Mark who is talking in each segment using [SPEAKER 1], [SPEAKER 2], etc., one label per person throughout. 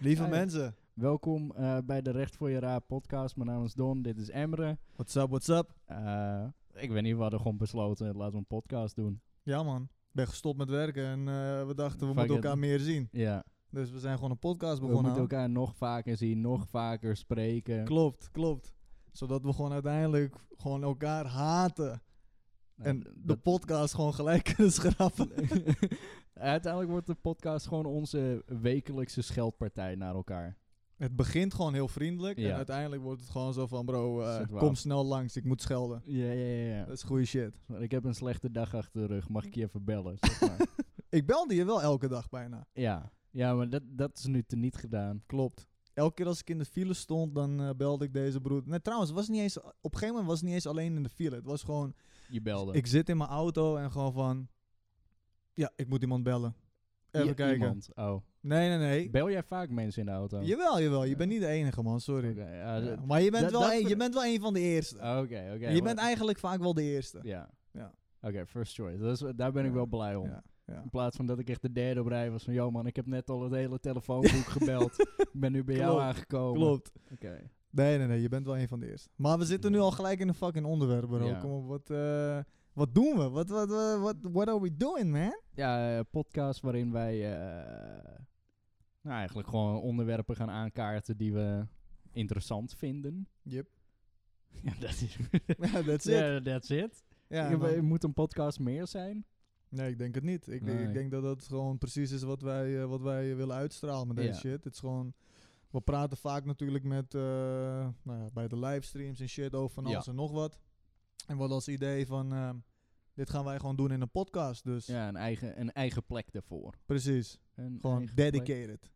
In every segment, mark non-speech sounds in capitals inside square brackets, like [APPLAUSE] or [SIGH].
[SPEAKER 1] Lieve
[SPEAKER 2] Ja, ja.
[SPEAKER 1] mensen,
[SPEAKER 2] Welkom eh, bij de Recht voor je Raad podcast. Mijn naam is Don, dit is Emre.
[SPEAKER 1] what's up, what's up?
[SPEAKER 2] Eh, ik weet niet, we hadden gewoon besloten, laten we een podcast doen.
[SPEAKER 1] Ja man, ik ben gestopt met werken en eh, we dachten we
[SPEAKER 2] Fuck
[SPEAKER 1] moeten
[SPEAKER 2] it.
[SPEAKER 1] elkaar meer zien.
[SPEAKER 2] Ja,
[SPEAKER 1] Dus we zijn gewoon een podcast
[SPEAKER 2] we
[SPEAKER 1] begonnen.
[SPEAKER 2] moeten elkaar nog vaker zien, nog vaker spreken.
[SPEAKER 1] Klopt, klopt. Zodat we gewoon uiteindelijk gewoon elkaar haten.
[SPEAKER 2] Nou,
[SPEAKER 1] En de
[SPEAKER 2] dat-
[SPEAKER 1] podcast gewoon gelijk [LAUGHS] kunnen schrappen.
[SPEAKER 2] [LAUGHS] Uiteindelijk wordt de podcast gewoon onze wekelijkse scheldpartij naar elkaar.
[SPEAKER 1] Het begint gewoon heel vriendelijk en
[SPEAKER 2] Ja.
[SPEAKER 1] uiteindelijk wordt het gewoon zo van bro, eh,
[SPEAKER 2] Is het waar?
[SPEAKER 1] kom snel langs, ik moet schelden.
[SPEAKER 2] Ja, ja, ja.
[SPEAKER 1] Dat is goede shit.
[SPEAKER 2] Ik heb een slechte dag achter de rug, mag ik je even bellen?
[SPEAKER 1] [LAUGHS]
[SPEAKER 2] Zeg maar.
[SPEAKER 1] Ik belde je wel elke dag bijna.
[SPEAKER 2] ja. ja, maar dat, dat is nu teniet gedaan.
[SPEAKER 1] Klopt. Elke keer als ik in de file stond, dan eh, belde ik deze broer. Nee, trouwens, het was niet eens, op een gegeven moment was het niet eens alleen in de file. Het was gewoon
[SPEAKER 2] Je belde.
[SPEAKER 1] Ik zit in mijn auto en gewoon van... Ja, ik moet iemand bellen. Even
[SPEAKER 2] Je-
[SPEAKER 1] kijken.
[SPEAKER 2] iemand. Oh.
[SPEAKER 1] Nee, nee, nee.
[SPEAKER 2] Bel jij vaak mensen in de auto?
[SPEAKER 1] Jawel, jawel. Je
[SPEAKER 2] Ja.
[SPEAKER 1] bent niet de enige, man. Sorry.
[SPEAKER 2] Oké, ja,
[SPEAKER 1] Ja,
[SPEAKER 2] dat-
[SPEAKER 1] Maar je bent,
[SPEAKER 2] dat-
[SPEAKER 1] wel
[SPEAKER 2] dat
[SPEAKER 1] een, je
[SPEAKER 2] ver-
[SPEAKER 1] bent wel een van de eerste.
[SPEAKER 2] Oké, oké.
[SPEAKER 1] En je bent
[SPEAKER 2] wel-
[SPEAKER 1] eigenlijk vaak wel de eerste.
[SPEAKER 2] Ja.
[SPEAKER 1] Ja.
[SPEAKER 2] Oké, first choice. Dat is, daar ben ik
[SPEAKER 1] Ja,
[SPEAKER 2] wel blij om.
[SPEAKER 1] Ja, ja.
[SPEAKER 2] In plaats van dat ik echt de derde op rij was van... Yo man, ik heb net al het hele
[SPEAKER 1] [LAUGHS]
[SPEAKER 2] telefoonboek gebeld. Ik ben nu bij jou
[SPEAKER 1] Klopt,
[SPEAKER 2] aangekomen.
[SPEAKER 1] Klopt.
[SPEAKER 2] Oké.
[SPEAKER 1] Nee, nee, nee. Je bent wel een van de eerste. Maar we zitten nu al gelijk in een fucking onderwerp, bro.
[SPEAKER 2] Ja.
[SPEAKER 1] Kom op, wat, eh, wat doen we? Wat, wat, wat, wat what are we doing, man?
[SPEAKER 2] Ja, eh, podcast waarin wij... eh, nou, eigenlijk gewoon onderwerpen gaan aankaarten die we interessant vinden. [LAUGHS]
[SPEAKER 1] Yep. [LAUGHS]
[SPEAKER 2] Ja, dat is
[SPEAKER 1] Ja, that's it.
[SPEAKER 2] Ja, that's it.
[SPEAKER 1] Ja,
[SPEAKER 2] Ik-
[SPEAKER 1] man.
[SPEAKER 2] eh, moet een podcast meer zijn?
[SPEAKER 1] Nee, ik denk het niet. Ik,
[SPEAKER 2] Nee.
[SPEAKER 1] ik denk dat dat gewoon precies is wat wij, eh, wat wij willen uitstralen met deze
[SPEAKER 2] Ja.
[SPEAKER 1] shit. Het is gewoon... We praten vaak natuurlijk met, eh, nou ja, bij de livestreams en shit over van
[SPEAKER 2] Ja.
[SPEAKER 1] alles en nog wat. En wat als idee van, ehm, dit gaan wij gewoon doen in een podcast. Dus
[SPEAKER 2] Ja, een eigen, een eigen plek daarvoor.
[SPEAKER 1] precies,
[SPEAKER 2] Een
[SPEAKER 1] gewoon
[SPEAKER 2] eigen plek.
[SPEAKER 1] dedicated.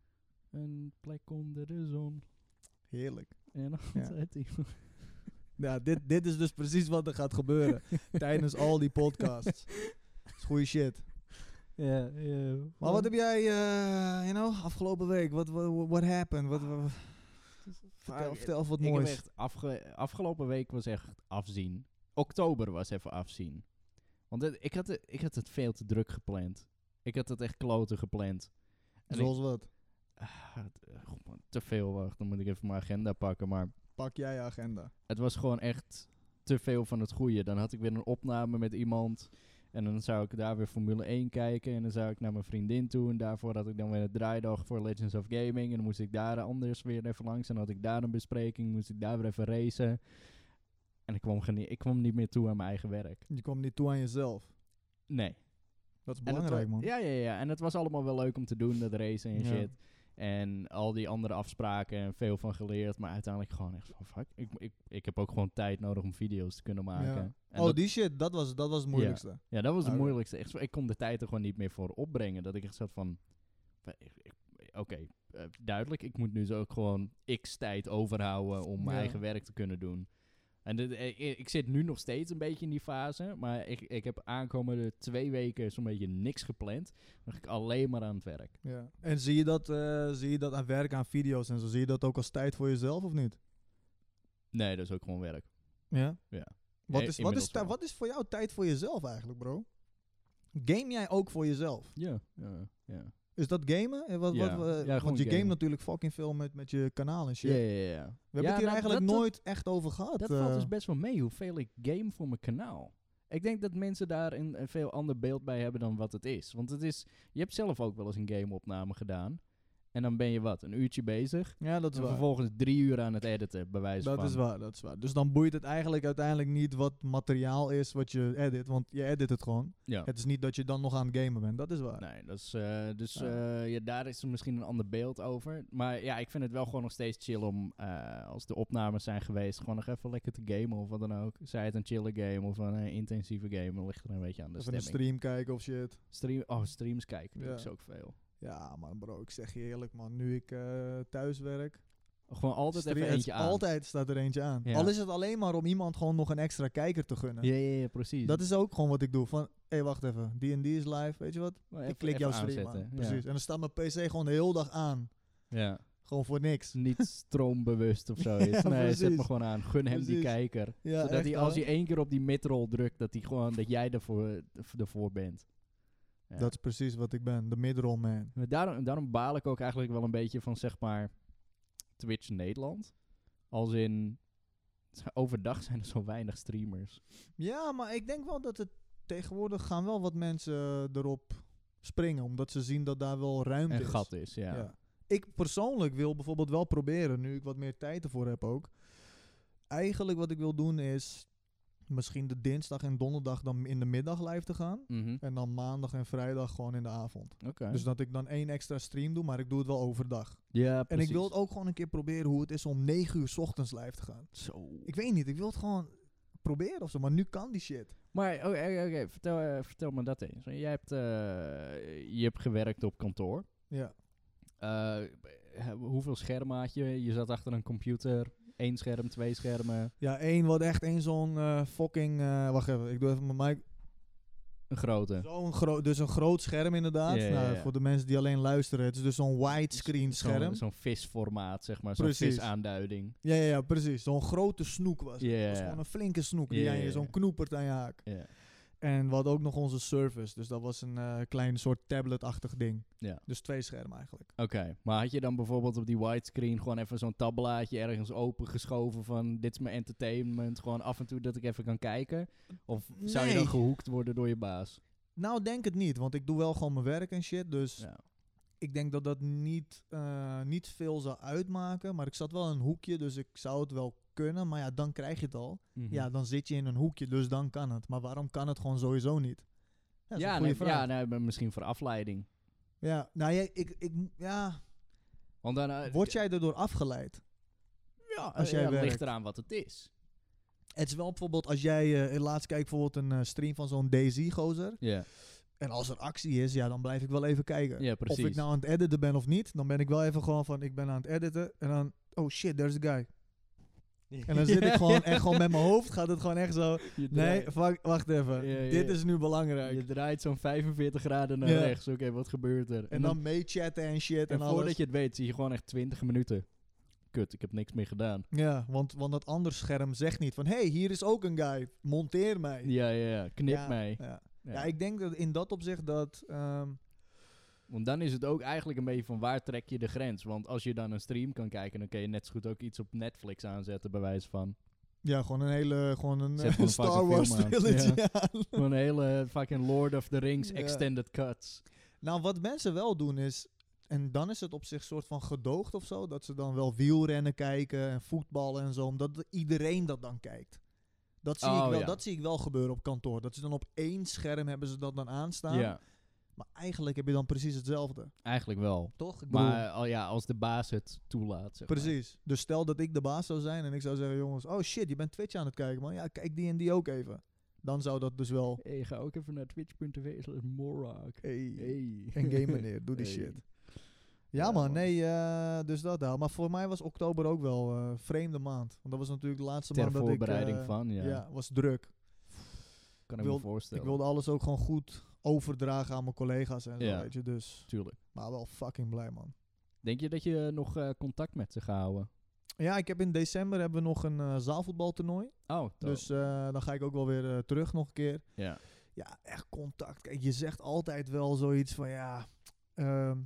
[SPEAKER 2] Een plek onder de zon.
[SPEAKER 1] Heerlijk.
[SPEAKER 2] En altijd iemand.
[SPEAKER 1] Ja, dit, dit is dus precies wat er gaat gebeuren
[SPEAKER 2] [LAUGHS]
[SPEAKER 1] tijdens al die podcasts. Dat is goeie shit.
[SPEAKER 2] Ja,
[SPEAKER 1] Maar wat heb jij, eh, you know, afgelopen week? Wat what, what happened? Wat, wat- vertel,
[SPEAKER 2] Dus- Ah, ik-
[SPEAKER 1] vertel wat
[SPEAKER 2] ik heb
[SPEAKER 1] moois.
[SPEAKER 2] echt afge- afgelopen week was echt afzien. Oktober was even afzien. Want het- ik, had het, ik had het veel te druk gepland. Ik had het echt kloten gepland. En
[SPEAKER 1] Zoals wat?
[SPEAKER 2] ik, ah, het- eh, god man, te veel wacht. Dan moet ik even mijn agenda pakken. Maar
[SPEAKER 1] Pak jij je agenda.
[SPEAKER 2] het was gewoon echt te veel van het goede. Dan had ik weer een opname met iemand. En dan zou ik daar weer Formule 1 kijken. En dan zou ik naar mijn vriendin toe. En daarvoor had ik dan weer een draaidag voor Legends of Gaming. En dan moest ik daar anders weer even langs. En dan had ik daar een bespreking. Moest ik daar weer even racen. En ik kwam, genie- ik kwam niet meer toe aan mijn eigen werk.
[SPEAKER 1] Je komt niet toe aan jezelf.
[SPEAKER 2] Nee.
[SPEAKER 1] Dat is
[SPEAKER 2] En het
[SPEAKER 1] belangrijk,
[SPEAKER 2] wa-
[SPEAKER 1] man.
[SPEAKER 2] Ja, ja, ja. En het was allemaal wel leuk om te doen, dat racen en
[SPEAKER 1] Ja.
[SPEAKER 2] shit. En al die andere afspraken en veel van geleerd. Maar uiteindelijk gewoon echt van, fuck, ik, ik, ik heb ook gewoon tijd nodig om video's te kunnen maken.
[SPEAKER 1] Ja.
[SPEAKER 2] En
[SPEAKER 1] oh,
[SPEAKER 2] dat-
[SPEAKER 1] die shit, dat was, dat was het moeilijkste.
[SPEAKER 2] Ja, dat was het
[SPEAKER 1] Oké.
[SPEAKER 2] moeilijkste. Echt, zo, ik kon de tijd er gewoon niet meer voor opbrengen. Dat ik echt zat van... wa- ik- ik- Oké, eh, duidelijk. Ik moet nu zo ook gewoon x tijd overhouden om mijn
[SPEAKER 1] Ja.
[SPEAKER 2] eigen werk te kunnen doen. En dit, eh, ik, ik zit nu nog steeds een beetje in die fase. Maar ik, ik heb aankomende twee weken zo'n beetje niks gepland. Dan ga ik alleen maar aan het werk.
[SPEAKER 1] Ja. En zie je, dat, eh, zie je dat aan werk, aan video's en zo? Zie je dat ook als tijd voor jezelf of niet?
[SPEAKER 2] Nee, dat is ook gewoon werk.
[SPEAKER 1] Ja.
[SPEAKER 2] Ja.
[SPEAKER 1] Wat,
[SPEAKER 2] Eh,
[SPEAKER 1] is, wat,
[SPEAKER 2] inmiddels
[SPEAKER 1] is, ta-
[SPEAKER 2] wel.
[SPEAKER 1] wat is voor jou tijd voor jezelf eigenlijk, bro? Game jij ook voor jezelf?
[SPEAKER 2] Ja, ja, ja.
[SPEAKER 1] Is dat gamen? En wat,
[SPEAKER 2] Ja.
[SPEAKER 1] wat, eh,
[SPEAKER 2] Ja, gewoon
[SPEAKER 1] want je game
[SPEAKER 2] gamen.
[SPEAKER 1] natuurlijk fucking veel met, met je kanaal en shit.
[SPEAKER 2] Ja, ja,
[SPEAKER 1] We
[SPEAKER 2] ja, ja.
[SPEAKER 1] hebben
[SPEAKER 2] Ja,
[SPEAKER 1] het hier
[SPEAKER 2] nou,
[SPEAKER 1] eigenlijk
[SPEAKER 2] dat- dat-
[SPEAKER 1] nooit echt over gehad.
[SPEAKER 2] Dat valt dus
[SPEAKER 1] eh.
[SPEAKER 2] best wel mee hoeveel ik game voor mijn kanaal. Ik denk dat mensen daar een, een veel ander beeld bij hebben dan wat het is. Want het is, je hebt zelf ook wel eens een gameopname gedaan. En dan ben je wat, een uurtje bezig.
[SPEAKER 1] ja, dat is
[SPEAKER 2] En
[SPEAKER 1] waar.
[SPEAKER 2] vervolgens drie uur aan het editen, bij wijze
[SPEAKER 1] Dat
[SPEAKER 2] van.
[SPEAKER 1] is waar, dat is waar. Dus dan boeit het eigenlijk uiteindelijk niet wat materiaal is wat je edit, want je edit het gewoon.
[SPEAKER 2] Ja.
[SPEAKER 1] Het is niet dat je dan nog aan het gamen bent, dat is waar.
[SPEAKER 2] Nee, dat is, eh, dus
[SPEAKER 1] Ja.
[SPEAKER 2] eh, ja, daar is er misschien een ander beeld over. Maar ja, ik vind het wel gewoon nog steeds chill om, eh, als de opnames zijn geweest, gewoon nog even lekker te gamen of wat dan ook. Zij het een chille game of een eh, intensieve game, dan ligt er een beetje aan de
[SPEAKER 1] Even een
[SPEAKER 2] stemming.
[SPEAKER 1] stream kijken of shit.
[SPEAKER 2] Stream, oh, streams kijken doe
[SPEAKER 1] Ja.
[SPEAKER 2] ik zo ook veel.
[SPEAKER 1] Ja, man bro, ik zeg je eerlijk man, nu ik eh, thuis werk,
[SPEAKER 2] Gewoon altijd
[SPEAKER 1] stream-
[SPEAKER 2] even
[SPEAKER 1] het-
[SPEAKER 2] eentje aan.
[SPEAKER 1] altijd staat er eentje aan.
[SPEAKER 2] Ja.
[SPEAKER 1] Al is het alleen maar om iemand gewoon nog een extra kijker te gunnen.
[SPEAKER 2] Ja, ja, ja, precies.
[SPEAKER 1] Dat is ook gewoon wat ik doe, van, hé wacht even, die en die is live, weet je wat?
[SPEAKER 2] Maar
[SPEAKER 1] Ik
[SPEAKER 2] even-
[SPEAKER 1] klik
[SPEAKER 2] even
[SPEAKER 1] jouw stream
[SPEAKER 2] aanzetten,
[SPEAKER 1] aan.
[SPEAKER 2] ja.
[SPEAKER 1] Precies, en dan staat mijn pc gewoon de hele dag aan. [LAUGHS]
[SPEAKER 2] Ja.
[SPEAKER 1] Gewoon voor niks.
[SPEAKER 2] Het is Niet stroombewust of zo.
[SPEAKER 1] Ja,
[SPEAKER 2] is. nee, zet me
[SPEAKER 1] precies.
[SPEAKER 2] gewoon aan. Gun hem die
[SPEAKER 1] Precies.
[SPEAKER 2] kijker.
[SPEAKER 1] Ja,
[SPEAKER 2] zodat
[SPEAKER 1] echt,
[SPEAKER 2] hij, als
[SPEAKER 1] hoor.
[SPEAKER 2] hij één keer op die midrol drukt, dat hij gewoon dat jij ervoor, ervoor bent. Ja.
[SPEAKER 1] Dat is precies wat ik ben, de midroll man.
[SPEAKER 2] Maar Daarom, daarom baal ik ook eigenlijk wel een beetje van zeg maar Twitch Nederland. Als in overdag zijn er zo weinig streamers.
[SPEAKER 1] Ja, maar ik denk wel dat het tegenwoordig gaan wel wat mensen eh, erop springen, omdat ze zien dat daar wel ruimte
[SPEAKER 2] Een
[SPEAKER 1] is.
[SPEAKER 2] gat is, ja.
[SPEAKER 1] Ja. Ik persoonlijk wil bijvoorbeeld wel proberen, nu ik wat meer tijd ervoor heb ook. Eigenlijk wat ik wil doen is misschien de dinsdag en donderdag dan in de middag live te gaan.
[SPEAKER 2] Mhm,
[SPEAKER 1] En dan maandag en vrijdag gewoon in de avond.
[SPEAKER 2] Oké.
[SPEAKER 1] Dus dat ik dan één extra stream doe, maar ik doe het wel overdag.
[SPEAKER 2] Ja,
[SPEAKER 1] En
[SPEAKER 2] precies.
[SPEAKER 1] ik wil het ook gewoon een keer proberen hoe het is om 9 uur 's ochtends live te gaan.
[SPEAKER 2] Zo.
[SPEAKER 1] Ik weet niet, ik wil het gewoon proberen of zo, maar nu kan die shit.
[SPEAKER 2] Maar oké, oké, oké, vertel, eh, vertel me dat eens. Jij hebt, eh, je hebt gewerkt op kantoor.
[SPEAKER 1] Ja.
[SPEAKER 2] Eh, eh, hoeveel schermen had je? Je zat achter een computer. Eén scherm, twee schermen.
[SPEAKER 1] Ja, één wat echt één zo'n eh, fucking. eh, wacht even, ik doe even mijn mic.
[SPEAKER 2] Een grote.
[SPEAKER 1] Zo'n groot, dus een groot scherm inderdaad.
[SPEAKER 2] Ja, ja,
[SPEAKER 1] Nou,
[SPEAKER 2] ja.
[SPEAKER 1] voor de mensen die alleen luisteren, het is dus zo'n widescreen
[SPEAKER 2] Zo'n-
[SPEAKER 1] scherm.
[SPEAKER 2] Zo'n visformaat, zeg maar. Zo'n
[SPEAKER 1] Precies.
[SPEAKER 2] visaanduiding.
[SPEAKER 1] Ja, ja, ja, precies. Zo'n grote snoek was. het.
[SPEAKER 2] Ja,
[SPEAKER 1] Het was
[SPEAKER 2] ja, ja.
[SPEAKER 1] gewoon een flinke snoek. Die
[SPEAKER 2] Ja,
[SPEAKER 1] aan je
[SPEAKER 2] ja, ja.
[SPEAKER 1] zo'n knoepert aan je haak.
[SPEAKER 2] Ja.
[SPEAKER 1] En we hadden ook nog onze Surface. Dus dat was een eh, klein soort tabletachtig ding.
[SPEAKER 2] Ja.
[SPEAKER 1] Dus twee schermen eigenlijk.
[SPEAKER 2] Oké, maar had je dan bijvoorbeeld op die widescreen gewoon even zo'n tabblaadje ergens opengeschoven van dit is mijn entertainment, gewoon af en toe dat ik even kan kijken? Of zou je dan
[SPEAKER 1] Nee.
[SPEAKER 2] gehoekt worden door je baas?
[SPEAKER 1] Nou, denk het niet, want ik doe wel gewoon mijn werk en shit. Dus
[SPEAKER 2] Ja.
[SPEAKER 1] ik denk dat dat niet, eh, niet veel zou uitmaken. Maar ik zat wel in een hoekje, dus ik zou het wel kunnen. Maar ja, dan krijg je het al.
[SPEAKER 2] Mhm.
[SPEAKER 1] Ja, dan zit je in een hoekje, dus dan kan het. Maar waarom kan het gewoon sowieso niet? Ja, dat is
[SPEAKER 2] ja,
[SPEAKER 1] een goede
[SPEAKER 2] nee,
[SPEAKER 1] vraag.
[SPEAKER 2] ja nee, maar misschien voor afleiding.
[SPEAKER 1] Ja, nou, jij, ik, ik, ja,
[SPEAKER 2] Want dan, eh,
[SPEAKER 1] word jij erdoor afgeleid?
[SPEAKER 2] ja,
[SPEAKER 1] als
[SPEAKER 2] eh,
[SPEAKER 1] jij
[SPEAKER 2] ja, het ligt
[SPEAKER 1] werkt?
[SPEAKER 2] eraan wat het is.
[SPEAKER 1] Het is wel bijvoorbeeld als jij eh laatst kijkt bijvoorbeeld een eh, stream van zo'n DayZ-gozer.
[SPEAKER 2] Ja,
[SPEAKER 1] En als er actie is, ja, dan blijf ik wel even kijken.
[SPEAKER 2] ja precies.
[SPEAKER 1] Of ik
[SPEAKER 2] [LAUGHS]
[SPEAKER 1] nou aan het editen ben of niet, dan ben ik wel even gewoon van, ik ben aan het editen en dan, oh shit, there's a guy. En dan zit
[SPEAKER 2] [LAUGHS]
[SPEAKER 1] ik gewoon echt gewoon met mijn hoofd, gaat het gewoon echt zo,
[SPEAKER 2] Je
[SPEAKER 1] nee,
[SPEAKER 2] draait-
[SPEAKER 1] fuck, wacht even,
[SPEAKER 2] Ja, ja,
[SPEAKER 1] dit
[SPEAKER 2] ja.
[SPEAKER 1] is nu belangrijk.
[SPEAKER 2] Je draait zo'n 45 graden naar
[SPEAKER 1] Ja.
[SPEAKER 2] rechts. Oké, wat gebeurt er?
[SPEAKER 1] en dan meechatten en shit en,
[SPEAKER 2] en
[SPEAKER 1] alles.
[SPEAKER 2] voordat je het weet, zie je gewoon echt 20 minuten. Kut, ik heb niks meer gedaan.
[SPEAKER 1] Ja, want, want dat andere scherm zegt niet van, hey, hier is ook een guy, monteer mij.
[SPEAKER 2] Ja, ja, ja. Knip
[SPEAKER 1] Ja,
[SPEAKER 2] mij.
[SPEAKER 1] Ja. Ja, ik denk dat in dat opzicht dat, ehm,
[SPEAKER 2] Want dan is het ook eigenlijk een beetje van waar trek je de grens. Want als je dan een stream kan kijken, dan kun je net zo goed ook iets op Netflix aanzetten, bij wijze
[SPEAKER 1] [LAUGHS]
[SPEAKER 2] van.
[SPEAKER 1] ja, gewoon een hele, gewoon een
[SPEAKER 2] Zet
[SPEAKER 1] eh,
[SPEAKER 2] gewoon
[SPEAKER 1] [LAUGHS]
[SPEAKER 2] een
[SPEAKER 1] Star
[SPEAKER 2] fucking
[SPEAKER 1] Wars
[SPEAKER 2] film aan.
[SPEAKER 1] trilogy aan.
[SPEAKER 2] Gewoon een hele fucking Lord of the Rings
[SPEAKER 1] Ja.
[SPEAKER 2] extended cuts.
[SPEAKER 1] Nou, wat mensen wel doen is. En dan is het op zich soort van gedoogd of zo. Dat ze dan wel wielrennen kijken en voetballen en zo. Omdat iedereen dat dan kijkt. Dat zie,
[SPEAKER 2] Oh,
[SPEAKER 1] ik wel,
[SPEAKER 2] ja.
[SPEAKER 1] dat zie ik wel gebeuren op kantoor. Dat ze dan op één scherm hebben ze dat dan aanstaan.
[SPEAKER 2] Ja,
[SPEAKER 1] Maar eigenlijk heb je dan precies hetzelfde.
[SPEAKER 2] eigenlijk wel.
[SPEAKER 1] Toch? Ik bedoel,
[SPEAKER 2] Maar eh, al ja, als de baas het toelaat. Zeg maar.
[SPEAKER 1] precies. Dus stel dat ik de baas zou zijn en ik zou zeggen... jongens, oh shit, je bent Twitch aan het kijken man. Ja, kijk die en die ook even. Dan zou dat dus wel...
[SPEAKER 2] Hey, ga ook even naar twitch.tv slash morak.
[SPEAKER 1] Hey.
[SPEAKER 2] Hey.
[SPEAKER 1] En game
[SPEAKER 2] [LAUGHS]
[SPEAKER 1] meneer, doe die
[SPEAKER 2] Hey.
[SPEAKER 1] shit. Ja,
[SPEAKER 2] Ja,
[SPEAKER 1] man,
[SPEAKER 2] man.
[SPEAKER 1] nee, eh, dus dat daar. Maar voor mij was oktober ook wel een vreemde maand. Want dat was natuurlijk de laatste
[SPEAKER 2] Ter
[SPEAKER 1] maand dat ik...
[SPEAKER 2] voorbereiding
[SPEAKER 1] eh,
[SPEAKER 2] van, ja.
[SPEAKER 1] Ja. was druk.
[SPEAKER 2] Kan ik
[SPEAKER 1] wilde-
[SPEAKER 2] me voorstellen.
[SPEAKER 1] Ik wilde alles ook gewoon goed overdragen aan mijn collega's en zo,
[SPEAKER 2] Ja.
[SPEAKER 1] weet je. Dus,
[SPEAKER 2] Tuurlijk.
[SPEAKER 1] maar wel fucking blij, man.
[SPEAKER 2] Denk je dat je nog eh, contact met ze gaat houden?
[SPEAKER 1] Ja, ik heb in december hebben we nog een eh, zaalvoetbaltoernooi.
[SPEAKER 2] Oh, toch.
[SPEAKER 1] Dus eh, dan ga ik ook wel weer eh, terug nog een keer.
[SPEAKER 2] ja.
[SPEAKER 1] Ja, echt contact. Kijk, je zegt altijd wel zoiets van, ja... ehm,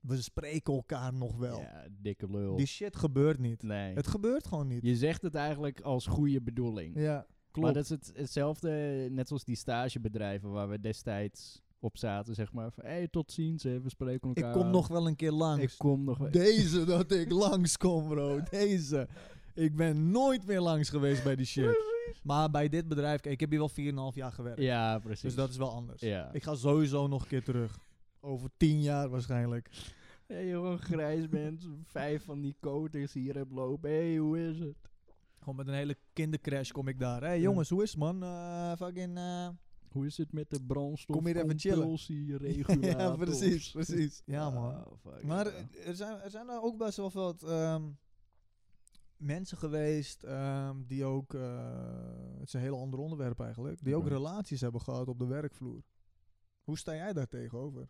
[SPEAKER 1] we spreken elkaar nog wel.
[SPEAKER 2] Ja, dikke lul.
[SPEAKER 1] Die shit gebeurt niet.
[SPEAKER 2] nee.
[SPEAKER 1] Het gebeurt gewoon niet.
[SPEAKER 2] Je zegt het eigenlijk als goede bedoeling.
[SPEAKER 1] Ja,
[SPEAKER 2] Maar
[SPEAKER 1] klopt.
[SPEAKER 2] dat is het, hetzelfde, net zoals die stagebedrijven waar we destijds op zaten, zeg maar. Van, hey, tot ziens, hè, we spreken
[SPEAKER 1] ik
[SPEAKER 2] elkaar.
[SPEAKER 1] kom
[SPEAKER 2] aan.
[SPEAKER 1] nog dus wel een keer langs.
[SPEAKER 2] Ik kom nog wel.
[SPEAKER 1] Deze dat ik langskom, bro. Deze. Ik ben nooit meer langs geweest bij die shit. Maar bij dit bedrijf, kijk, ik heb hier wel 4,5 jaar gewerkt.
[SPEAKER 2] Ja, precies.
[SPEAKER 1] dus dat is wel anders.
[SPEAKER 2] Ja.
[SPEAKER 1] Ik ga sowieso nog een keer terug. Over 10 jaar waarschijnlijk.
[SPEAKER 2] Hey, je gewoon grijs bent, vijf van die koters hier hebt lopen. hey, hoe is het?
[SPEAKER 1] Gewoon met een hele kindercrash kom ik daar. Hé hey, jongens, hoe is het man? Eh, fucking... eh,
[SPEAKER 2] Hoe is het met de brandstof?
[SPEAKER 1] Kom hier even chillen.
[SPEAKER 2] [LAUGHS]
[SPEAKER 1] [LAUGHS]
[SPEAKER 2] regulator.
[SPEAKER 1] ja, precies, precies. Ja man. Maar
[SPEAKER 2] Oh, ja.
[SPEAKER 1] eh, er zijn, er zijn er ook best wel wat ehm, mensen geweest ehm, die ook, eh, het is een heel ander onderwerp eigenlijk, die ook
[SPEAKER 2] Oké.
[SPEAKER 1] relaties hebben gehad op de werkvloer. Hoe sta jij daar tegenover?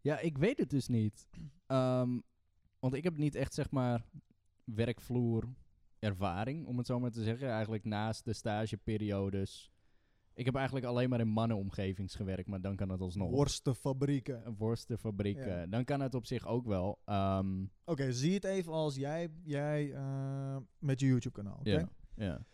[SPEAKER 2] Ja, ik weet het dus niet. Ehm, want ik heb niet echt, zeg maar, werkvloer ervaring, om het zo maar te zeggen. Eigenlijk naast de stageperiodes Ik heb eigenlijk alleen maar in mannenomgevings gewerkt, maar dan kan het alsnog.
[SPEAKER 1] Worstenfabrieken. Oké,
[SPEAKER 2] Een worstenfabriek.
[SPEAKER 1] Ja.
[SPEAKER 2] eh, Dan kan het op zich ook wel. Ehm,
[SPEAKER 1] zie het even als jij, jij eh, met je YouTube-kanaal. oké?
[SPEAKER 2] ja, ja,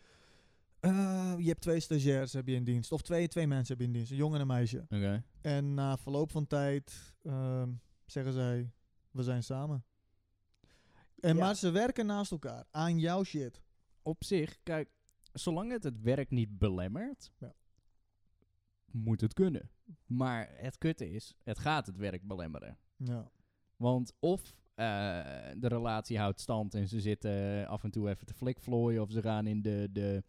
[SPEAKER 1] Eh, je hebt twee stagiairs heb je in dienst. Of twee, twee mensen heb je in dienst. Een jongen en een meisje.
[SPEAKER 2] oké.
[SPEAKER 1] En na verloop van tijd ehm, zeggen zij, we zijn samen. En
[SPEAKER 2] Ja.
[SPEAKER 1] maar ze werken naast elkaar aan jouw shit.
[SPEAKER 2] Op zich, kijk, zolang het het werk niet belemmert,
[SPEAKER 1] Ja.
[SPEAKER 2] moet het kunnen. Maar het kutte is, het gaat het werk belemmeren.
[SPEAKER 1] Ja.
[SPEAKER 2] Want of eh, de relatie houdt stand en ze zitten af en toe even te flikvlooien. Of ze gaan in de, de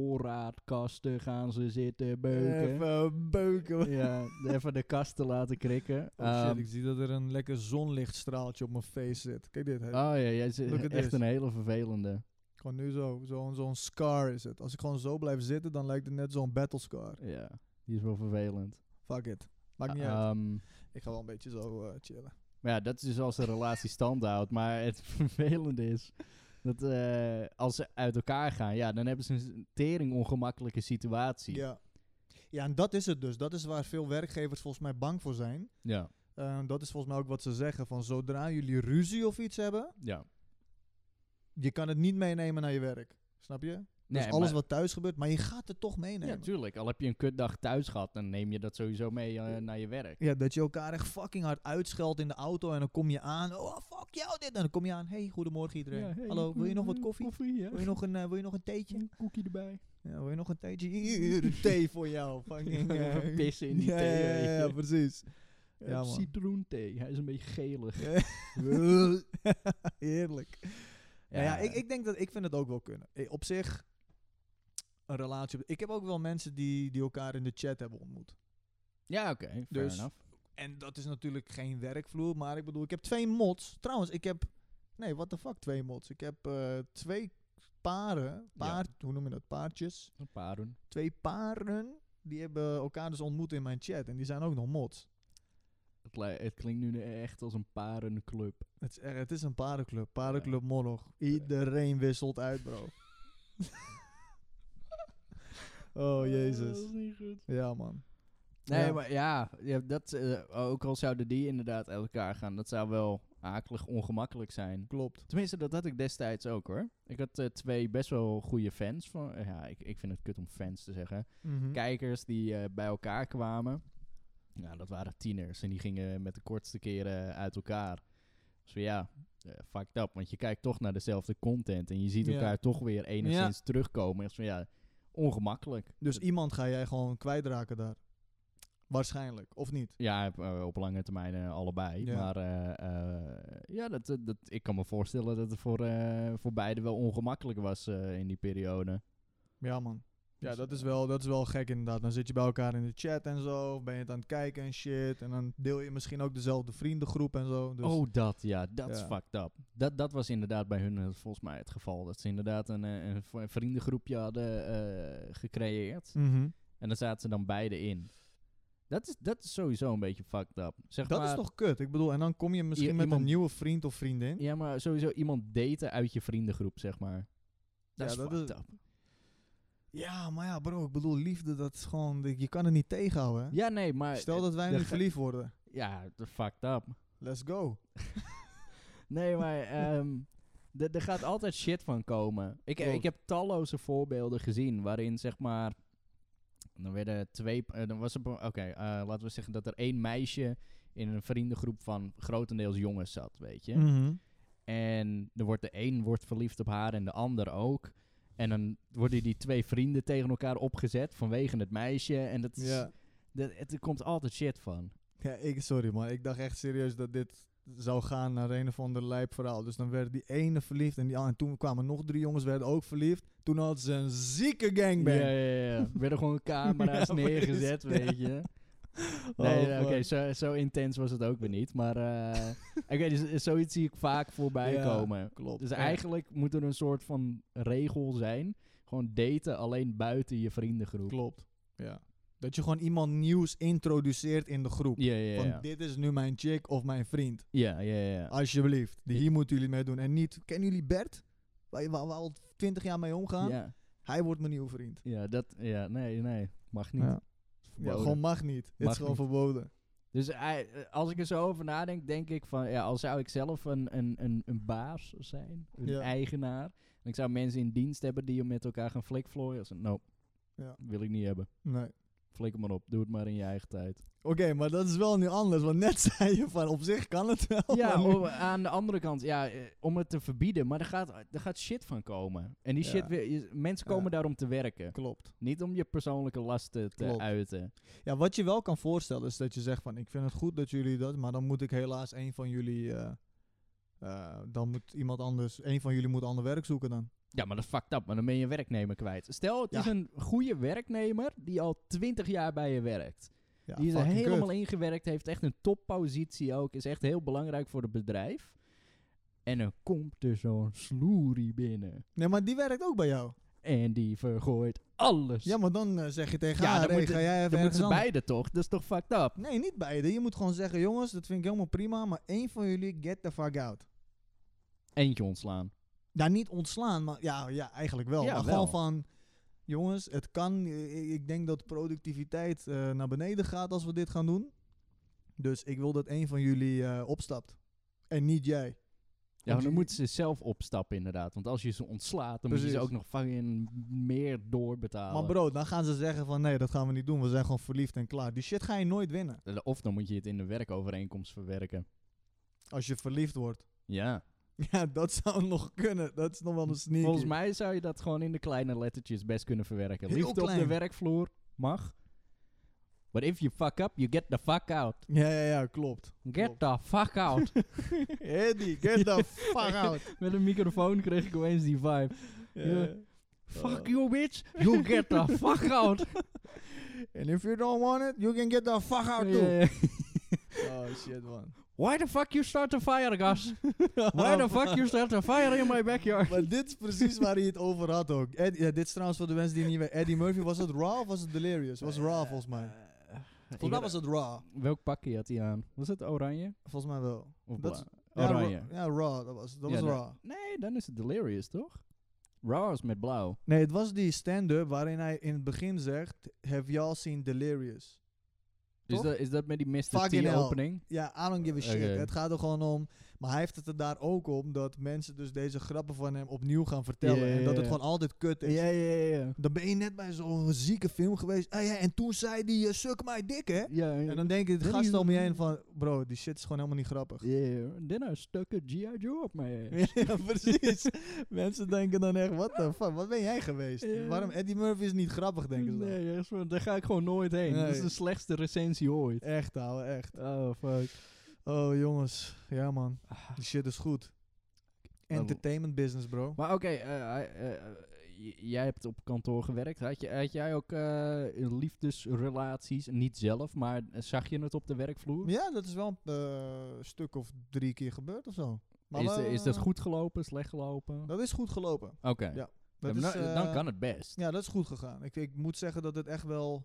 [SPEAKER 2] voorraadkasten gaan ze zitten beuken.
[SPEAKER 1] Even eh, beuken.
[SPEAKER 2] Ja, even de kasten laten krikken.
[SPEAKER 1] Oh shit,
[SPEAKER 2] Ehm,
[SPEAKER 1] ik zie dat er een lekker zonlichtstraaltje op mijn face zit. Kijk dit, hè.
[SPEAKER 2] oh ja, jij
[SPEAKER 1] Look
[SPEAKER 2] zit
[SPEAKER 1] at
[SPEAKER 2] echt
[SPEAKER 1] this.
[SPEAKER 2] een hele vervelende.
[SPEAKER 1] Gewoon nu zo, zo'n zo'n scar is het. Als ik gewoon zo blijf zitten, dan lijkt het net zo'n battle scar.
[SPEAKER 2] Ja, die is wel vervelend.
[SPEAKER 1] Fuck it. Maakt niet uit.
[SPEAKER 2] Ehm,
[SPEAKER 1] Ik ga wel een beetje zo eh, chillen.
[SPEAKER 2] Maar ja, dat is dus als de relatie stand houdt. Maar het [LAUGHS] vervelende is dat eh, als ze uit elkaar gaan, ja, dan hebben ze een tering ongemakkelijke situatie.
[SPEAKER 1] Ja. ja, en dat is het dus. Dat is waar veel werkgevers volgens mij bang voor zijn.
[SPEAKER 2] ja.
[SPEAKER 1] Eh, dat is volgens mij ook wat ze zeggen. Van zodra jullie ruzie of iets hebben,
[SPEAKER 2] ja.
[SPEAKER 1] je kan het niet meenemen naar je werk. Snap je? Dus
[SPEAKER 2] Nee,
[SPEAKER 1] alles
[SPEAKER 2] maar-
[SPEAKER 1] wat thuis gebeurt, maar je gaat het toch
[SPEAKER 2] Ja,
[SPEAKER 1] meenemen. Ja,
[SPEAKER 2] natuurlijk. Al heb je een kutdag thuis gehad, dan neem je dat sowieso mee eh, naar je werk.
[SPEAKER 1] dat je elkaar echt fucking hard uitscheldt in de auto en dan kom je aan. Oh, fuck jou dit. En dan kom je aan. Hey, goedemorgen iedereen. Hallo, wil je nog wat koffie? Wil je nog een, eh, wil je nog een theetje?
[SPEAKER 2] koekje erbij?
[SPEAKER 1] Ja, wil je nog een theetje? Hier, een thee voor
[SPEAKER 2] [LAUGHS]
[SPEAKER 1] jou. Fucking, eh.
[SPEAKER 2] Even pissen in die
[SPEAKER 1] Ja,
[SPEAKER 2] thee,
[SPEAKER 1] Ja,
[SPEAKER 2] weet
[SPEAKER 1] ja,
[SPEAKER 2] je.
[SPEAKER 1] ja,
[SPEAKER 2] [LAUGHS]
[SPEAKER 1] precies. Ja,
[SPEAKER 2] Ja,
[SPEAKER 1] man.
[SPEAKER 2] Eh, citroenthee. Hij is een beetje gelig.
[SPEAKER 1] Heerlijk. Nou ja, ik, ik denk dat ik vind het ook wel kunnen. I- Op zich, een relatie. op- Ik heb ook wel mensen die, die elkaar in de chat hebben ontmoet.
[SPEAKER 2] Ja, oké. fair
[SPEAKER 1] Dus-
[SPEAKER 2] enough.
[SPEAKER 1] En dat is natuurlijk geen werkvloer, maar ik bedoel, ik heb twee mods. Trouwens, ik heb. Nee, what the fuck, twee mods. Ik heb eh, twee paren. Paard, Hoe noem je dat? Paardjes.
[SPEAKER 2] Een paar doen.
[SPEAKER 1] Twee paren. Die hebben elkaar dus ontmoet in mijn chat. En die zijn ook nog mods.
[SPEAKER 2] Het, li- het klinkt nu echt als een parenclub.
[SPEAKER 1] Het is, echt- het is een parenclub. Parenclub Morog. Iedereen wisselt uit,
[SPEAKER 2] [LAUGHS]
[SPEAKER 1] bro. [LAUGHS] oh,
[SPEAKER 2] Eh, Dat is
[SPEAKER 1] jezus.
[SPEAKER 2] niet goed.
[SPEAKER 1] Ja, man.
[SPEAKER 2] Nee,
[SPEAKER 1] Ja.
[SPEAKER 2] maar ja, ja dat, eh, ook al zouden die inderdaad uit elkaar gaan, dat zou wel akelig ongemakkelijk zijn.
[SPEAKER 1] Klopt.
[SPEAKER 2] Tenminste, dat had ik destijds ook hoor. Ik had eh, twee best wel goede fans. Van, eh, ja, ik, ik vind het kut om fans te zeggen. Kijkers die eh, bij elkaar kwamen. Nou, dat waren tieners. En die gingen met de kortste keren uit elkaar. Dus ja, eh, fucked up. Want je kijkt toch naar dezelfde content. En je ziet
[SPEAKER 1] Ja.
[SPEAKER 2] elkaar toch weer enigszins terugkomen. Dus van ja, ongemakkelijk.
[SPEAKER 1] Dus iemand ga jij gewoon kwijtraken daar. Waarschijnlijk. Of niet?
[SPEAKER 2] Ja, op, eh, op lange termijn eh, allebei.
[SPEAKER 1] Ja.
[SPEAKER 2] Maar eh, eh, ja, dat, dat, dat- ik kan me voorstellen dat het voor, eh, voor beide wel ongemakkelijk was eh, in die periode.
[SPEAKER 1] Ja, man. Ja,
[SPEAKER 2] Dus,
[SPEAKER 1] dat
[SPEAKER 2] eh,
[SPEAKER 1] is, wel, dat is wel gek inderdaad. Dan zit je bij elkaar in de chat en zo. Of ben je het aan het kijken en shit. En dan deel je misschien ook dezelfde vriendengroep en zo. Dus
[SPEAKER 2] oh, dat, ja, dat is
[SPEAKER 1] Ja.
[SPEAKER 2] fucked up. Dat, dat was inderdaad bij hun eh, volgens mij het geval. Dat ze inderdaad een, eh, een v- een vriendengroepje hadden eh, gecreëerd.
[SPEAKER 1] Mhm.
[SPEAKER 2] En daar zaten ze dan beide in. Dat is, dat is sowieso een beetje fucked up. Zeg
[SPEAKER 1] Dat
[SPEAKER 2] maar,
[SPEAKER 1] is toch kut? Ik bedoel, en dan kom je misschien
[SPEAKER 2] I-
[SPEAKER 1] met
[SPEAKER 2] iemand-
[SPEAKER 1] een nieuwe vriend of vriendin.
[SPEAKER 2] Ja, maar sowieso iemand daten uit je vriendengroep, zeg maar. Dat
[SPEAKER 1] Ja,
[SPEAKER 2] is
[SPEAKER 1] dat
[SPEAKER 2] fucked
[SPEAKER 1] is-
[SPEAKER 2] up.
[SPEAKER 1] Ja, maar ja, bro, ik bedoel, liefde, dat is gewoon, je kan het niet tegenhouden. hè?
[SPEAKER 2] Ja, nee, maar...
[SPEAKER 1] Stel dat wij
[SPEAKER 2] de
[SPEAKER 1] nu
[SPEAKER 2] ge-
[SPEAKER 1] verliefd worden.
[SPEAKER 2] Ja, dat is fucked up.
[SPEAKER 1] Let's go.
[SPEAKER 2] Nee, maar ehm, d- er gaat altijd shit van komen. Ik, eh,
[SPEAKER 1] Klopt.
[SPEAKER 2] ik heb talloze voorbeelden gezien waarin zeg maar. Dan werden twee. eh, dan was er. Oké, eh, laten we zeggen dat er één meisje in een vriendengroep van grotendeels jongens zat, weet je.
[SPEAKER 1] Mhm.
[SPEAKER 2] En er wordt de een wordt verliefd op haar en de ander ook. En dan worden die twee vrienden tegen elkaar opgezet vanwege het meisje. En dat is,
[SPEAKER 1] ja.
[SPEAKER 2] dat, het, er komt altijd shit van.
[SPEAKER 1] ja, ik, sorry man, ik dacht echt serieus dat dit zou gaan naar een of ander lijp verhaal. Dus dan werd die ene verliefd en, die, an- en toen kwamen nog drie jongens, werden ook verliefd. Toen hadden ze een zieke gangbang.
[SPEAKER 2] Ja, ja, ja. Er werden gewoon
[SPEAKER 1] [LAUGHS]
[SPEAKER 2] camera's
[SPEAKER 1] Ja, precies.
[SPEAKER 2] neergezet, weet
[SPEAKER 1] [LAUGHS]
[SPEAKER 2] je.
[SPEAKER 1] Oh,
[SPEAKER 2] Nee, ja, oké,
[SPEAKER 1] fuck.
[SPEAKER 2] zo, zo intens was het ook weer niet. Maar eh,
[SPEAKER 1] [LAUGHS]
[SPEAKER 2] oké, dus zoiets zie ik vaak voorbij
[SPEAKER 1] Ja,
[SPEAKER 2] komen.
[SPEAKER 1] Klopt.
[SPEAKER 2] Dus
[SPEAKER 1] Ja.
[SPEAKER 2] eigenlijk moet er een soort van regel zijn. Gewoon daten alleen buiten je vriendengroep.
[SPEAKER 1] Klopt, ja. Dat je gewoon iemand nieuws introduceert in de groep.
[SPEAKER 2] Ja, ja,
[SPEAKER 1] Van
[SPEAKER 2] ja.
[SPEAKER 1] dit is nu mijn chick of mijn vriend.
[SPEAKER 2] Ja, ja, ja. ja.
[SPEAKER 1] Alsjeblieft. Die hier moeten jullie mee doen. En niet, kennen jullie Bert? Waar, waar we al twintig jaar mee omgaan?
[SPEAKER 2] Ja.
[SPEAKER 1] Hij wordt mijn nieuwe vriend.
[SPEAKER 2] Ja, dat, ja, nee, nee, mag niet.
[SPEAKER 1] Ja. Ja,
[SPEAKER 2] Verboden.
[SPEAKER 1] gewoon mag niet. Het
[SPEAKER 2] Mag
[SPEAKER 1] is gewoon
[SPEAKER 2] niet.
[SPEAKER 1] verboden.
[SPEAKER 2] Dus hij- als ik er zo over nadenk, denk ik van, ja, al zou ik zelf een, een, een, een baas zijn, een
[SPEAKER 1] Ja.
[SPEAKER 2] eigenaar, en ik zou mensen in dienst hebben die met elkaar gaan flikvlooien, als een, nope,
[SPEAKER 1] Ja.
[SPEAKER 2] wil ik niet hebben.
[SPEAKER 1] Nee.
[SPEAKER 2] Flik hem maar op, doe het maar in je eigen
[SPEAKER 1] [LAUGHS]
[SPEAKER 2] tijd.
[SPEAKER 1] Oké, maar dat is wel nu anders. Want net [LAUGHS] zei je van op zich kan het wel. maar
[SPEAKER 2] ja,
[SPEAKER 1] nu-
[SPEAKER 2] o- aan de andere kant, ja, eh, om het te verbieden, maar er gaat, er gaat shit van komen. En die
[SPEAKER 1] Ja.
[SPEAKER 2] shit, weer- je- mensen komen
[SPEAKER 1] Ja.
[SPEAKER 2] daar om te werken,
[SPEAKER 1] Klopt.
[SPEAKER 2] niet om je persoonlijke lasten te
[SPEAKER 1] Klopt.
[SPEAKER 2] uiten.
[SPEAKER 1] Ja, wat je wel kan voorstellen is dat je zegt van... Ik vind het goed dat jullie dat... Maar dan moet ik helaas een van jullie... eh, eh, dan moet iemand anders... Een van jullie moet ander werk zoeken dan.
[SPEAKER 2] Ja, maar dat is fucked up, maar dan ben je een werknemer kwijt. Stel, het
[SPEAKER 1] Ja.
[SPEAKER 2] is een goede werknemer die al twintig jaar bij je werkt.
[SPEAKER 1] Ja,
[SPEAKER 2] die is er
[SPEAKER 1] fucking kut.
[SPEAKER 2] helemaal ingewerkt, heeft echt een toppositie ook, is echt heel belangrijk voor het bedrijf. En dan komt er zo'n sloerie binnen
[SPEAKER 1] Nee, maar die werkt ook bij jou.
[SPEAKER 2] en die vergooit alles.
[SPEAKER 1] Ja, maar dan eh, zeg je tegen
[SPEAKER 2] Ja,
[SPEAKER 1] haar...
[SPEAKER 2] dan
[SPEAKER 1] hey,
[SPEAKER 2] moet-
[SPEAKER 1] ga jij even
[SPEAKER 2] dan moeten
[SPEAKER 1] ergens
[SPEAKER 2] ze
[SPEAKER 1] anders-
[SPEAKER 2] beide toch? Dat is toch fucked up?
[SPEAKER 1] Nee, niet beide. Je moet gewoon zeggen... Jongens, dat vind ik helemaal prima... Maar één van jullie get the fuck out.
[SPEAKER 2] Eentje ontslaan.
[SPEAKER 1] Ja, niet ontslaan, maar ja, ja eigenlijk wel.
[SPEAKER 2] Ja,
[SPEAKER 1] maar
[SPEAKER 2] wel.
[SPEAKER 1] gewoon van, jongens, het kan. eh, Ik denk dat productiviteit eh, naar beneden gaat als we dit gaan doen. Dus ik wil dat een van jullie eh, opstapt. En niet jij.
[SPEAKER 2] Ja, maar
[SPEAKER 1] je-
[SPEAKER 2] dan moeten ze zelf opstappen inderdaad. Want als je ze ontslaat, dan moet je ze ook
[SPEAKER 1] Precies.
[SPEAKER 2] nog fucking meer doorbetalen.
[SPEAKER 1] Maar bro, dan gaan ze zeggen van nee, dat gaan we niet doen. We zijn gewoon verliefd en klaar. Die shit ga je nooit winnen
[SPEAKER 2] Of dan moet je het in de werkovereenkomst verwerken.
[SPEAKER 1] als je verliefd wordt. [LAUGHS]
[SPEAKER 2] Ja.
[SPEAKER 1] Ja, dat zou nog kunnen. Dat is nog wel een sneaky.
[SPEAKER 2] Volgens mij zou je dat gewoon in de kleine lettertjes best kunnen verwerken.
[SPEAKER 1] Heel
[SPEAKER 2] Liefde op de
[SPEAKER 1] klein.
[SPEAKER 2] werkvloer mag. But if you fuck up, you get the fuck out.
[SPEAKER 1] Ja, ja, ja,
[SPEAKER 2] [LAUGHS]
[SPEAKER 1] klopt.
[SPEAKER 2] Get the fuck out.
[SPEAKER 1] Eddie, get the fuck out.
[SPEAKER 2] [LAUGHS] Met een microfoon kreeg ik opeens die vibe.
[SPEAKER 1] Ja,
[SPEAKER 2] Ja.
[SPEAKER 1] ja.
[SPEAKER 2] Fuck you, bitch. You get the fuck [LAUGHS] out.
[SPEAKER 1] And if you don't want it, you can get the fuck out too.
[SPEAKER 2] Yeah.
[SPEAKER 1] Oh shit man.
[SPEAKER 2] Why the fuck you start a fire, Gus? Why the fuck you start a fire in my backyard?
[SPEAKER 1] [LAUGHS] Maar dit is precies waar hij het over had ook. Ed, ja, dit is trouwens voor de mensen die niet weten. Eddie Murphy, was het Raw of was het Delirious? Was Raw volgens mij. Volgens mij was het Raw.
[SPEAKER 2] Eh, Welk pakje had hij aan? Was het oranje?
[SPEAKER 1] Volgens mij wel.
[SPEAKER 2] Of
[SPEAKER 1] Dat is-
[SPEAKER 2] bla-
[SPEAKER 1] Ja,
[SPEAKER 2] oranje?
[SPEAKER 1] Ra- Ja, Raw. Dat was, dat
[SPEAKER 2] Ja,
[SPEAKER 1] was
[SPEAKER 2] dat-
[SPEAKER 1] Raw.
[SPEAKER 2] Nee, dan is het delirious, toch? Raw is met blauw.
[SPEAKER 1] Nee, het was die stand-up waarin hij in het begin zegt... Have y'all seen Delirious?
[SPEAKER 2] Is
[SPEAKER 1] Toch?
[SPEAKER 2] dat, is dat met die Mr.
[SPEAKER 1] Fucking hell.
[SPEAKER 2] T-opening?
[SPEAKER 1] Ja, I don't give a shit.
[SPEAKER 2] Oké.
[SPEAKER 1] Het gaat er gewoon om... Maar hij heeft het er daar ook om dat mensen dus deze grappen van hem opnieuw gaan vertellen.
[SPEAKER 2] Ja, ja,
[SPEAKER 1] En dat het
[SPEAKER 2] ja.
[SPEAKER 1] gewoon altijd kut is.
[SPEAKER 2] ja, ja.
[SPEAKER 1] Dan ben je net bij zo'n zieke film geweest. Ah ja, en toen zei die, eh, suck my dick, hè?
[SPEAKER 2] Ja,
[SPEAKER 1] En dan denk ik, het gast
[SPEAKER 2] Really?
[SPEAKER 1] om je heen van... Bro, die shit is gewoon helemaal niet grappig.
[SPEAKER 2] Yeah, then nou I stuck a G.I. Joe op my ass.
[SPEAKER 1] [LAUGHS] ja, precies. [LAUGHS] Mensen denken dan echt, what the fuck, wat ben jij geweest?
[SPEAKER 2] Ja.
[SPEAKER 1] Waarom Eddie Murphy is niet grappig, denken ze dan.
[SPEAKER 2] Nee, echt, waar, daar ga ik gewoon nooit heen. Dat is
[SPEAKER 1] Nee.
[SPEAKER 2] de slechtste recensie ooit.
[SPEAKER 1] Echt, ouwe, echt.
[SPEAKER 2] Oh, fuck.
[SPEAKER 1] Oh, jongens. Ja, man. Die shit is goed.
[SPEAKER 2] Ah.
[SPEAKER 1] Entertainment business, bro.
[SPEAKER 2] Maar oké, eh, hij- eh, eh, j- jij hebt op kantoor gewerkt. Had, je, had jij ook eh, liefdesrelaties? Niet zelf, maar eh, zag je het op de werkvloer?
[SPEAKER 1] Ja, dat is wel een eh, stuk of drie keer gebeurd of zo. Maar
[SPEAKER 2] is,
[SPEAKER 1] we-
[SPEAKER 2] is dat goed gelopen, slecht gelopen? Oké.
[SPEAKER 1] Dat is goed gelopen.
[SPEAKER 2] Ja,
[SPEAKER 1] dat
[SPEAKER 2] maar
[SPEAKER 1] Dat
[SPEAKER 2] dan, nou,
[SPEAKER 1] is, eh,
[SPEAKER 2] dan kan het best.
[SPEAKER 1] Ja, dat is goed gegaan. Ik, ik moet zeggen dat het echt wel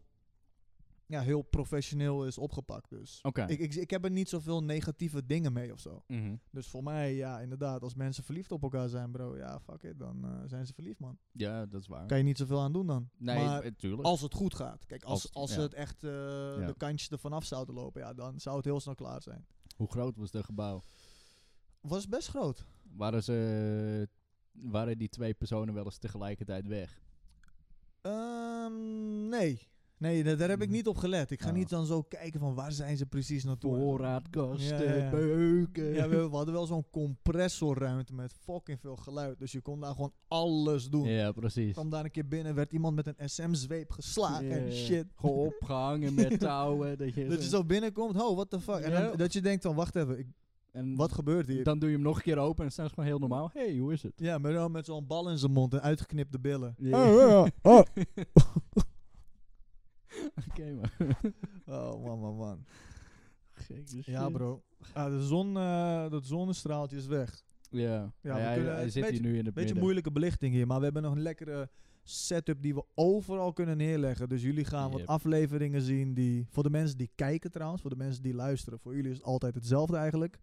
[SPEAKER 1] ja, heel professioneel is opgepakt. Dus
[SPEAKER 2] Oké.
[SPEAKER 1] ik, ik, ik heb er niet zoveel negatieve dingen mee of zo.
[SPEAKER 2] Mhm.
[SPEAKER 1] Dus voor mij, ja, inderdaad, als mensen verliefd op elkaar zijn, bro, ja, fuck it, dan eh, zijn ze verliefd, man.
[SPEAKER 2] Ja, dat is waar.
[SPEAKER 1] Kan je niet zoveel aan doen dan.
[SPEAKER 2] nee,
[SPEAKER 1] maar
[SPEAKER 2] natuurlijk.
[SPEAKER 1] als het goed gaat. Kijk,
[SPEAKER 2] Als
[SPEAKER 1] als,
[SPEAKER 2] het-
[SPEAKER 1] als
[SPEAKER 2] ja.
[SPEAKER 1] het echt eh, de kantjes ervan af zouden lopen, ja, dan zou het heel snel klaar zijn.
[SPEAKER 2] Hoe groot was dat gebouw?
[SPEAKER 1] Was best groot.
[SPEAKER 2] Waren, ze, eh, waren die twee personen wel eens tegelijkertijd weg?
[SPEAKER 1] Ehm, nee. Nee, da- daar heb ik
[SPEAKER 2] Hmm.
[SPEAKER 1] niet op gelet. Ik ga
[SPEAKER 2] Ah.
[SPEAKER 1] niet dan zo kijken van waar zijn ze precies naartoe.
[SPEAKER 2] Voorraadkasten,
[SPEAKER 1] Ja, ja, ja.
[SPEAKER 2] beuken.
[SPEAKER 1] Ja, we, we hadden wel zo'n compressorruimte met fucking veel geluid. Dus je kon daar gewoon alles doen.
[SPEAKER 2] Ja, precies.
[SPEAKER 1] kwam daar een keer binnen, werd iemand met een SM-zweep geslagen en
[SPEAKER 2] Ja, ja, ja.
[SPEAKER 1] shit.
[SPEAKER 2] Gewoon opgehangen met touwen. Dat
[SPEAKER 1] [LAUGHS]
[SPEAKER 2] je
[SPEAKER 1] Dat je
[SPEAKER 2] zo-
[SPEAKER 1] zo binnenkomt, oh, what the fuck. En
[SPEAKER 2] Ja.
[SPEAKER 1] dan, dat je denkt van, wacht even, ik,
[SPEAKER 2] en
[SPEAKER 1] wat gebeurt hier?
[SPEAKER 2] dan doe je hem nog een keer open en staan ze gewoon heel normaal. hey, hoe is het?
[SPEAKER 1] Ja, maar dan met zo'n bal in zijn mond en uitgeknipte billen.
[SPEAKER 2] Ja.
[SPEAKER 1] Oh,
[SPEAKER 2] [LAUGHS]
[SPEAKER 1] ja, ja. Oh.
[SPEAKER 2] Oké,
[SPEAKER 1] [LAUGHS]
[SPEAKER 2] man.
[SPEAKER 1] Oh, man, man, man.
[SPEAKER 2] Gekke
[SPEAKER 1] Ja,
[SPEAKER 2] shit.
[SPEAKER 1] bro. Ah, de zon, eh, dat zonnestraaltje is weg.
[SPEAKER 2] Ja,
[SPEAKER 1] we
[SPEAKER 2] hij, hij
[SPEAKER 1] kunnen- het is
[SPEAKER 2] zit
[SPEAKER 1] beetje-
[SPEAKER 2] hier nu in de
[SPEAKER 1] Beetje
[SPEAKER 2] midden.
[SPEAKER 1] moeilijke belichting hier, maar we hebben nog een lekkere setup die we overal kunnen neerleggen. Dus jullie gaan wat
[SPEAKER 2] Yep.
[SPEAKER 1] afleveringen zien die, voor de mensen die kijken trouwens, voor de mensen die luisteren, voor jullie is het altijd hetzelfde eigenlijk.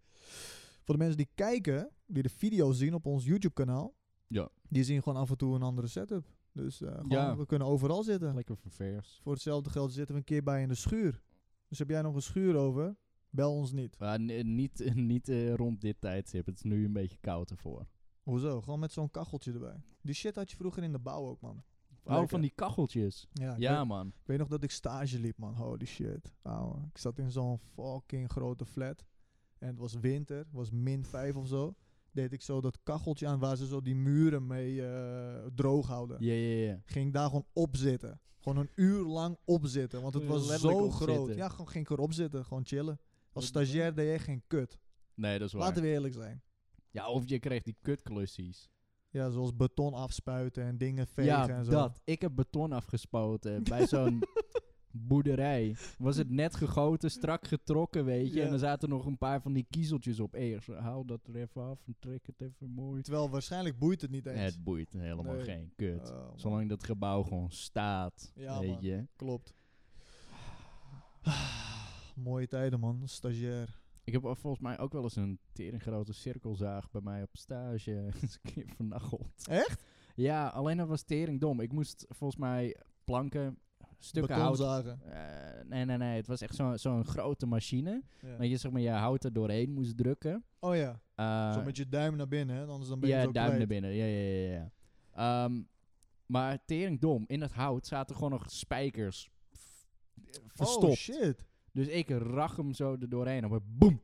[SPEAKER 1] Voor de mensen die kijken, die de video zien op ons YouTube kanaal,
[SPEAKER 2] Ja.
[SPEAKER 1] die zien gewoon af en toe een andere setup. Dus eh, gewoon,
[SPEAKER 2] Ja.
[SPEAKER 1] we kunnen overal zitten.
[SPEAKER 2] Lekker ververs.
[SPEAKER 1] Voor hetzelfde geld zitten we een keer bij in de schuur. Dus heb jij nog een schuur over? Bel ons niet.
[SPEAKER 2] Maar n- niet niet eh, [LAUGHS] rond dit tijdstip. Het is nu een beetje koud ervoor.
[SPEAKER 1] Hoezo? Gewoon met zo'n kacheltje erbij. Die shit had je vroeger in de bouw ook, man.
[SPEAKER 2] Oh,
[SPEAKER 1] Lekker.
[SPEAKER 2] van die kacheltjes.
[SPEAKER 1] Ja, ik,
[SPEAKER 2] Ja,
[SPEAKER 1] Weet,
[SPEAKER 2] man.
[SPEAKER 1] ik weet nog dat ik stage liep, man. Holy shit. Ouwe. Ik zat in zo'n fucking grote flat. En het was winter, het was min 5 of zo. Deed ik zo dat kacheltje aan waar ze zo die muren mee eh, droog houden.
[SPEAKER 2] Ja, ja, ja.
[SPEAKER 1] Ging ik daar gewoon op zitten. Gewoon een uur lang opzitten, want het
[SPEAKER 2] Gewoon
[SPEAKER 1] was
[SPEAKER 2] letterlijk
[SPEAKER 1] zo
[SPEAKER 2] op
[SPEAKER 1] groot.
[SPEAKER 2] zitten.
[SPEAKER 1] Ja, gewoon ging ik erop zitten, gewoon chillen. Als
[SPEAKER 2] Wat-
[SPEAKER 1] stagiair deed jij geen kut.
[SPEAKER 2] Nee, dat is waar.
[SPEAKER 1] Laten we eerlijk zijn.
[SPEAKER 2] Ja, of je kreeg die kutklussies.
[SPEAKER 1] Ja, zoals beton afspuiten en dingen vegen
[SPEAKER 2] Ja,
[SPEAKER 1] en zo. [LAUGHS]
[SPEAKER 2] dat. Ik heb beton [LAUGHS] afgespoten bij zo'n boerderij. Was het net gegoten, strak getrokken, weet je.
[SPEAKER 1] Ja.
[SPEAKER 2] En er zaten nog een paar van die kiezeltjes op. Eerst, haal dat er even af en trek het even
[SPEAKER 1] [LAUGHS]
[SPEAKER 2] mooi.
[SPEAKER 1] Terwijl waarschijnlijk boeit het niet
[SPEAKER 2] Nee,
[SPEAKER 1] eens.
[SPEAKER 2] het boeit helemaal
[SPEAKER 1] Nee.
[SPEAKER 2] geen kut.
[SPEAKER 1] Oh, man.
[SPEAKER 2] Zolang dat gebouw gewoon staat,
[SPEAKER 1] Ja,
[SPEAKER 2] weet
[SPEAKER 1] man.
[SPEAKER 2] je.
[SPEAKER 1] Klopt. [SIGHS] Mooie tijden, man. Stagiair.
[SPEAKER 2] Ik heb al volgens mij ook wel eens een teringgrote cirkelzaag bij mij op stage. [LAUGHS] eens een keer vernacheld.
[SPEAKER 1] Echt?
[SPEAKER 2] Ja, alleen dat was teringdom. Ik moest volgens mij planken, stukken hout
[SPEAKER 1] Betonzagen.
[SPEAKER 2] Eh, nee, nee, nee. Het was echt zo'n zo'n grote machine.
[SPEAKER 1] Ja.
[SPEAKER 2] Dat je zeg maar je hout er doorheen moest drukken.
[SPEAKER 1] Oh ja.
[SPEAKER 2] Eh,
[SPEAKER 1] zo met je duim naar binnen, hè? Anders dan ben je
[SPEAKER 2] ja,
[SPEAKER 1] zo
[SPEAKER 2] duim naar
[SPEAKER 1] kwijt.
[SPEAKER 2] binnen. Ja, ja, ja. ja. Ehm, maar teringdom. In dat hout zaten gewoon nog spijkers v- verstopt.
[SPEAKER 1] Oh shit.
[SPEAKER 2] Dus ik rag hem zo er doorheen. En we boem!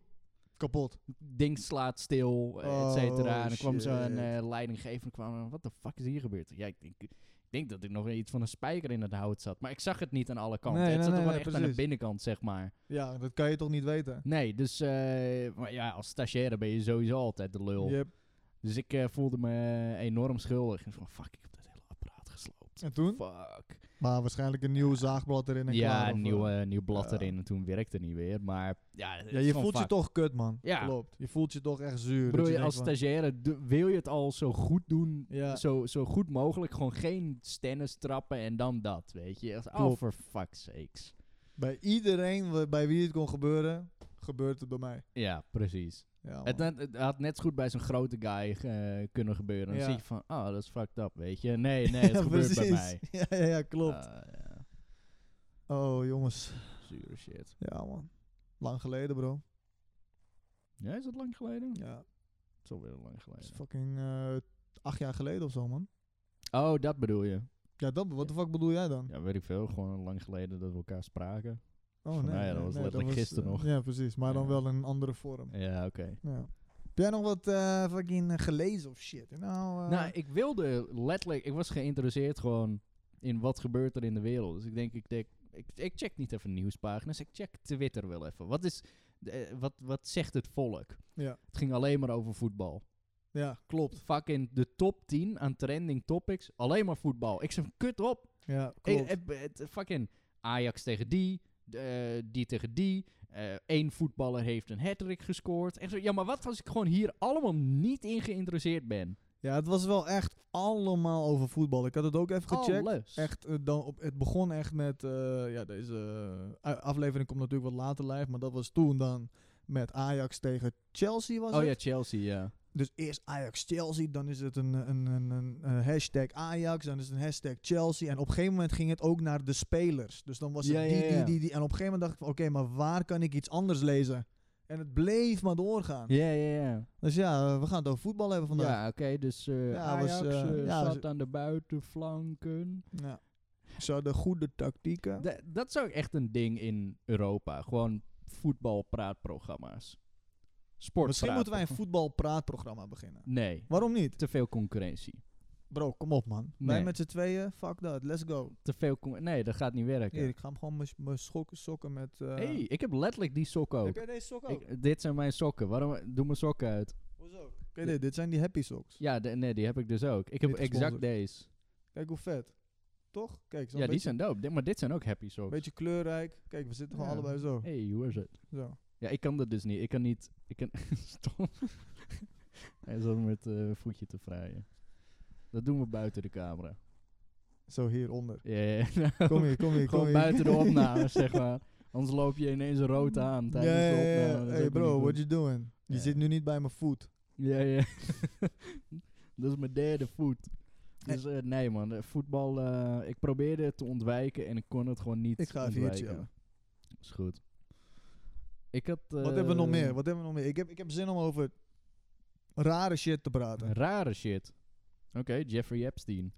[SPEAKER 1] Kapot.
[SPEAKER 2] Ding slaat stil, eh, et
[SPEAKER 1] Oh,
[SPEAKER 2] cetera. en er kwam
[SPEAKER 1] shit.
[SPEAKER 2] zo'n eh, leidinggever kwam. Wat de fuck is hier gebeurd? Ja, ik denk, ik denk dat er nog iets van een spijker in het hout zat. Maar ik zag het niet aan alle kanten.
[SPEAKER 1] Nee,
[SPEAKER 2] het
[SPEAKER 1] nee,
[SPEAKER 2] zat er
[SPEAKER 1] nee,
[SPEAKER 2] gewoon
[SPEAKER 1] nee,
[SPEAKER 2] echt aan de
[SPEAKER 1] precies.
[SPEAKER 2] binnenkant, zeg maar.
[SPEAKER 1] Ja, dat kan je toch niet weten?
[SPEAKER 2] Nee, dus eh, maar ja, als stagiaire ben je sowieso altijd de lul.
[SPEAKER 1] Yep.
[SPEAKER 2] Dus ik eh, voelde me enorm schuldig. En van fuck, ik heb dat hele apparaat gesloopt.
[SPEAKER 1] En toen?
[SPEAKER 2] Fuck.
[SPEAKER 1] Maar waarschijnlijk een nieuw zaagblad erin en klaar.
[SPEAKER 2] ja,
[SPEAKER 1] of, eh,
[SPEAKER 2] nieuw, eh, nieuw blad
[SPEAKER 1] ja.
[SPEAKER 2] erin en toen werkte het niet weer. Maar ja, het
[SPEAKER 1] Ja,
[SPEAKER 2] is
[SPEAKER 1] je
[SPEAKER 2] gewoon
[SPEAKER 1] voelt je
[SPEAKER 2] fuck.
[SPEAKER 1] toch kut, man.
[SPEAKER 2] Ja.
[SPEAKER 1] Klopt. Je voelt je toch echt zuur.
[SPEAKER 2] Ik
[SPEAKER 1] dat
[SPEAKER 2] bedoel,
[SPEAKER 1] je
[SPEAKER 2] je
[SPEAKER 1] denkt
[SPEAKER 2] als
[SPEAKER 1] van-
[SPEAKER 2] stagiaire do- wil je het al zo goed doen,
[SPEAKER 1] Ja.
[SPEAKER 2] zo, zo goed mogelijk. Gewoon geen stennis trappen en dan dat, weet je. Echt, Oh,
[SPEAKER 1] Klopt.
[SPEAKER 2] for fuck's sakes.
[SPEAKER 1] Bij iedereen wa- bij wie het kon gebeuren, gebeurt het bij mij.
[SPEAKER 2] Ja, precies.
[SPEAKER 1] Ja, [LAUGHS]
[SPEAKER 2] Het,
[SPEAKER 1] man.
[SPEAKER 2] net- het had net zo goed bij zo'n grote guy eh, kunnen gebeuren. Dan
[SPEAKER 1] Ja.
[SPEAKER 2] zie je van, oh, dat is fucked up, weet
[SPEAKER 1] [LAUGHS]
[SPEAKER 2] je. Nee, nee, het
[SPEAKER 1] Ja,
[SPEAKER 2] gebeurt bij
[SPEAKER 1] precies.
[SPEAKER 2] mij.
[SPEAKER 1] [LAUGHS] Ja, ja, ja, klopt.
[SPEAKER 2] Ah, ja.
[SPEAKER 1] Oh, jongens.
[SPEAKER 2] Zure shit.
[SPEAKER 1] Ja, man. Lang geleden, bro.
[SPEAKER 2] Ja, is dat lang geleden?
[SPEAKER 1] Ja.
[SPEAKER 2] Het is alweer lang
[SPEAKER 1] Dat is
[SPEAKER 2] geleden.
[SPEAKER 1] fucking eh, acht jaar geleden of zo, man.
[SPEAKER 2] Oh, dat bedoel je.
[SPEAKER 1] Ja, dat, wat de fuck bedoel jij dan?
[SPEAKER 2] Ja, weet ik veel. Gewoon lang geleden dat we elkaar spraken.
[SPEAKER 1] Oh,
[SPEAKER 2] Voor mij, dat was letterlijk
[SPEAKER 1] eh,
[SPEAKER 2] gisteren nog.
[SPEAKER 1] Ja, precies. Maar dan
[SPEAKER 2] Ja.
[SPEAKER 1] wel in een andere vorm.
[SPEAKER 2] Ja, oké.
[SPEAKER 1] Ja. Heb jij nog wat eh, fucking eh, gelezen of shit? Nou, eh,
[SPEAKER 2] Nou, ik wilde letterlijk... Ik was geïnteresseerd gewoon in wat gebeurt er in de wereld. Dus ik denk, ik, denk, ik, ik check niet even nieuwspagina's. Ik check Twitter wel even. Wat, is, eh, wat, wat zegt het volk?
[SPEAKER 1] Ja.
[SPEAKER 2] Het ging alleen maar over voetbal.
[SPEAKER 1] ja, klopt.
[SPEAKER 2] fucking de top 10 aan trending topics. Alleen maar voetbal. Ik zeg kut op.
[SPEAKER 1] Ja,
[SPEAKER 2] Ik,
[SPEAKER 1] klopt.
[SPEAKER 2] eh, eh, fucking Ajax tegen die. eh, die tegen die. Eén voetballer heeft een hat-trick gescoord. Echt zo, ja, maar wat als ik gewoon hier allemaal niet in geïnteresseerd ben?
[SPEAKER 1] Ja, het was wel echt allemaal over voetbal. Ik had het ook
[SPEAKER 2] Oh,
[SPEAKER 1] even gecheckt.
[SPEAKER 2] Alles.
[SPEAKER 1] Echt, eh, dan op, het begon echt met, eh, ja, deze eh, u- aflevering komt natuurlijk wat later live, maar dat was toen dan met Ajax tegen Chelsea was
[SPEAKER 2] Oh
[SPEAKER 1] het.
[SPEAKER 2] ja, Chelsea, ja.
[SPEAKER 1] Dus eerst Ajax-Chelsea, dan is het een, een, een, een, een hashtag Ajax, dan is het een hashtag Chelsea. En op een gegeven moment ging het ook naar de spelers. Dus dan was het
[SPEAKER 2] Ja,
[SPEAKER 1] die,
[SPEAKER 2] ja, ja.
[SPEAKER 1] die, die, die. En op een gegeven moment dacht ik van, oké, maar waar kan ik iets anders lezen? En het bleef maar doorgaan.
[SPEAKER 2] Ja, ja, ja.
[SPEAKER 1] Dus ja, eh, we gaan het over voetbal hebben vandaag.
[SPEAKER 2] Ja, oké, dus eh,
[SPEAKER 1] Ja, was,
[SPEAKER 2] Ajax
[SPEAKER 1] eh,
[SPEAKER 2] eh,
[SPEAKER 1] ja, was-
[SPEAKER 2] zat aan de buitenflanken.
[SPEAKER 1] Ja. Ze hadden goede tactieken.
[SPEAKER 2] Da- dat is ook echt een ding in Europa. Gewoon voetbalpraatprogramma's. Sport.
[SPEAKER 1] Misschien moeten wij een voetbalpraatprogramma beginnen.
[SPEAKER 2] Nee,
[SPEAKER 1] Waarom niet?
[SPEAKER 2] te veel concurrentie.
[SPEAKER 1] Bro, kom op man. Wij
[SPEAKER 2] Nee.
[SPEAKER 1] met z'n tweeën, fuck dat, let's go.
[SPEAKER 2] Te veel con- nee, dat gaat niet werken.
[SPEAKER 1] Hier, ik ga hem gewoon mijn- mijn schok- sokken met... eh,
[SPEAKER 2] hey, ik heb letterlijk die sokken
[SPEAKER 1] Heb
[SPEAKER 2] ook.
[SPEAKER 1] jij deze sokken ook?
[SPEAKER 2] Ik, dit zijn mijn sokken. Waarom doe mijn sokken uit?
[SPEAKER 1] Hoezo? Kijk dit, dit zijn die happy socks.
[SPEAKER 2] Ja, de- nee, die heb ik dus ook. Ik heb
[SPEAKER 1] Niet
[SPEAKER 2] exact
[SPEAKER 1] gesponsord.
[SPEAKER 2] deze.
[SPEAKER 1] Kijk hoe vet. Toch? Kijk, zo'n
[SPEAKER 2] Ja, die
[SPEAKER 1] beetje,
[SPEAKER 2] zijn dope. Di- maar dit zijn ook happy socks.
[SPEAKER 1] beetje kleurrijk. Kijk, we zitten gewoon
[SPEAKER 2] Ja.
[SPEAKER 1] allebei zo.
[SPEAKER 2] Hey, hoe is het?
[SPEAKER 1] zo.
[SPEAKER 2] Ja, ik kan dat dus niet. Ik kan niet. Ik kan. [LAUGHS] Stom. Hij zat met eh voetje te vrijen. Dat doen we buiten de camera.
[SPEAKER 1] Zo
[SPEAKER 2] [LAUGHS]
[SPEAKER 1] hieronder.
[SPEAKER 2] Ja, ja,
[SPEAKER 1] [LAUGHS]
[SPEAKER 2] ja.
[SPEAKER 1] Kom hier, kom hier, kom
[SPEAKER 2] Gewoon
[SPEAKER 1] hier. [LAUGHS]
[SPEAKER 2] buiten de opname, zeg maar. Anders loop je ineens rood aan
[SPEAKER 1] Ja,
[SPEAKER 2] tijdens
[SPEAKER 1] ja,
[SPEAKER 2] de
[SPEAKER 1] ja.
[SPEAKER 2] opname. Dat is
[SPEAKER 1] Hey
[SPEAKER 2] ook niet
[SPEAKER 1] bro,
[SPEAKER 2] goed.
[SPEAKER 1] what you doing? Je
[SPEAKER 2] Ja. [LAUGHS]
[SPEAKER 1] zit nu niet bij mijn voet.
[SPEAKER 2] Ja, ja. dat is mijn derde voet. Dus eh, nee man, eh, voetbal, eh, ik probeerde het te ontwijken en ik kon het gewoon niet
[SPEAKER 1] Ik ga even
[SPEAKER 2] ontwijken.
[SPEAKER 1] iets chillen.
[SPEAKER 2] Is goed. Ik had...
[SPEAKER 1] Wat hebben we nog
[SPEAKER 2] eh,
[SPEAKER 1] meer? Wat hebben we nog meer? Ik heb, ik heb zin om over rare shit te praten.
[SPEAKER 2] Rare shit. Oké, Jeffrey Epstein.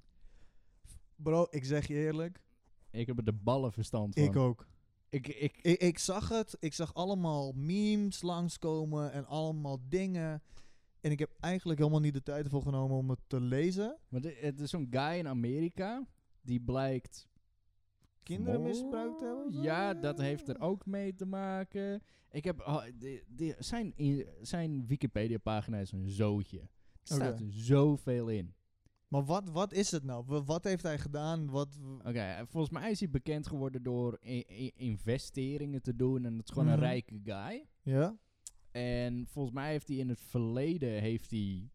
[SPEAKER 1] Bro, ik zeg je eerlijk.
[SPEAKER 2] Ik heb er de ballen verstand van.
[SPEAKER 1] Ik ook.
[SPEAKER 2] ik, ik,
[SPEAKER 1] Ik, ik zag het. Ik zag allemaal memes langskomen en allemaal dingen. En ik heb eigenlijk helemaal niet de tijd ervoor genomen om het te lezen.
[SPEAKER 2] maar dit- het is zo'n guy in Amerika, die blijkt...
[SPEAKER 1] Kinderen misbruikt te hebben? zo?
[SPEAKER 2] Ja, dat heeft er ook mee te maken. Ik heb... ah, die- die- zijn, in- zijn Wikipedia pagina is een zootje. Er
[SPEAKER 1] Oké.
[SPEAKER 2] staat zoveel in.
[SPEAKER 1] Maar wat, wat is het nou? Wa- Wat heeft hij gedaan? Wat,
[SPEAKER 2] Oké, eh, volgens mij is hij bekend geworden door i- i- investeringen te doen. En het is gewoon
[SPEAKER 1] Mhm.
[SPEAKER 2] een rijke guy.
[SPEAKER 1] ja?
[SPEAKER 2] En volgens mij heeft hij in het verleden heeft hij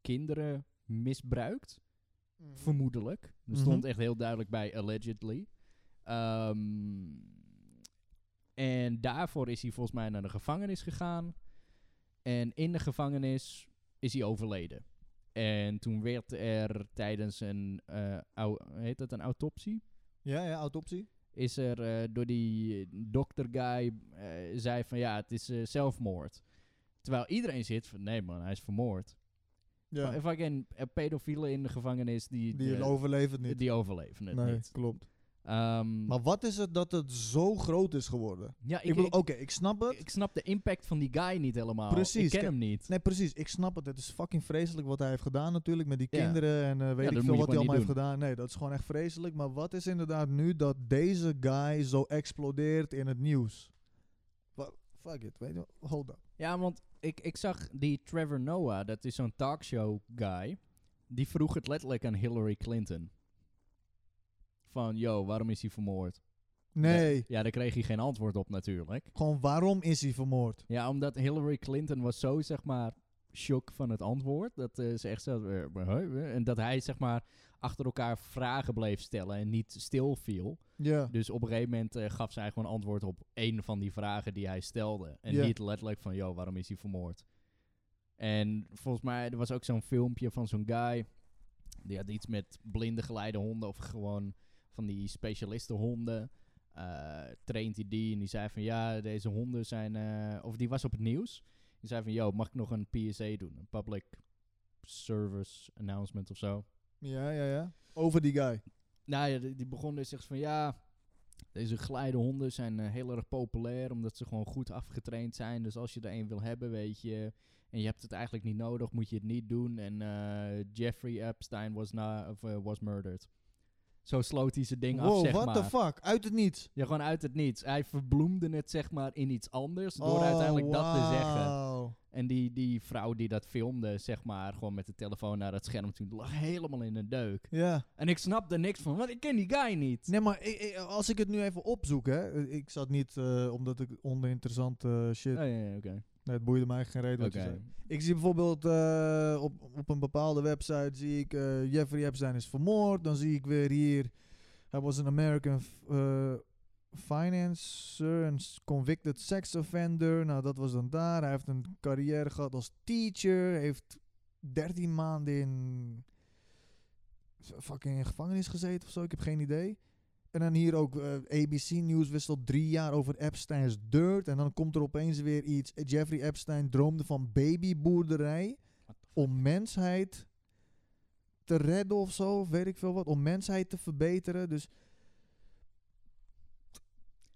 [SPEAKER 2] kinderen misbruikt. Mm. Vermoedelijk. Er stond
[SPEAKER 1] Mhm.
[SPEAKER 2] echt heel duidelijk bij allegedly. Ehm, en daarvoor is hij volgens mij naar de gevangenis gegaan. En in de gevangenis is hij overleden. En toen werd er tijdens een, eh, au- heet dat een autopsie?
[SPEAKER 1] Ja, ja, autopsie.
[SPEAKER 2] is er eh, door die dokter guy eh, zei van ja, het is eh, zelfmoord. Terwijl iedereen zit van nee man, hij is vermoord.
[SPEAKER 1] Ja.
[SPEAKER 2] F- Fucking eh, pedofielen in de gevangenis die,
[SPEAKER 1] Die
[SPEAKER 2] eh,
[SPEAKER 1] overleeft het niet.
[SPEAKER 2] die overleven het
[SPEAKER 1] nee,
[SPEAKER 2] niet.
[SPEAKER 1] klopt.
[SPEAKER 2] Ehm,
[SPEAKER 1] Maar wat is het dat het zo groot is geworden?
[SPEAKER 2] ja,
[SPEAKER 1] Ik,
[SPEAKER 2] ik,
[SPEAKER 1] bedoel,
[SPEAKER 2] ik,
[SPEAKER 1] oké, ik snap het.
[SPEAKER 2] ik snap de impact van die guy niet helemaal.
[SPEAKER 1] Precies,
[SPEAKER 2] Ik ken
[SPEAKER 1] kijk,
[SPEAKER 2] hem niet.
[SPEAKER 1] Nee, precies. Ik snap het. Het is fucking vreselijk wat hij heeft gedaan natuurlijk met die
[SPEAKER 2] Ja.
[SPEAKER 1] kinderen en eh, weet
[SPEAKER 2] dat
[SPEAKER 1] ik
[SPEAKER 2] moet
[SPEAKER 1] veel
[SPEAKER 2] je
[SPEAKER 1] wat hij
[SPEAKER 2] gewoon
[SPEAKER 1] allemaal heeft
[SPEAKER 2] niet
[SPEAKER 1] gedaan. Nee, dat is gewoon echt vreselijk. Maar wat is inderdaad nu dat deze guy zo explodeert in het nieuws? Wa- fuck it, weet je wel. Hold up.
[SPEAKER 2] Ja, want ik, ik zag die Trevor Noah, dat is zo'n talkshow guy. Die vroeg het letterlijk aan Hillary Clinton. Van, yo, waarom is hij vermoord?
[SPEAKER 1] Nee,
[SPEAKER 2] Ja, daar kreeg hij geen antwoord op natuurlijk.
[SPEAKER 1] gewoon waarom is hij vermoord?
[SPEAKER 2] Ja, omdat Hillary Clinton was zo, zeg maar, shock van het antwoord. Dat eh, ze echt zo... eh, eh, eh, En dat hij, zeg maar, achter elkaar vragen bleef stellen en niet stil viel.
[SPEAKER 1] Ja,
[SPEAKER 2] Dus op een gegeven moment eh, gaf zij gewoon antwoord op één van die vragen die hij stelde. En
[SPEAKER 1] Ja.
[SPEAKER 2] niet letterlijk van, joh, waarom is hij vermoord? En volgens mij, er was ook zo'n filmpje van zo'n guy... Die had iets met blinde geleide honden of gewoon van die specialistenhonden. eh traint hij die en die zei van ja, deze honden zijn. eh, of die was op het nieuws. Die zei van yo, mag ik nog een PSA doen? Een public service announcement of zo.
[SPEAKER 1] ja, ja, ja. Over die guy.
[SPEAKER 2] Nou ja, die, die begon dus zegt van ja. Deze glijdenhonden zijn eh, heel erg populair omdat ze gewoon goed afgetraind zijn. Dus als je er een wil hebben, weet je. En je hebt het eigenlijk niet nodig, moet je het niet doen. En eh, Jeffrey Epstein was, na, of, eh, was murdered. Zo sloot hij zijn ding af,
[SPEAKER 1] Wow,
[SPEAKER 2] zeg
[SPEAKER 1] what
[SPEAKER 2] maar.
[SPEAKER 1] the fuck? Uit het niets.
[SPEAKER 2] Ja, gewoon uit het niets. Hij verbloemde het zeg maar in iets anders door
[SPEAKER 1] Oh,
[SPEAKER 2] uiteindelijk dat te zeggen. En die, die vrouw die dat filmde, zeg maar, gewoon met de telefoon naar het scherm toen lag helemaal in een deuk.
[SPEAKER 1] Ja.
[SPEAKER 2] En ik snapte er niks van, want ik ken die guy niet.
[SPEAKER 1] Nee, maar ik- ik- als ik het nu even opzoek, hè. Ik zat niet eh, omdat ik onderinteressante shit...
[SPEAKER 2] Oh, ja, ja, oké.
[SPEAKER 1] Nee, het boeide mij geen reden wat je zei.
[SPEAKER 2] Oké.
[SPEAKER 1] Ik zie bijvoorbeeld eh, op, op een bepaalde website zie ik eh, Jeffrey Epstein is vermoord. Dan zie ik weer hier. Hij was een American f- eh, financer en s- convicted sex offender. Nou, dat was dan daar. Hij heeft een carrière gehad als teacher. Heeft 13 maanden in f- fucking gevangenis gezeten of zo. Ik heb geen idee. En dan hier ook eh, ABC News wisselt drie jaar over Epstein's dirt. En dan komt er opeens weer iets. Jeffrey Epstein droomde van babyboerderij.
[SPEAKER 2] What the
[SPEAKER 1] Om mensheid te redden of zo. Of weet ik veel wat. Om mensheid te verbeteren. Dus.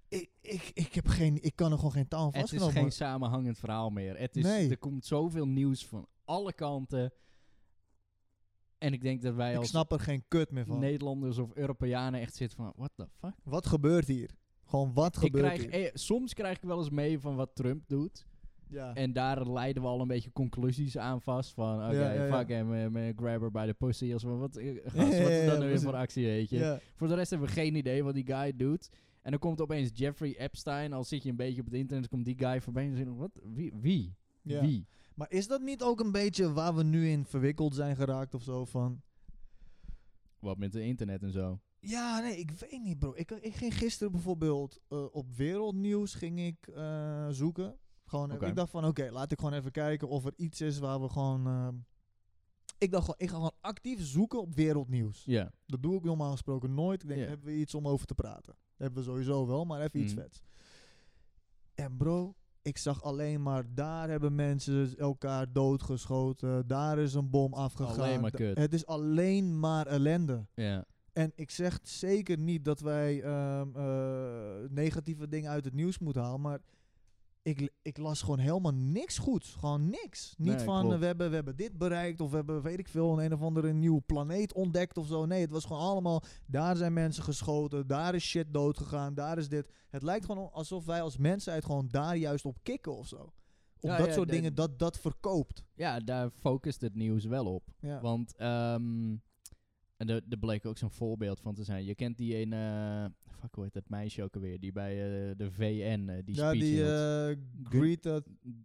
[SPEAKER 1] Ik, ik, ik, heb geen, ik kan er gewoon geen taal aan
[SPEAKER 2] Het is
[SPEAKER 1] vastknopen.
[SPEAKER 2] geen samenhangend verhaal meer. Het is,
[SPEAKER 1] Nee.
[SPEAKER 2] Er komt zoveel nieuws van alle kanten. En ik denk dat wij
[SPEAKER 1] Ik
[SPEAKER 2] als
[SPEAKER 1] snap er geen kut meer van.
[SPEAKER 2] Nederlanders of Europeanen echt zitten van, what the fuck?
[SPEAKER 1] Wat gebeurt hier? Gewoon wat
[SPEAKER 2] Ik
[SPEAKER 1] gebeurt
[SPEAKER 2] krijg,
[SPEAKER 1] hier?
[SPEAKER 2] eh, soms krijg ik wel eens mee van wat Trump doet.
[SPEAKER 1] Ja.
[SPEAKER 2] En daar leiden we al een beetje conclusies aan vast. Van oké,
[SPEAKER 1] Ja, ja, ja.
[SPEAKER 2] fuck hem, eh, man, grab her by the pussy. Als we wat, eh,
[SPEAKER 1] [LAUGHS]
[SPEAKER 2] gast, wat
[SPEAKER 1] ja, ja,
[SPEAKER 2] is dat nou weer
[SPEAKER 1] precies.
[SPEAKER 2] voor actie, weet je?
[SPEAKER 1] ja.
[SPEAKER 2] Voor de rest hebben we geen idee wat die guy doet. En dan komt opeens Jeffrey Epstein. Al zit je een beetje op het internet, komt die guy voorbij. En dan zeg je, wat? Wie? Wie?
[SPEAKER 1] Ja.
[SPEAKER 2] Wie?
[SPEAKER 1] Maar is dat niet ook een beetje waar we nu in verwikkeld zijn geraakt of zo? Van
[SPEAKER 2] Wat met het internet en zo.
[SPEAKER 1] ja, nee, ik weet niet, bro. Ik, ik ging gisteren bijvoorbeeld eh, op wereldnieuws ging ik eh, zoeken. Gewoon, eh,
[SPEAKER 2] Oké.
[SPEAKER 1] Ik dacht van oké, laat ik gewoon even kijken of er iets is waar we gewoon eh, Ik dacht gewoon, ik ga gewoon actief zoeken op wereldnieuws.
[SPEAKER 2] Ja.
[SPEAKER 1] Dat doe ik normaal gesproken nooit. Ik denk,
[SPEAKER 2] Ja.
[SPEAKER 1] hebben we iets om over te praten? Hebben we sowieso wel, maar even iets
[SPEAKER 2] Mm.
[SPEAKER 1] vets. En bro, ik zag alleen maar, daar hebben mensen elkaar doodgeschoten. Daar is een bom afgegaan.
[SPEAKER 2] Alleen maar
[SPEAKER 1] Da-
[SPEAKER 2] kut.
[SPEAKER 1] Het is alleen maar ellende.
[SPEAKER 2] Ja.
[SPEAKER 1] En ik zeg zeker niet dat wij ehm, eh, negatieve dingen uit het nieuws moeten halen, maar ik, ik las gewoon helemaal niks goeds. Gewoon niks. Niet
[SPEAKER 2] Nee,
[SPEAKER 1] van eh,
[SPEAKER 2] klopt.
[SPEAKER 1] we, hebben, we hebben dit bereikt of we hebben, weet ik veel, een, een of andere nieuwe planeet ontdekt of zo. Nee, het was gewoon allemaal, daar zijn mensen geschoten, daar is shit doodgegaan, daar is dit. Het lijkt gewoon alsof wij als mensheid gewoon daar juist op kikken of zo. Op
[SPEAKER 2] Ja,
[SPEAKER 1] dat
[SPEAKER 2] ja,
[SPEAKER 1] soort
[SPEAKER 2] de-
[SPEAKER 1] dingen, dat dat verkoopt.
[SPEAKER 2] Ja, daar focust het nieuws wel op.
[SPEAKER 1] Ja.
[SPEAKER 2] Want, ehm, en daar daar bleek ook zo'n voorbeeld van te zijn. Je kent die ene, eh, fuck hoe heet dat meisje ook alweer, die bij eh, de VN eh, die
[SPEAKER 1] ja,
[SPEAKER 2] speech
[SPEAKER 1] die
[SPEAKER 2] hield.
[SPEAKER 1] eh, Greta.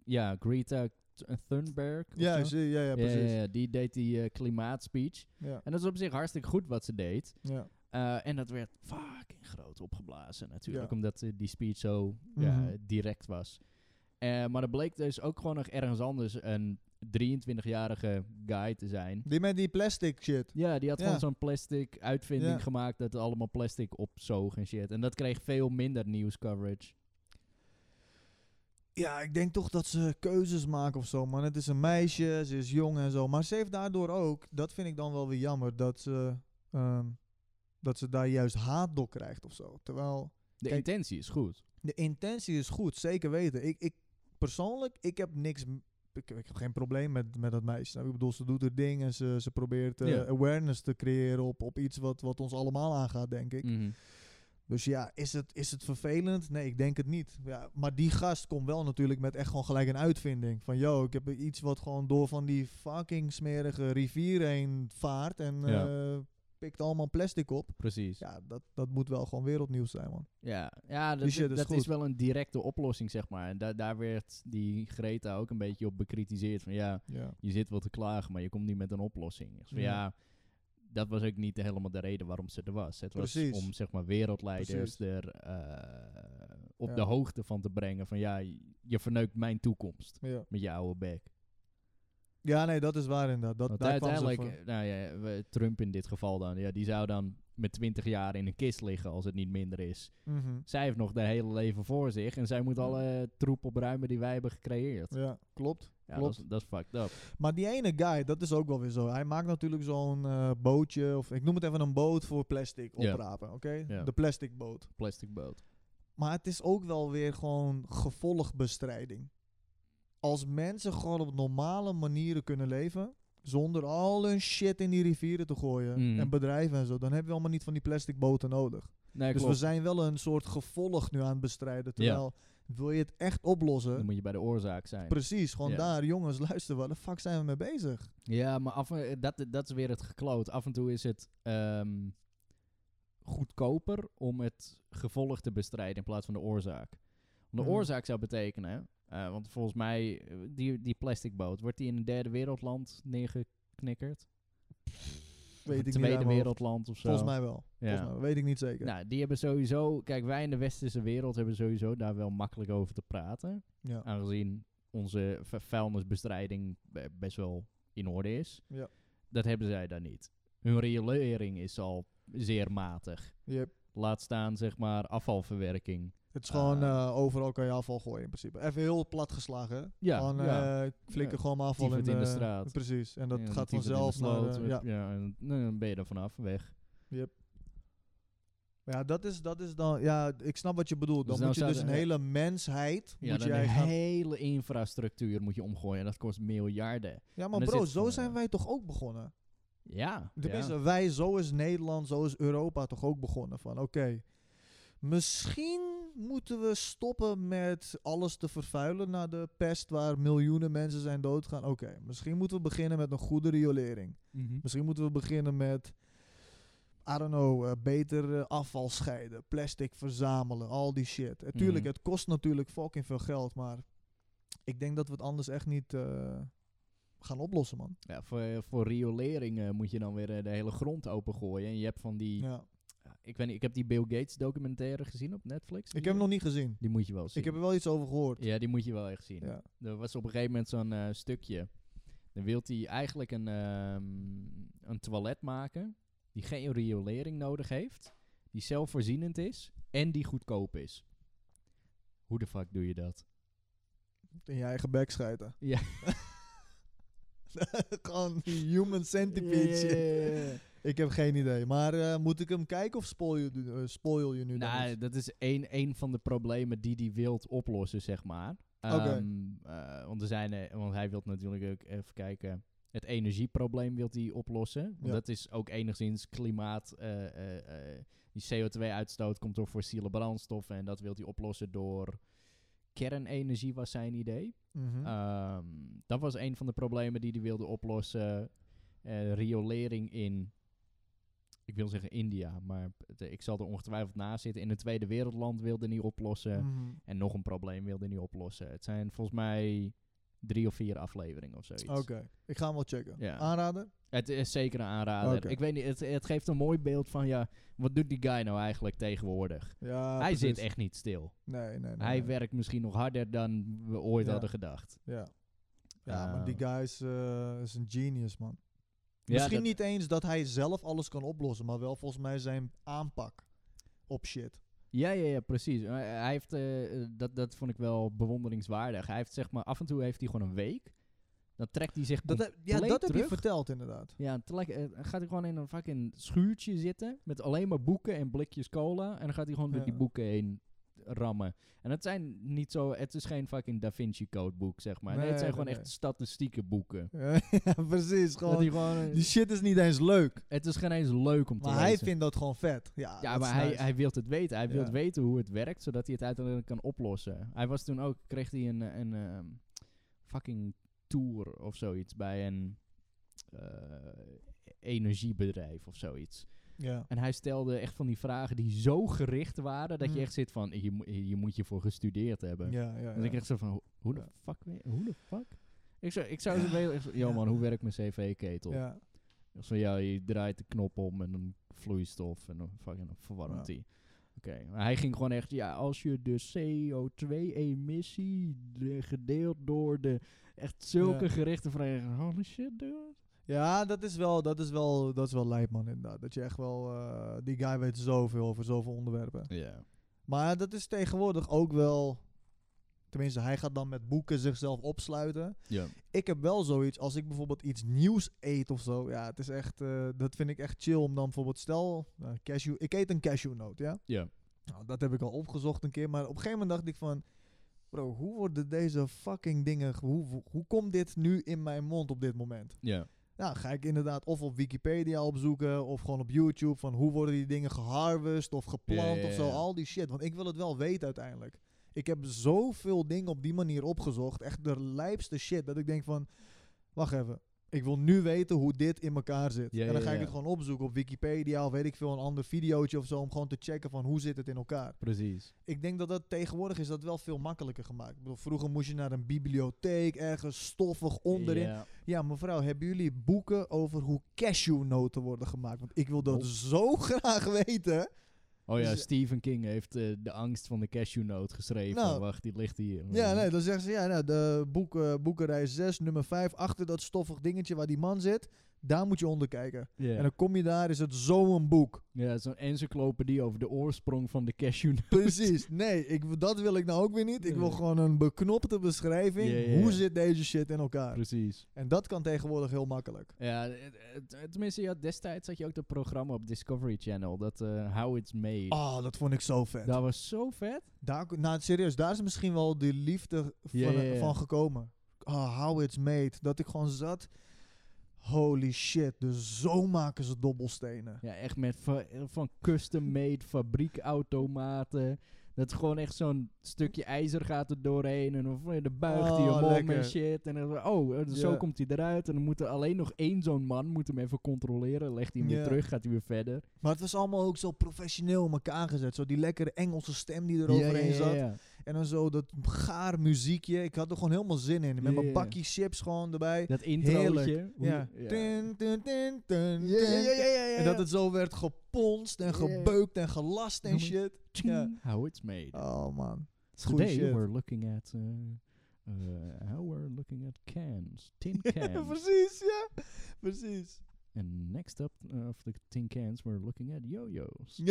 [SPEAKER 2] ja, Greta Th- Thunberg. of
[SPEAKER 1] Ja,
[SPEAKER 2] zo.
[SPEAKER 1] zie- ja, ja,
[SPEAKER 2] Ja, ja,
[SPEAKER 1] precies.
[SPEAKER 2] ja, die deed die eh, klimaatspeech.
[SPEAKER 1] Ja,
[SPEAKER 2] En dat is op zich hartstikke goed wat ze deed.
[SPEAKER 1] ja.
[SPEAKER 2] Eh, en dat werd fucking groot opgeblazen natuurlijk,
[SPEAKER 1] Ja.
[SPEAKER 2] omdat eh, die speech zo ja,
[SPEAKER 1] Mhm.
[SPEAKER 2] direct was. Eh, maar er bleek dus ook gewoon nog ergens anders een 23-jarige guy te zijn.
[SPEAKER 1] Die met die plastic shit.
[SPEAKER 2] Ja, die had
[SPEAKER 1] Ja.
[SPEAKER 2] gewoon zo'n plastic uitvinding
[SPEAKER 1] Ja.
[SPEAKER 2] gemaakt dat er allemaal plastic opzoog en shit. En dat kreeg veel minder nieuwscoverage.
[SPEAKER 1] Ja, ik denk toch dat ze keuzes maken of zo, man. Het is een meisje, ze is jong en zo. Maar ze heeft daardoor ook, dat vind ik dan wel weer jammer, dat ze, ehm, dat ze daar juist haat door krijgt of zo. Terwijl
[SPEAKER 2] De
[SPEAKER 1] Kijk-
[SPEAKER 2] intentie is goed.
[SPEAKER 1] de intentie is goed, zeker weten. Ik, ik persoonlijk, ik heb niks. m- Ik, ik heb geen probleem met, met dat meisje. Nou, Ik bedoel, ze doet haar ding en ze, ze probeert eh,
[SPEAKER 2] Ja.
[SPEAKER 1] awareness te creëren op, op iets wat, wat ons allemaal aangaat, denk ik.
[SPEAKER 2] Mhm.
[SPEAKER 1] Dus ja, is het, is het vervelend? Nee, ik denk het niet. Ja, maar die gast komt wel natuurlijk met echt gewoon gelijk een uitvinding. Van, yo, ik heb iets wat gewoon door van die fucking smerige rivier heen vaart en
[SPEAKER 2] Ja.
[SPEAKER 1] eh, pikt allemaal plastic op.
[SPEAKER 2] Precies. Ja,
[SPEAKER 1] Ja, dat, dat moet wel gewoon wereldnieuws zijn, man.
[SPEAKER 2] ja.
[SPEAKER 1] Die
[SPEAKER 2] dat,
[SPEAKER 1] shit is
[SPEAKER 2] dat is
[SPEAKER 1] goed.
[SPEAKER 2] wel een directe oplossing, zeg maar. En da- daar werd die Greta ook een beetje op bekritiseerd. Van ja,
[SPEAKER 1] Ja.
[SPEAKER 2] je zit wel te klagen, maar je komt niet met een oplossing. Dus van,
[SPEAKER 1] Ja.
[SPEAKER 2] ja. dat was ook niet helemaal de reden waarom ze er was. Het was
[SPEAKER 1] Precies.
[SPEAKER 2] om zeg maar wereldleiders
[SPEAKER 1] Precies.
[SPEAKER 2] er eh, op
[SPEAKER 1] Ja.
[SPEAKER 2] de hoogte van te brengen van ja, je verneukt mijn toekomst
[SPEAKER 1] Ja.
[SPEAKER 2] met je oude bek.
[SPEAKER 1] ja, nee, dat is waar inderdaad. Dat,
[SPEAKER 2] Want
[SPEAKER 1] daar kwam ze
[SPEAKER 2] uiteindelijk,
[SPEAKER 1] voor.
[SPEAKER 2] eh, nou ja, we- Trump in dit geval dan, ja, die zou dan met 20 jaar in een kist liggen als het niet minder is.
[SPEAKER 1] Mhm.
[SPEAKER 2] Zij heeft nog haar hele leven voor zich en zij moet alle troep opruimen die wij hebben gecreëerd.
[SPEAKER 1] Ja, klopt.
[SPEAKER 2] Ja, dat is,
[SPEAKER 1] klopt.
[SPEAKER 2] dat is fucked up.
[SPEAKER 1] Maar die ene guy, dat is ook wel weer zo. Hij maakt natuurlijk zo'n eh, bootje, of ik noem het even een boot voor plastic
[SPEAKER 2] Ja.
[SPEAKER 1] oprapen, oké?
[SPEAKER 2] Ja.
[SPEAKER 1] De plastic boot.
[SPEAKER 2] Plastic boot.
[SPEAKER 1] Maar het is ook wel weer gewoon gevolgbestrijding. Als mensen gewoon op normale manieren kunnen leven. Zonder al hun shit in die rivieren te gooien.
[SPEAKER 2] Mhm.
[SPEAKER 1] En bedrijven en zo. Dan hebben we allemaal niet van die plastic boten nodig.
[SPEAKER 2] Nee,
[SPEAKER 1] dus
[SPEAKER 2] klopt.
[SPEAKER 1] we zijn wel een soort gevolg nu aan het bestrijden. Terwijl wil je het echt oplossen.
[SPEAKER 2] Dan moet je bij de oorzaak zijn.
[SPEAKER 1] Precies, gewoon
[SPEAKER 2] Ja.
[SPEAKER 1] daar. Jongens, luister, waar de fuck zijn we mee bezig?
[SPEAKER 2] Ja, maar af en, eh, dat, dat is weer het gekloot. Af en toe is het ehm, goedkoper om het gevolg te bestrijden in plaats van de oorzaak. Want de
[SPEAKER 1] Ja.
[SPEAKER 2] oorzaak zou betekenen, eh, want volgens mij, eh, die, die plastic boot, wordt die in een derde wereldland neergeknikkerd? Of
[SPEAKER 1] Weet ik niet
[SPEAKER 2] een
[SPEAKER 1] uit
[SPEAKER 2] tweede
[SPEAKER 1] mijn hoofd.
[SPEAKER 2] wereldland of zo?
[SPEAKER 1] Volgens mij wel.
[SPEAKER 2] Ja.
[SPEAKER 1] Volgens mij, weet ik niet zeker.
[SPEAKER 2] Nou, die hebben sowieso, kijk, wij in de westerse wereld hebben sowieso daar wel makkelijk over te praten.
[SPEAKER 1] Ja.
[SPEAKER 2] aangezien onze vu- vuilnisbestrijding be- best wel in orde is.
[SPEAKER 1] Ja.
[SPEAKER 2] Dat hebben zij daar niet. Hun riolering is al zeer matig.
[SPEAKER 1] Yep.
[SPEAKER 2] Laat staan, zeg maar, afvalverwerking.
[SPEAKER 1] Het is gewoon
[SPEAKER 2] Ah.
[SPEAKER 1] eh, overal kan je afval gooien in principe. Even heel plat geslagen. hè?
[SPEAKER 2] Ja,
[SPEAKER 1] Gewoon,
[SPEAKER 2] ja.
[SPEAKER 1] eh, flikker
[SPEAKER 2] Ja.
[SPEAKER 1] gewoon maar afval
[SPEAKER 2] Tyf
[SPEAKER 1] in
[SPEAKER 2] het
[SPEAKER 1] de,
[SPEAKER 2] in de straat.
[SPEAKER 1] Precies. En dat
[SPEAKER 2] Ja,
[SPEAKER 1] gaat
[SPEAKER 2] dan typ het in de
[SPEAKER 1] vanzelf naar. eh,
[SPEAKER 2] sloot,
[SPEAKER 1] de-
[SPEAKER 2] hup,
[SPEAKER 1] ja.
[SPEAKER 2] ja, en nou, dan ben je er vanaf, weg.
[SPEAKER 1] ja, dat is, dat is dan. Ja, ik snap wat je bedoelt. Dan
[SPEAKER 2] Dus dan
[SPEAKER 1] moet je dus een
[SPEAKER 2] zouden- ja.
[SPEAKER 1] hele mensheid.
[SPEAKER 2] Ja,
[SPEAKER 1] moet
[SPEAKER 2] dan
[SPEAKER 1] jij
[SPEAKER 2] de
[SPEAKER 1] gaan-
[SPEAKER 2] hele infrastructuur moet je omgooien. En dat kost miljarden.
[SPEAKER 1] ja, maar
[SPEAKER 2] dan
[SPEAKER 1] bro,
[SPEAKER 2] zit
[SPEAKER 1] zo
[SPEAKER 2] gewoon,
[SPEAKER 1] zijn
[SPEAKER 2] eh,
[SPEAKER 1] wij toch ook begonnen.
[SPEAKER 2] Ja.
[SPEAKER 1] Tenminste,
[SPEAKER 2] ja.
[SPEAKER 1] wij, zo is Nederland, zo is Europa toch ook begonnen. Van oké, misschien moeten we stoppen met alles te vervuilen na de pest waar miljoenen mensen zijn doodgaan. Oké, misschien moeten we beginnen met een goede riolering.
[SPEAKER 2] Mhm.
[SPEAKER 1] Misschien moeten we beginnen met, I don't know, eh, beter eh, afval scheiden, plastic verzamelen, al die shit. En tuurlijk,
[SPEAKER 2] Mhm.
[SPEAKER 1] het kost natuurlijk fucking veel geld, maar ik denk dat we het anders echt niet eh, gaan oplossen, man.
[SPEAKER 2] Ja, voor, voor riolering eh, moet je dan weer eh, de hele grond opengooien. En je hebt van die
[SPEAKER 1] Ja.
[SPEAKER 2] Ja, ik weet niet, ik heb die Bill Gates documentaire gezien op Netflix.
[SPEAKER 1] Ik
[SPEAKER 2] Die-
[SPEAKER 1] heb hem nog niet gezien.
[SPEAKER 2] Die moet je wel zien.
[SPEAKER 1] Ik heb er wel iets over gehoord.
[SPEAKER 2] Ja, die moet je wel echt zien.
[SPEAKER 1] Ja.
[SPEAKER 2] Er was op een gegeven moment zo'n eh, stukje. Dan wil hij eigenlijk een, ehm, een toilet maken die geen riolering nodig heeft, die zelfvoorzienend is en die goedkoop is. Hoe de fuck doe je dat?
[SPEAKER 1] In je eigen bek schijten.
[SPEAKER 2] [LAUGHS] Ja.
[SPEAKER 1] [LAUGHS] Gewoon die human centipede shit. Ik heb geen idee. Maar eh, moet ik hem kijken of spoil je, eh, spoil je nu dan
[SPEAKER 2] Nou,
[SPEAKER 1] iets?
[SPEAKER 2] dat is één, één van de problemen die hij wilt oplossen, zeg maar.
[SPEAKER 1] Oké.
[SPEAKER 2] Ehm, eh, want, er zijn, eh, want hij wil natuurlijk ook even kijken. Het energieprobleem wil hij oplossen. Want
[SPEAKER 1] Ja.
[SPEAKER 2] dat is ook enigszins klimaat. eh, eh, eh, die CO2-uitstoot komt door fossiele brandstoffen. En dat wil hij oplossen door kernenergie, was zijn idee.
[SPEAKER 1] Mhm.
[SPEAKER 2] Ehm, dat was een van de problemen die hij wilde oplossen. Eh, riolering in, ik wil zeggen India, maar het- ik zal er ongetwijfeld naast zitten. In een tweede wereldland wilde hij oplossen.
[SPEAKER 1] Mhm.
[SPEAKER 2] En nog een probleem wilde hij oplossen. Het zijn volgens mij drie of vier afleveringen of zoiets.
[SPEAKER 1] Oké, ik ga hem wel checken.
[SPEAKER 2] Ja.
[SPEAKER 1] Aanraden?
[SPEAKER 2] Het is zeker een aanrader.
[SPEAKER 1] Oké.
[SPEAKER 2] Ik weet niet, het, het geeft een mooi beeld van, ja, wat doet die guy nou eigenlijk tegenwoordig?
[SPEAKER 1] Ja,
[SPEAKER 2] hij zit
[SPEAKER 1] precies.
[SPEAKER 2] echt niet stil.
[SPEAKER 1] Nee, nee, nee.
[SPEAKER 2] hij
[SPEAKER 1] nee.
[SPEAKER 2] werkt misschien nog harder dan we ooit
[SPEAKER 1] Ja.
[SPEAKER 2] hadden gedacht.
[SPEAKER 1] Ja, ja
[SPEAKER 2] Eh,
[SPEAKER 1] maar die guy is, eh, is een genius, man.
[SPEAKER 2] ja,
[SPEAKER 1] Misschien
[SPEAKER 2] dat-
[SPEAKER 1] niet eens dat hij zelf alles kan oplossen, maar wel volgens mij zijn aanpak op shit.
[SPEAKER 2] Ja, ja, ja, precies. Eh, Hij heeft, eh, eh, dat, dat vond ik wel bewonderingswaardig. Hij heeft zeg maar, af en toe heeft hij gewoon een week. Dan trekt hij zich
[SPEAKER 1] Dat
[SPEAKER 2] com-
[SPEAKER 1] heb, ja, dat heb je
[SPEAKER 2] terug.
[SPEAKER 1] verteld
[SPEAKER 2] [LAUGHS]
[SPEAKER 1] inderdaad.
[SPEAKER 2] Ja, te lek- eh, gaat hij gewoon in een fucking schuurtje zitten met alleen maar boeken en blikjes cola. En dan gaat hij gewoon door die
[SPEAKER 1] Ja.
[SPEAKER 2] boeken heen rammen. En het zijn niet zo, het is geen fucking Da Vinci Code boek, zeg maar. Nee,
[SPEAKER 1] Nee,
[SPEAKER 2] het zijn
[SPEAKER 1] nee,
[SPEAKER 2] gewoon echt
[SPEAKER 1] nee.
[SPEAKER 2] statistieke boeken.
[SPEAKER 1] ja, precies.
[SPEAKER 2] Dat
[SPEAKER 1] Gewoon,
[SPEAKER 2] hij gewoon, eh,
[SPEAKER 1] die shit is niet eens leuk.
[SPEAKER 2] het is geen eens leuk om te
[SPEAKER 1] Maar
[SPEAKER 2] lezen.
[SPEAKER 1] hij vindt dat gewoon vet. Ja,
[SPEAKER 2] Ja,
[SPEAKER 1] dat
[SPEAKER 2] maar
[SPEAKER 1] is
[SPEAKER 2] hij,
[SPEAKER 1] nice.
[SPEAKER 2] hij wil het weten. Hij wil
[SPEAKER 1] Ja.
[SPEAKER 2] weten hoe het werkt, zodat hij het uiteindelijk kan oplossen. Hij was toen ook, kreeg hij een, een ehm, fucking tour of zoiets bij een eh, energiebedrijf of zoiets.
[SPEAKER 1] ja.
[SPEAKER 2] En hij stelde echt van die vragen die zo gericht waren, dat je
[SPEAKER 1] Hmm.
[SPEAKER 2] echt zit van, je, mo- je moet je voor gestudeerd hebben.
[SPEAKER 1] Ja, ja,
[SPEAKER 2] En Dus ik
[SPEAKER 1] ja.
[SPEAKER 2] echt zo van, "Ho- hoe de
[SPEAKER 1] Ja.
[SPEAKER 2] fuck, we- hoe de fuck? Ik zou, ik zou zo weten, echt zo, yo
[SPEAKER 1] Ja.
[SPEAKER 2] man, hoe werkt mijn cv-ketel?
[SPEAKER 1] Ja.
[SPEAKER 2] Zo ja, je draait de knop om en dan vloeistof en dan fucking dan verwarmt
[SPEAKER 1] Ja.
[SPEAKER 2] die. Oké, maar hij ging gewoon echt, ja, als je de CO2-emissie de- gedeeld door de... Echt zulke
[SPEAKER 1] Ja.
[SPEAKER 2] gerichte vragen. Holy shit, dude.
[SPEAKER 1] Ja, dat is wel, dat is wel, dat is wel lijp, man, inderdaad. Dat je echt wel, eh, die guy weet zoveel over zoveel onderwerpen.
[SPEAKER 2] Ja.
[SPEAKER 1] Maar dat is tegenwoordig ook wel, tenminste, hij gaat dan met boeken zichzelf opsluiten.
[SPEAKER 2] Ja.
[SPEAKER 1] Ik heb wel zoiets, als ik bijvoorbeeld iets nieuws eet of zo, ja, het is echt, eh, dat vind ik echt chill om dan bijvoorbeeld, stel, eh, cashew, ik eet een cashewnoot, ja.
[SPEAKER 2] Ja.
[SPEAKER 1] Nou, dat heb ik al opgezocht een keer, maar op een gegeven moment dacht ik van, bro, hoe worden deze fucking dingen, hoe, hoe- hoe komt dit nu in mijn mond op dit moment?
[SPEAKER 2] Ja.
[SPEAKER 1] Nou, ga ik inderdaad of op Wikipedia opzoeken of gewoon op YouTube van hoe worden die dingen geharvest of geplant
[SPEAKER 2] Ja, ja,
[SPEAKER 1] of
[SPEAKER 2] ja.
[SPEAKER 1] zo, al die shit. Want ik wil het wel weten uiteindelijk. Ik heb zoveel dingen op die manier opgezocht, echt de lijpste shit, dat ik denk van, wacht even, ik wil nu weten hoe dit in elkaar zit.
[SPEAKER 2] Ja,
[SPEAKER 1] en dan
[SPEAKER 2] ja,
[SPEAKER 1] ga ik
[SPEAKER 2] ja.
[SPEAKER 1] het gewoon opzoeken op Wikipedia of weet ik veel, een ander videootje of zo, om gewoon te checken van hoe zit het in elkaar.
[SPEAKER 2] Precies.
[SPEAKER 1] Ik denk dat dat tegenwoordig is dat wel veel makkelijker gemaakt. Ik bedoel, vroeger moest je naar een bibliotheek, ergens stoffig onderin.
[SPEAKER 2] Ja.
[SPEAKER 1] Ja, mevrouw, hebben jullie boeken over hoe cashewnoten worden gemaakt? Want ik wil dat zo [LAUGHS] graag weten.
[SPEAKER 2] Oh ja,
[SPEAKER 1] Dus-
[SPEAKER 2] Stephen King heeft eh, De Angst van de Cashewnoot geschreven.
[SPEAKER 1] Nou.
[SPEAKER 2] Wacht, die ligt hier.
[SPEAKER 1] Ja, nee, dan zeggen ze, ja, nou, de boeken, boekenrij 6, nummer 5, achter dat stoffig dingetje waar die man zit, daar moet je onder kijken.
[SPEAKER 2] Ja,
[SPEAKER 1] En dan kom je daar, is het zo'n
[SPEAKER 2] [LAUGHS]
[SPEAKER 1] boek.
[SPEAKER 2] ja het is zo'n encyclopedie over de oorsprong van de cashewnoot.
[SPEAKER 1] Precies. Nee, ik, dat wil ik nou ook weer niet. Ik wil
[SPEAKER 2] Nee.
[SPEAKER 1] gewoon een beknopte beschrijving.
[SPEAKER 2] Ja, ja,
[SPEAKER 1] Hoe
[SPEAKER 2] ja.
[SPEAKER 1] zit deze shit in elkaar?
[SPEAKER 2] Precies.
[SPEAKER 1] En dat kan tegenwoordig heel makkelijk.
[SPEAKER 2] Ja, het- het- tenminste, ja, destijds had je ook dat programma op Discovery Channel, dat eh, How It's Made.
[SPEAKER 1] Oh, dat vond ik zo vet.
[SPEAKER 2] Dat was zo vet.
[SPEAKER 1] Daar, nou, serieus, daar is misschien wel de liefde van,
[SPEAKER 2] Ja, ja, ja.
[SPEAKER 1] van gekomen. Oh, how it's made. Dat ik gewoon zat. Holy shit, dus zo maken ze dobbelstenen.
[SPEAKER 2] Ja, echt met va- van custom-made [LAUGHS] fabriekautomaten. Dat gewoon echt zo'n stukje ijzer gaat er doorheen en dan eh, dan buigt hij
[SPEAKER 1] Oh,
[SPEAKER 2] hem om en
[SPEAKER 1] lekker.
[SPEAKER 2] shit. En dan, oh, eh, zo
[SPEAKER 1] Ja.
[SPEAKER 2] komt hij eruit. En dan moet er alleen nog één zo'n man, moet hem even controleren. Legt hij hem weer
[SPEAKER 1] Ja.
[SPEAKER 2] terug, gaat hij weer verder.
[SPEAKER 1] Maar het was allemaal ook zo professioneel in elkaar gezet. Zo die lekkere Engelse stem die er overheen zat. En dan zo dat gaar muziekje. Ik had er gewoon helemaal zin in. Met
[SPEAKER 2] Ja, ja,
[SPEAKER 1] mijn
[SPEAKER 2] ja.
[SPEAKER 1] bakje chips gewoon erbij.
[SPEAKER 2] Dat
[SPEAKER 1] Heerlijk.
[SPEAKER 2] introotje. hoe-
[SPEAKER 1] Ja. Tin, tin, tin, tin, tin. En dat het zo werd geponst en
[SPEAKER 2] Ja, ja, ja.
[SPEAKER 1] gebeukt en gelast en
[SPEAKER 2] Noem je-
[SPEAKER 1] shit.
[SPEAKER 2] Tjing,
[SPEAKER 1] ja.
[SPEAKER 2] How it's made.
[SPEAKER 1] Oh man. Goeie
[SPEAKER 2] Today
[SPEAKER 1] shit.
[SPEAKER 2] we're looking at uh, eh, how we're looking at cans. [LAUGHS] Tin cans.
[SPEAKER 1] precies, [LAUGHS] ja. Precies.
[SPEAKER 2] And next up uh, of the tin cans, we're looking at yo-yo's.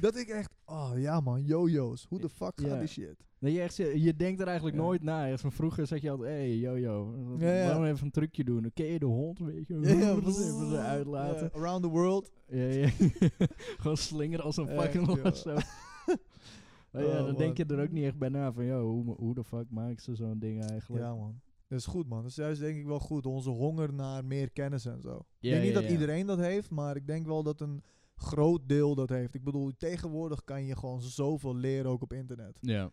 [SPEAKER 1] Dat ik echt, oh ja man, jojo's. Hoe de fuck
[SPEAKER 2] Ja.
[SPEAKER 1] gaat die
[SPEAKER 2] [LAUGHS]
[SPEAKER 1] shit?
[SPEAKER 2] Nee, je, echt, je je denkt er eigenlijk
[SPEAKER 1] Ja.
[SPEAKER 2] nooit na. Echt van vroeger zat je altijd, hey, yo-yo, wat-
[SPEAKER 1] Ja, ja.
[SPEAKER 2] waarom even een trucje doen? Dan ken je de hond, weet je.
[SPEAKER 1] [LAUGHS]
[SPEAKER 2] [LAUGHS] even ze uitlaten.
[SPEAKER 1] Ja, around the world.
[SPEAKER 2] Ja, ja. [LAUGHS] Gewoon slingeren als een
[SPEAKER 1] Echt,
[SPEAKER 2] fucking
[SPEAKER 1] joh.
[SPEAKER 2] [LAUGHS] lasso. Maar ja,
[SPEAKER 1] Oh,
[SPEAKER 2] dan denk je
[SPEAKER 1] man.
[SPEAKER 2] er ook niet echt bij na van, joh, hoe, hoe de fuck maken ze zo'n ding eigenlijk?
[SPEAKER 1] Ja man. Dat is goed man. Dat is juist denk ik wel goed. Onze honger naar meer kennis en zo.
[SPEAKER 2] Ja,
[SPEAKER 1] ik denk niet
[SPEAKER 2] ja,
[SPEAKER 1] dat
[SPEAKER 2] ja.
[SPEAKER 1] iedereen dat heeft, maar ik denk wel dat een groot deel dat heeft. Ik bedoel, tegenwoordig kan je gewoon zoveel leren ook op internet.
[SPEAKER 2] Ja.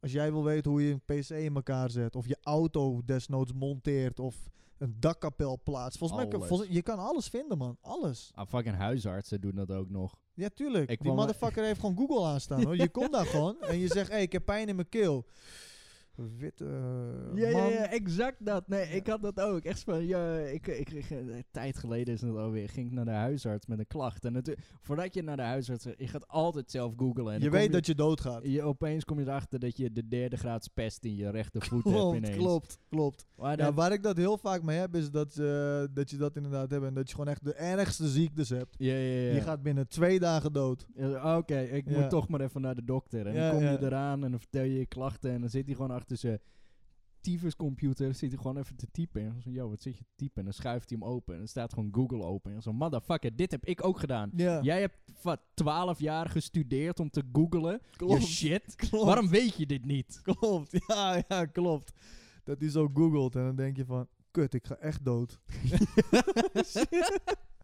[SPEAKER 1] Als jij wil weten hoe je een PC in elkaar zet, of je auto desnoods monteert, of een dakkapel plaatst. Volgens mij, kan,
[SPEAKER 2] Alles.
[SPEAKER 1] volgens- je kan alles vinden man. Alles.
[SPEAKER 2] Ah, fucking huisartsen doen dat ook nog.
[SPEAKER 1] Ja, tuurlijk.
[SPEAKER 2] Ik
[SPEAKER 1] die
[SPEAKER 2] kwam-
[SPEAKER 1] motherfucker heeft gewoon Google aanstaan hoor. Je komt daar gewoon en je zegt, hé, hey, ik heb pijn in mijn keel. Witte eh,
[SPEAKER 2] Ja, ja,
[SPEAKER 1] man.
[SPEAKER 2] ja, exact dat. Nee,
[SPEAKER 1] Ja.
[SPEAKER 2] ik had dat ook. Echt van, ja, ik, ik, ik- eh, een tijd geleden is het alweer, ging ik naar de huisarts met een klacht. En natuurlijk, voordat je naar de huisarts gaat, je gaat altijd zelf googlen. En
[SPEAKER 1] Je weet dat je doodgaat.
[SPEAKER 2] Je, opeens kom je erachter dat je de derde graads pest in je rechtervoet hebt
[SPEAKER 1] [LAUGHS] Klopt,
[SPEAKER 2] ineens.
[SPEAKER 1] klopt, klopt.
[SPEAKER 2] Maar
[SPEAKER 1] Ja,
[SPEAKER 2] dan-
[SPEAKER 1] waar ik dat heel vaak mee heb, is dat, eh, dat je dat inderdaad hebt. En dat je gewoon echt de ergste ziektes hebt.
[SPEAKER 2] ja, ja, ja.
[SPEAKER 1] Je gaat binnen twee dagen dood.
[SPEAKER 2] Ja, Eh, ah, Oké, ik
[SPEAKER 1] Ja.
[SPEAKER 2] moet toch maar even naar de dokter. En
[SPEAKER 1] Ja,
[SPEAKER 2] dan kom je
[SPEAKER 1] ja.
[SPEAKER 2] eraan en dan vertel je je klachten. En dan zit hij gewoon achter zijn tyfuscomputer. Zit hij gewoon even te typen. En dan zo, yo, wat zit je te typen? En dan schuift hij hem open. En dan staat gewoon Google open. En zo, motherfucker, dit heb ik ook gedaan.
[SPEAKER 1] Ja,
[SPEAKER 2] Jij hebt, wat, 12 jaar gestudeerd om te googlen? Je shit.
[SPEAKER 1] klopt.
[SPEAKER 2] Waarom weet je dit niet?
[SPEAKER 1] [LAUGHS] Klopt, ja, ja, klopt. Dat hij zo googelt en dan denk je van... Kut, ik ga echt dood. [LAUGHS]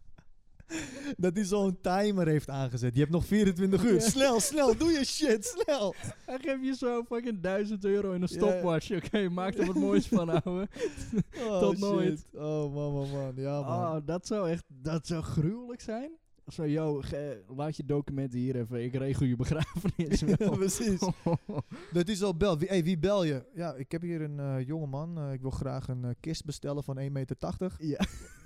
[SPEAKER 1] dat hij zo'n timer heeft aangezet. Je hebt nog 24 uur.
[SPEAKER 2] Ja.
[SPEAKER 1] Snel, snel, doe je shit, snel.
[SPEAKER 2] Hij geeft je zo fucking 1000 euro in een
[SPEAKER 1] Ja.
[SPEAKER 2] stopwatch. Oké, maak er wat moois [LAUGHS] van, ouwe.
[SPEAKER 1] Oh,
[SPEAKER 2] Tot nooit.
[SPEAKER 1] shit. Oh, man, man, man. Ja, man.
[SPEAKER 2] Oh, dat zou echt dat zou gruwelijk zijn. Zo, yo, ge- laat je documenten hier even. Ik regel je
[SPEAKER 1] [LAUGHS]
[SPEAKER 2] begrafenis
[SPEAKER 1] Ja,
[SPEAKER 2] wel. [LAUGHS]
[SPEAKER 1] precies. Dat is al bel. Wie, hey, wie bel je? Ja, ik heb hier een jonge jongeman. eh, ik wil graag een eh, kist bestellen van 1,80 meter.
[SPEAKER 2] Ja.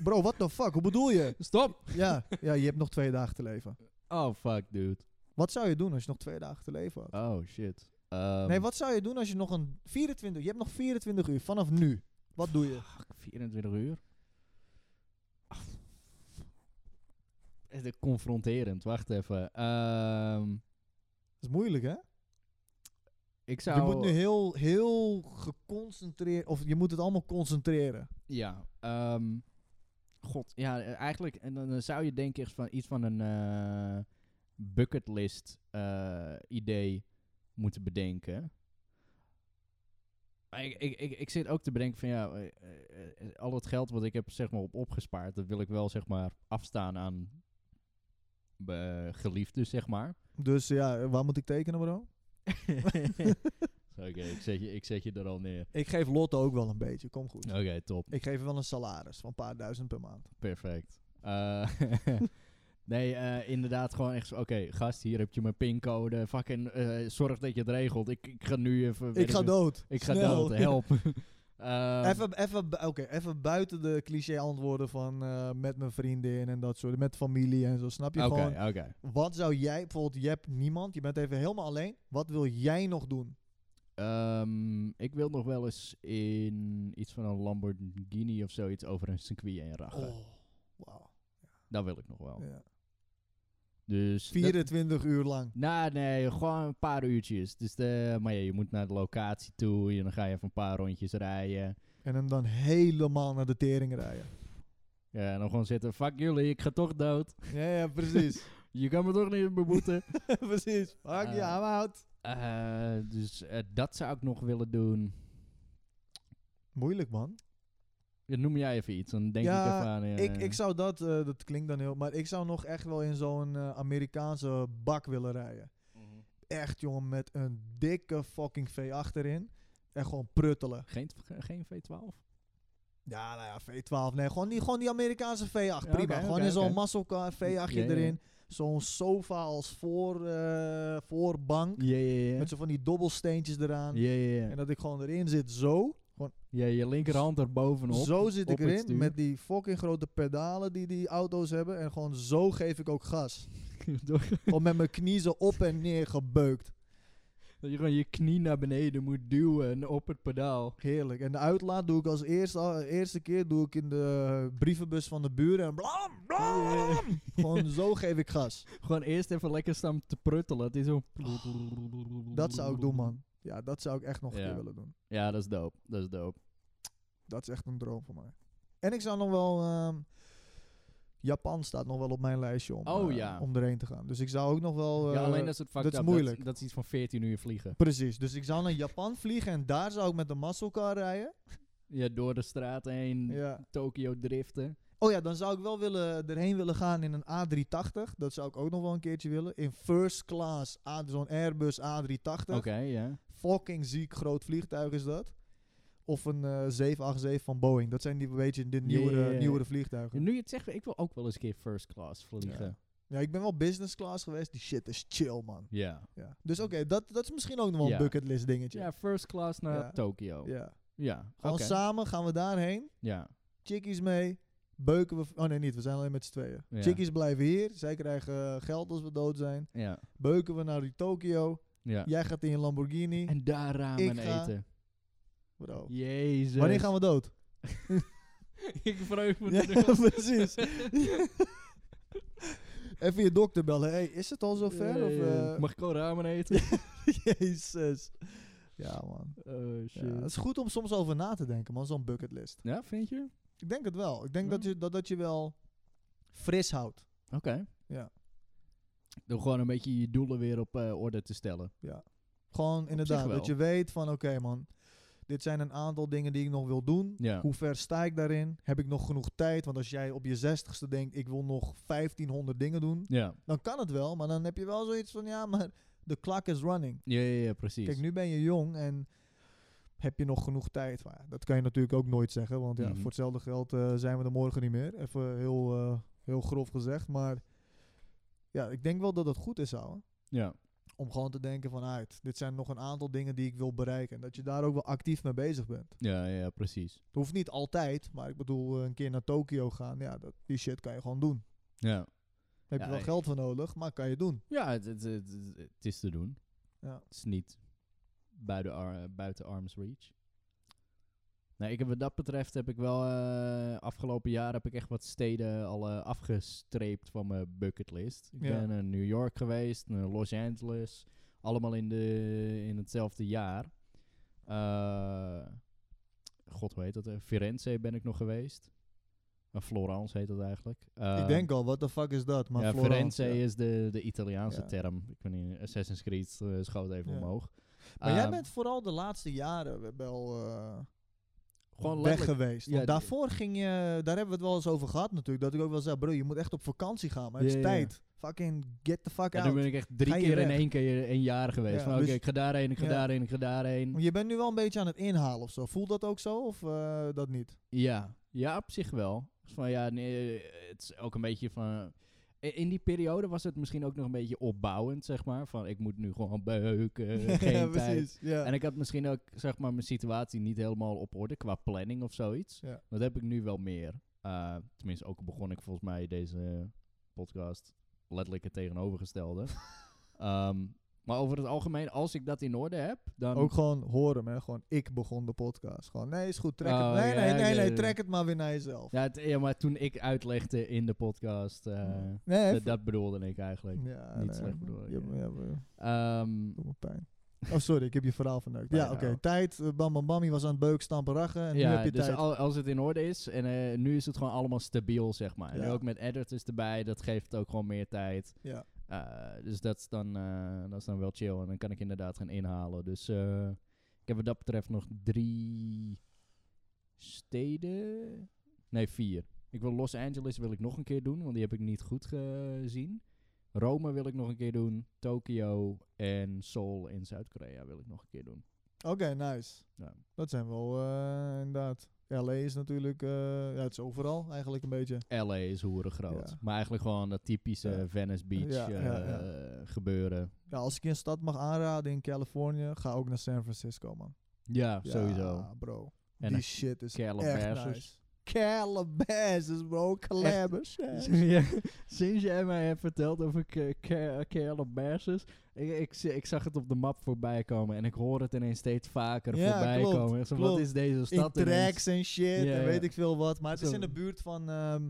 [SPEAKER 1] Bro, what the fuck? Hoe bedoel
[SPEAKER 2] [LAUGHS]
[SPEAKER 1] je?
[SPEAKER 2] Stop!
[SPEAKER 1] Ja, ja, je hebt nog twee dagen te leven.
[SPEAKER 2] Oh, fuck, dude.
[SPEAKER 1] Wat zou je doen als je nog twee dagen te leven had?
[SPEAKER 2] Oh, shit. Ehm,
[SPEAKER 1] nee, wat zou je doen als je nog een 24... Je hebt nog 24 uur vanaf nu. Wat doe je?
[SPEAKER 2] fuck, 24 uur? Ah. Eh, de- Confronterend, wacht even. Ehm,
[SPEAKER 1] Dat is moeilijk, hè?
[SPEAKER 2] ik
[SPEAKER 1] Je
[SPEAKER 2] zou...
[SPEAKER 1] moet nu heel, heel geconcentreerd... Of je moet het allemaal concentreren.
[SPEAKER 2] Ja, ehm, god, ja, eh, eigenlijk, en dan eh, zou je denken echt van iets van een eh, bucketlist eh, idee moeten bedenken. Maar ik, ik, ik, ik zit ook te bedenken van ja, eh, eh, eh, al het geld wat ik heb zeg maar op opgespaard, dat wil ik wel zeg maar afstaan aan eh, geliefden zeg maar. [LAUGHS]
[SPEAKER 1] Dus ja, eh, waar moet ik tekenen, bro?
[SPEAKER 2] Oké, ik, zet je- ik zet je er al neer.
[SPEAKER 1] Ik geef Lotte ook wel een beetje. Kom goed.
[SPEAKER 2] Oké, top.
[SPEAKER 1] Ik geef hem wel een salaris van een paar duizend per maand.
[SPEAKER 2] Perfect. Eh, [LAUGHS] nee, eh, inderdaad, gewoon echt zo, Oké, gast, hier heb je mijn pincode. Fucking eh, zorg dat je het regelt. Ik, ik ga nu even... weet
[SPEAKER 1] Ik ga
[SPEAKER 2] het-
[SPEAKER 1] dood.
[SPEAKER 2] Ik ga
[SPEAKER 1] Snel.
[SPEAKER 2] dood, help. Ehm,
[SPEAKER 1] [LAUGHS] Even, even, bu- oké, even buiten de cliché antwoorden van eh, met mijn vriendin en dat soort, met familie en zo. Snap je
[SPEAKER 2] Oké,
[SPEAKER 1] gewoon,
[SPEAKER 2] oké.
[SPEAKER 1] wat zou jij, bijvoorbeeld je hebt niemand, je bent even helemaal alleen. Wat wil jij nog doen?
[SPEAKER 2] Ehm, ik wil nog wel eens in iets van een Lamborghini of zoiets over een circuit heen ragen.
[SPEAKER 1] wauw.
[SPEAKER 2] Dat wil ik nog wel.
[SPEAKER 1] Oh. Ja.
[SPEAKER 2] Dus... dat-
[SPEAKER 1] 24 uur lang.
[SPEAKER 2] Nou, nee, gewoon een paar uurtjes. Dus de, maar ja, je moet naar de locatie toe. En dan ga je even een paar rondjes rijden.
[SPEAKER 1] En hem dan helemaal naar de tering rijden.
[SPEAKER 2] Ja, en dan gewoon zitten, fuck jullie, ik ga toch dood.
[SPEAKER 1] [LAUGHS] ja, ja, precies.
[SPEAKER 2] Je kan me toch niet beboeten.
[SPEAKER 1] [LAUGHS] precies. Fuck
[SPEAKER 2] Eh.
[SPEAKER 1] ja, I'm out.
[SPEAKER 2] [LAUGHS] Eh, dus eh, dat zou ik nog willen doen.
[SPEAKER 1] Moeilijk man.
[SPEAKER 2] Ja, Noem jij even iets, dan denk
[SPEAKER 1] Ja,
[SPEAKER 2] ik even aan... eh,
[SPEAKER 1] Ik, ik zou dat, eh, dat klinkt dan heel, maar ik zou nog echt wel in zo'n eh, Amerikaanse bak willen rijden.
[SPEAKER 2] Mhm.
[SPEAKER 1] echt, jongen, met een dikke fucking V achterin. En gewoon pruttelen.
[SPEAKER 2] Geen, ge- geen V12?
[SPEAKER 1] Ja, nou ja, V12. Nee, gewoon die, gewoon die Amerikaanse V8.
[SPEAKER 2] Ja,
[SPEAKER 1] prima.
[SPEAKER 2] oké,
[SPEAKER 1] gewoon
[SPEAKER 2] oké,
[SPEAKER 1] in zo'n
[SPEAKER 2] oké.
[SPEAKER 1] muscle car, V8 je
[SPEAKER 2] Ja, ja, ja.
[SPEAKER 1] erin. Zo'n sofa als voor, eh, voorbank.
[SPEAKER 2] Ja, ja, ja.
[SPEAKER 1] Met zo van die dobbelsteentjes eraan.
[SPEAKER 2] Ja, ja,
[SPEAKER 1] En
[SPEAKER 2] ja.
[SPEAKER 1] dat ik gewoon erin zit, zo. Gewoon
[SPEAKER 2] Ja, je linkerhand er bovenop.
[SPEAKER 1] zo zit ik
[SPEAKER 2] op het
[SPEAKER 1] erin.
[SPEAKER 2] stuur.
[SPEAKER 1] Met die fucking grote pedalen die die auto's hebben. En gewoon zo geef ik ook gas. [LAUGHS]
[SPEAKER 2] [LAUGHS] Door-
[SPEAKER 1] gewoon met mijn knieën op en neer gebeukt.
[SPEAKER 2] Dat je gewoon je knie naar beneden moet duwen op het pedaal.
[SPEAKER 1] Heerlijk. En de uitlaat doe ik als eerste, al- eerste keer doe ik in de brievenbus van de buren. En blam, blam, blam. Gewoon zo geef ik gas.
[SPEAKER 2] Gewoon eerst even lekker staan te pruttelen. Het is zo...
[SPEAKER 1] Dat zou ik doen,
[SPEAKER 2] [LAUGHS]
[SPEAKER 1] man. Ja, dat zou ik echt nog een
[SPEAKER 2] Ja.
[SPEAKER 1] keer willen doen.
[SPEAKER 2] Ja, dat is dope. Dat is dope.
[SPEAKER 1] Dat is echt een droom voor mij. En ik zou nog wel... ehm, Japan staat nog wel op mijn lijstje om,
[SPEAKER 2] Oh,
[SPEAKER 1] eh,
[SPEAKER 2] ja.
[SPEAKER 1] om erheen te gaan. Dus ik zou ook nog wel...
[SPEAKER 2] ja,
[SPEAKER 1] eh,
[SPEAKER 2] alleen dat is het fucked
[SPEAKER 1] dat is
[SPEAKER 2] up,
[SPEAKER 1] moeilijk.
[SPEAKER 2] Dat, dat is iets van 14 uur vliegen.
[SPEAKER 1] Precies. Dus ik zou naar Japan vliegen en daar zou ik met de musclecar rijden.
[SPEAKER 2] Ja, door de straat heen,
[SPEAKER 1] Ja.
[SPEAKER 2] Tokio driften.
[SPEAKER 1] Oh ja, dan zou ik wel willen, erheen willen gaan in een A380. Dat zou ik ook nog wel een keertje willen. In first class, A- zo'n Airbus A380.
[SPEAKER 2] Oké, ja.
[SPEAKER 1] Fucking ziek groot vliegtuig is dat. Of een eh 787 van Boeing. Dat zijn die een beetje de nieuwere,
[SPEAKER 2] ja, ja.
[SPEAKER 1] nieuwere vliegtuigen.
[SPEAKER 2] Nu je het zegt, ik wil ook wel eens een keer first class vliegen.
[SPEAKER 1] Ja, ik ben wel business class geweest. Die shit is chill, man.
[SPEAKER 2] Ja.
[SPEAKER 1] Ja. Dus oké, dat, dat is misschien ook nog wel een
[SPEAKER 2] Ja.
[SPEAKER 1] bucketlist dingetje.
[SPEAKER 2] Ja, first class naar
[SPEAKER 1] Ja.
[SPEAKER 2] Tokio. Ja,
[SPEAKER 1] Ja. Gewoon
[SPEAKER 2] oké.
[SPEAKER 1] samen gaan we daarheen.
[SPEAKER 2] Ja.
[SPEAKER 1] Chickies mee. Beuken we... Oh nee, niet. We zijn alleen met z'n tweeën.
[SPEAKER 2] Ja.
[SPEAKER 1] Chickies blijven hier. Zij krijgen eh, geld als we dood zijn.
[SPEAKER 2] Ja.
[SPEAKER 1] Beuken we naar die Tokio.
[SPEAKER 2] ja.
[SPEAKER 1] Jij gaat in je Lamborghini.
[SPEAKER 2] En daar ramen
[SPEAKER 1] Ik ga-
[SPEAKER 2] eten.
[SPEAKER 1] Bro.
[SPEAKER 2] Jezus.
[SPEAKER 1] Wanneer gaan we
[SPEAKER 2] [LAUGHS]
[SPEAKER 1] dood?
[SPEAKER 2] ik vreug me
[SPEAKER 1] Ja,
[SPEAKER 2] er
[SPEAKER 1] [LAUGHS]
[SPEAKER 2] nu al.
[SPEAKER 1] precies. Even je dokter bellen. Hey, is het al zover?
[SPEAKER 2] Ja,
[SPEAKER 1] of,
[SPEAKER 2] ja.
[SPEAKER 1] eh,
[SPEAKER 2] Mag ik al ramen eten?
[SPEAKER 1] [LAUGHS] Jezus. Ja, man.
[SPEAKER 2] oh, shit.
[SPEAKER 1] Ja, het is goed om soms over na te denken, man. Zo'n bucketlist.
[SPEAKER 2] Ja, vind je?
[SPEAKER 1] Ik denk het wel. Ik denk
[SPEAKER 2] Ja.
[SPEAKER 1] dat, je, dat, dat je wel fris houdt.
[SPEAKER 2] Oké.
[SPEAKER 1] Ja.
[SPEAKER 2] Door gewoon een beetje je doelen weer op eh, orde te stellen.
[SPEAKER 1] Gewoon inderdaad.
[SPEAKER 2] wel.
[SPEAKER 1] Dat je weet van, oké, man. Dit zijn een aantal dingen die ik nog wil doen.
[SPEAKER 2] Ja.
[SPEAKER 1] Hoe ver sta ik daarin? Heb ik nog genoeg tijd? Want als jij op je zestigste denkt, ik wil nog 1500 dingen doen.
[SPEAKER 2] Ja.
[SPEAKER 1] Dan kan het wel, maar dan heb je wel zoiets van, ja, maar de clock is running.
[SPEAKER 2] Ja, ja, ja, precies.
[SPEAKER 1] Kijk, nu ben je jong en heb je nog genoeg tijd. Maar ja, dat kan je natuurlijk ook nooit zeggen, want ja,
[SPEAKER 2] Mhm.
[SPEAKER 1] voor hetzelfde geld eh, zijn we er morgen niet meer. Even heel, eh, heel grof gezegd, maar ja, ik denk wel dat het goed is, ouwe.
[SPEAKER 2] Ja.
[SPEAKER 1] Om gewoon te denken van, uit, dit zijn nog een aantal dingen die ik wil bereiken. En dat je daar ook wel actief mee bezig bent.
[SPEAKER 2] Ja, ja, ja, precies.
[SPEAKER 1] Het hoeft niet altijd, maar ik bedoel, eh, een keer naar Tokio gaan, ja, dat, die shit kan je gewoon doen.
[SPEAKER 2] Ja.
[SPEAKER 1] Daar heb
[SPEAKER 2] Ja,
[SPEAKER 1] je wel
[SPEAKER 2] ik-
[SPEAKER 1] geld voor nodig, maar kan je doen.
[SPEAKER 2] Ja, het, het, het, het- het is te doen.
[SPEAKER 1] Ja.
[SPEAKER 2] Het is niet buiten, ar- buiten arm's reach. Nee, ik heb wat dat betreft heb ik wel eh, afgelopen jaar heb ik echt wat steden al eh, afgestreept van mijn bucketlist. Ik
[SPEAKER 1] Ja.
[SPEAKER 2] ben naar New York geweest, naar Los Angeles, allemaal in, de, in hetzelfde jaar. Eh, God, hoe heet dat? eh, Firenze ben ik nog geweest. Eh, Florence heet dat eigenlijk.
[SPEAKER 1] ik
[SPEAKER 2] Ehm,
[SPEAKER 1] denk al, what the fuck is dat? Maar
[SPEAKER 2] ja,
[SPEAKER 1] Florence,
[SPEAKER 2] Firenze
[SPEAKER 1] ja.
[SPEAKER 2] is de, de Italiaanse
[SPEAKER 1] Ja.
[SPEAKER 2] term. Ik weet niet, Assassin's Creed eh, schoot even
[SPEAKER 1] Ja.
[SPEAKER 2] omhoog.
[SPEAKER 1] Maar jij
[SPEAKER 2] Ehm,
[SPEAKER 1] bent vooral de laatste jaren wel eh,
[SPEAKER 2] gewoon
[SPEAKER 1] weg
[SPEAKER 2] letterlijk...
[SPEAKER 1] geweest.
[SPEAKER 2] ja,
[SPEAKER 1] Want
[SPEAKER 2] die-
[SPEAKER 1] daarvoor ging je, daar hebben we het wel eens over gehad natuurlijk, dat ik ook wel zei, bro, je moet echt op vakantie gaan, maar het
[SPEAKER 2] Ja,
[SPEAKER 1] is
[SPEAKER 2] ja, ja.
[SPEAKER 1] tijd. Fucking get the fuck
[SPEAKER 2] En
[SPEAKER 1] out.
[SPEAKER 2] toen ben ik echt drie
[SPEAKER 1] Ga je
[SPEAKER 2] keer in
[SPEAKER 1] weg.
[SPEAKER 2] één keer een jaar geweest.
[SPEAKER 1] Ja,
[SPEAKER 2] van oké,
[SPEAKER 1] dus-
[SPEAKER 2] ik ga daarheen, ik ga
[SPEAKER 1] ja.
[SPEAKER 2] daarheen, ik ga daarheen.
[SPEAKER 1] Maar je bent nu wel een beetje aan het inhalen of zo. Voelt dat ook zo of eh, dat niet?
[SPEAKER 2] Ja, ja, op zich wel. Dus Van ja, nee, eh, het is ook een beetje van... i- In die periode was het misschien ook nog een beetje opbouwend, zeg maar. Van ik moet nu
[SPEAKER 1] [LAUGHS]
[SPEAKER 2] gewoon beuken, Eh, geen
[SPEAKER 1] ja,
[SPEAKER 2] tijd.
[SPEAKER 1] precies. Ja.
[SPEAKER 2] En ik had misschien ook, zeg maar, mijn situatie niet helemaal op orde qua planning of zoiets.
[SPEAKER 1] Ja.
[SPEAKER 2] Dat heb ik nu wel meer. Eh, tenminste, ook begon ik volgens mij deze podcast letterlijk het
[SPEAKER 1] [LAUGHS]
[SPEAKER 2] tegenovergestelde. Ehm, maar over het algemeen, als ik dat in orde heb, dan...
[SPEAKER 1] Ook gewoon horen, hè. Gewoon, ik begon de podcast. Gewoon, nee, is goed, trek
[SPEAKER 2] Oh,
[SPEAKER 1] het. Nee,
[SPEAKER 2] ja,
[SPEAKER 1] nee, nee,
[SPEAKER 2] ja,
[SPEAKER 1] nee,
[SPEAKER 2] ja.
[SPEAKER 1] trek het maar weer naar jezelf.
[SPEAKER 2] ja, het- ja, maar toen ik uitlegde in de podcast, eh,
[SPEAKER 1] nee,
[SPEAKER 2] dat, dat bedoelde ik eigenlijk.
[SPEAKER 1] ja,
[SPEAKER 2] niet
[SPEAKER 1] nee,
[SPEAKER 2] slecht bedoel ik,
[SPEAKER 1] Ja,
[SPEAKER 2] ja.
[SPEAKER 1] ja, maar-
[SPEAKER 2] Ehm,
[SPEAKER 1] Doe me pijn. Oh, sorry, ik heb je verhaal verneukt. Ja, oké.
[SPEAKER 2] Bijna wel.
[SPEAKER 1] Tijd, eh, bam bam bam, je was aan het beuk, stampen, rachen en nu
[SPEAKER 2] ja,
[SPEAKER 1] heb je
[SPEAKER 2] dus
[SPEAKER 1] tijd.
[SPEAKER 2] al- als het in orde is, en eh, nu is het gewoon allemaal stabiel, zeg maar.
[SPEAKER 1] Ja.
[SPEAKER 2] Nu ook met editors erbij, dat geeft ook gewoon meer tijd.
[SPEAKER 1] Ja.
[SPEAKER 2] Eh, dus dat is, dan, eh, dat is dan wel chill. En dan kan ik inderdaad gaan inhalen. Dus eh, ik heb wat dat betreft nog drie steden. Nee, vier. Ik wil Los Angeles wil ik nog een keer doen, want die heb ik niet goed gezien. Rome wil ik nog een keer doen. Tokio en Seoul in Zuid-Korea wil ik nog een keer doen.
[SPEAKER 1] Oké, nice.
[SPEAKER 2] Ja.
[SPEAKER 1] Dat zijn wel, eh, inderdaad. LA is natuurlijk, eh, ja, het is overal eigenlijk een beetje.
[SPEAKER 2] LA is hoeren groot.
[SPEAKER 1] Ja.
[SPEAKER 2] Maar eigenlijk gewoon dat typische
[SPEAKER 1] Ja.
[SPEAKER 2] Venice Beach
[SPEAKER 1] Ja, ja,
[SPEAKER 2] eh, gebeuren.
[SPEAKER 1] Ja, als ik je een stad mag aanraden in Californië, ga ook naar San Francisco, man.
[SPEAKER 2] Ja,
[SPEAKER 1] Ja,
[SPEAKER 2] sowieso.
[SPEAKER 1] bro.
[SPEAKER 2] En
[SPEAKER 1] Die
[SPEAKER 2] dan
[SPEAKER 1] shit is echt
[SPEAKER 2] Calabasas.
[SPEAKER 1] nice. Calabasas, bro. Calabasas.
[SPEAKER 2] ja, sinds jij [LAUGHS] mij hebt verteld over Ca- Ca- Calabasas, ik, ik, zi- ik zag het op de map voorbij komen en ik hoor het ineens steeds vaker
[SPEAKER 1] Ja,
[SPEAKER 2] voorbij
[SPEAKER 1] klopt,
[SPEAKER 2] komen. Ik zeg, wat
[SPEAKER 1] klopt.
[SPEAKER 2] is deze
[SPEAKER 1] In
[SPEAKER 2] stad ineens?
[SPEAKER 1] tracks en shit
[SPEAKER 2] Ja,
[SPEAKER 1] en
[SPEAKER 2] ja.
[SPEAKER 1] weet ik veel wat. Maar het is
[SPEAKER 2] Zo.
[SPEAKER 1] in de buurt van... ehm,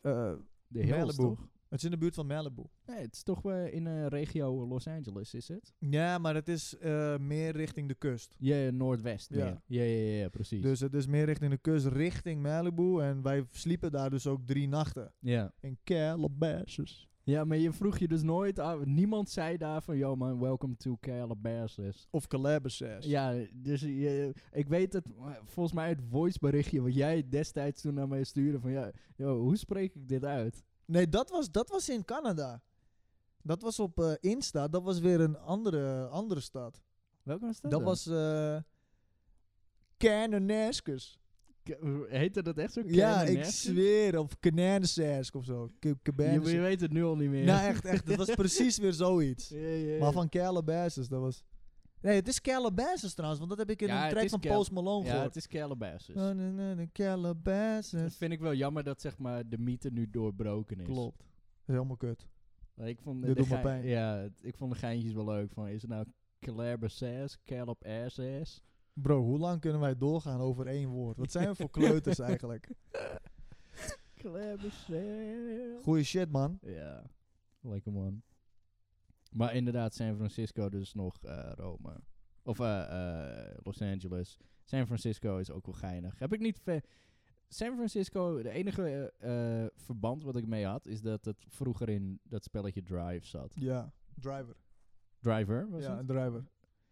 [SPEAKER 1] eh,
[SPEAKER 2] De hills,
[SPEAKER 1] Malibu.
[SPEAKER 2] toch?
[SPEAKER 1] het is in de buurt van Malibu.
[SPEAKER 2] Nee, het is toch eh, in eh, regio Los Angeles, is het?
[SPEAKER 1] Ja, maar het is eh, meer richting de kust.
[SPEAKER 2] Ja, ja, noordwest.
[SPEAKER 1] Ja.
[SPEAKER 2] meer. Ja, ja, ja, ja, precies.
[SPEAKER 1] Dus het is meer richting de kust, richting Malibu. En wij sliepen daar dus ook drie nachten.
[SPEAKER 2] ja.
[SPEAKER 1] In Calabasas.
[SPEAKER 2] ja, maar je vroeg je dus nooit aan. Niemand zei daar van, yo man, welcome to Calabasas.
[SPEAKER 1] Of Calabasas.
[SPEAKER 2] Ja, dus je, ik weet het, maar volgens mij het voiceberichtje wat jij destijds toen naar mij stuurde van, ja, yo, hoe spreek ik dit uit?
[SPEAKER 1] Nee, dat was, dat was in Canada. Dat was op eh, Insta. Dat was weer een andere, andere stad.
[SPEAKER 2] Welke was dat
[SPEAKER 1] Dat was eh Kananaskis.
[SPEAKER 2] Heette dat echt zo?
[SPEAKER 1] Ja, ik
[SPEAKER 2] Canonastic?
[SPEAKER 1] zweer. Of Kananasask of zo. K-
[SPEAKER 2] Je,
[SPEAKER 1] Cabanas-
[SPEAKER 2] je weet het nu al niet meer.
[SPEAKER 1] Nou, echt, echt. Dat
[SPEAKER 2] [LAUGHS]
[SPEAKER 1] was precies weer zoiets.
[SPEAKER 2] Ja, ja, ja.
[SPEAKER 1] Maar van Calabasas, dat was... Nee, het is Calabasas trouwens. Want dat heb ik in
[SPEAKER 2] Ja,
[SPEAKER 1] een
[SPEAKER 2] het
[SPEAKER 1] track
[SPEAKER 2] is
[SPEAKER 1] van
[SPEAKER 2] Cal-
[SPEAKER 1] Post Malone
[SPEAKER 2] Ja,
[SPEAKER 1] gehoord.
[SPEAKER 2] het is Calabasas.
[SPEAKER 1] Oh, nee, nee, nee,
[SPEAKER 2] Dat
[SPEAKER 1] Calabasas.
[SPEAKER 2] vind ik wel jammer dat zeg maar, de mythe nu doorbroken is.
[SPEAKER 1] Klopt. Dat is helemaal kut.
[SPEAKER 2] Maar Ik vond,
[SPEAKER 1] Dit
[SPEAKER 2] de
[SPEAKER 1] doet me
[SPEAKER 2] gein-
[SPEAKER 1] pijn.
[SPEAKER 2] Ja, het- ik vond de geintjes wel leuk. Van, is het nou Calabasas, Calabasas?
[SPEAKER 1] Bro, hoe lang kunnen wij doorgaan over één woord? Wat zijn we
[SPEAKER 2] [LAUGHS]
[SPEAKER 1] voor kleuters eigenlijk?
[SPEAKER 2] Calabasas.
[SPEAKER 1] Goeie shit, man.
[SPEAKER 2] Ja, lekker man. Maar inderdaad, San Francisco dus nog eh, Rome. Of eh, eh, Los Angeles. San Francisco is ook wel geinig. Heb ik niet... ve- San Francisco, de enige eh, eh, verband wat ik mee had... is dat het vroeger in dat spelletje Drive zat.
[SPEAKER 1] Ja, driver.
[SPEAKER 2] Driver was
[SPEAKER 1] ja,
[SPEAKER 2] het?
[SPEAKER 1] een driver.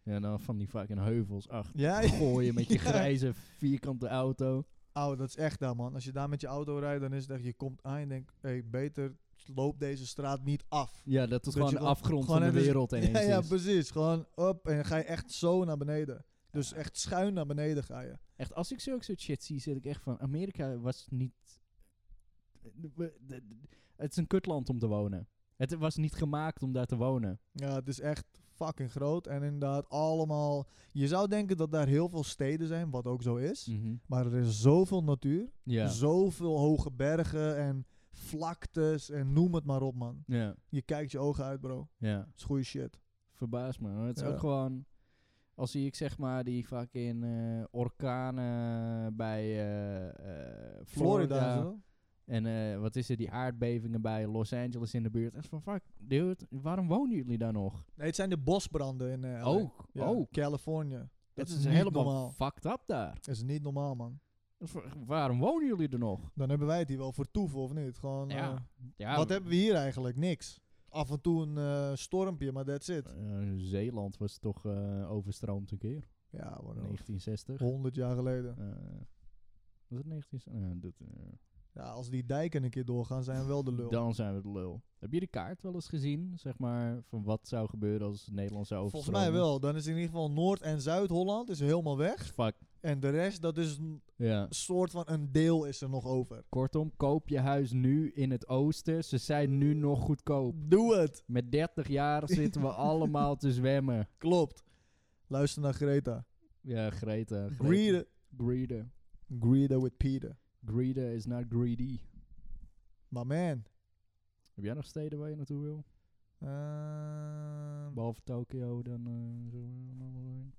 [SPEAKER 2] Ja, dan van die fucking heuvels achter
[SPEAKER 1] Ja,
[SPEAKER 2] gooien met je
[SPEAKER 1] [LAUGHS] Ja.
[SPEAKER 2] grijze vierkante auto.
[SPEAKER 1] Auw, dat is echt daar, man. Als je daar met je auto rijdt, dan is het echt, je komt aan en je denkt, hey, beter loop deze straat niet af.
[SPEAKER 2] Ja, dat is
[SPEAKER 1] Dat
[SPEAKER 2] gewoon
[SPEAKER 1] je
[SPEAKER 2] de
[SPEAKER 1] gewoon-
[SPEAKER 2] afgrond
[SPEAKER 1] Gewoon
[SPEAKER 2] van de
[SPEAKER 1] even-
[SPEAKER 2] wereld ineens
[SPEAKER 1] [LAUGHS] Ja, ja,
[SPEAKER 2] is.
[SPEAKER 1] precies. Gewoon op en dan ga je echt zo naar beneden. Dus
[SPEAKER 2] Ja.
[SPEAKER 1] echt schuin naar beneden ga je.
[SPEAKER 2] Echt, als ik zulke soort shit zie, zit ik echt van... Amerika was niet... Het is een kutland om te wonen. Het was niet gemaakt om daar te wonen.
[SPEAKER 1] Ja, het is echt fucking groot en inderdaad allemaal... Je zou denken dat daar heel veel steden zijn, wat ook zo is. Maar er is zoveel natuur,
[SPEAKER 2] Mm. Ja.
[SPEAKER 1] zoveel hoge bergen en vlaktes en noem het maar op, man.
[SPEAKER 2] ja.
[SPEAKER 1] Je kijkt je ogen uit, bro.
[SPEAKER 2] Ja.
[SPEAKER 1] Dat is goede shit.
[SPEAKER 2] Verbaas me. hoor. Het is
[SPEAKER 1] Ja.
[SPEAKER 2] ook gewoon... Als zie ik zeg maar die fucking eh orkanen bij eh,
[SPEAKER 1] Florida,
[SPEAKER 2] eh, Florida
[SPEAKER 1] en zo.
[SPEAKER 2] En eh, wat is er, die aardbevingen bij Los Angeles in de buurt. En van, fuck, dude, waarom wonen jullie daar nog?
[SPEAKER 1] Nee, het zijn de bosbranden in eh, LA.
[SPEAKER 2] Ook,
[SPEAKER 1] Ja,
[SPEAKER 2] ook.
[SPEAKER 1] Californië.
[SPEAKER 2] Dat
[SPEAKER 1] Dat
[SPEAKER 2] Oh, is,
[SPEAKER 1] is niet
[SPEAKER 2] helemaal
[SPEAKER 1] normaal.
[SPEAKER 2] fucked up daar.
[SPEAKER 1] Dat is niet normaal, man.
[SPEAKER 2] Dat is voor- Waarom wonen jullie er nog?
[SPEAKER 1] Dan hebben wij het hier wel voor toeven, of niet? Gewoon, eh,
[SPEAKER 2] ja
[SPEAKER 1] wat hebben we hier eigenlijk? Niks. Af en toe een eh, stormpje, maar that's it.
[SPEAKER 2] eh, Zeeland was toch eh, overstroomd een keer.
[SPEAKER 1] Ja, wat dan ook.
[SPEAKER 2] 1960.
[SPEAKER 1] 100 jaar geleden.
[SPEAKER 2] Eh, was het 1960? Eh, dat, eh,
[SPEAKER 1] Ja, als die dijken een keer doorgaan, zijn we wel de lul.
[SPEAKER 2] Dan zijn we de lul. Heb je de kaart wel eens gezien, zeg maar, van wat zou gebeuren als Nederland zou
[SPEAKER 1] Volgens
[SPEAKER 2] overstromen?
[SPEAKER 1] mij wel. Dan is in ieder geval Noord- en Zuid-Holland is helemaal weg.
[SPEAKER 2] Fuck,
[SPEAKER 1] En de rest, dat is een
[SPEAKER 2] ja.
[SPEAKER 1] soort van een deel is er nog over.
[SPEAKER 2] Kortom, koop je huis nu in het oosten. Ze zijn nu nog goedkoop.
[SPEAKER 1] Doe het.
[SPEAKER 2] Met 30
[SPEAKER 1] [LAUGHS]
[SPEAKER 2] jaar zitten we allemaal te zwemmen.
[SPEAKER 1] Klopt. Luister naar Greta.
[SPEAKER 2] Ja, Greta. Greta.
[SPEAKER 1] Greeden.
[SPEAKER 2] Greeden.
[SPEAKER 1] Greedo with Peter.
[SPEAKER 2] Greeden is not greedy.
[SPEAKER 1] Maar man.
[SPEAKER 2] Heb jij nog steden waar je naartoe wil?
[SPEAKER 1] ehm,
[SPEAKER 2] Behalve Tokio, dan... eh, zullen we er nog wel heen?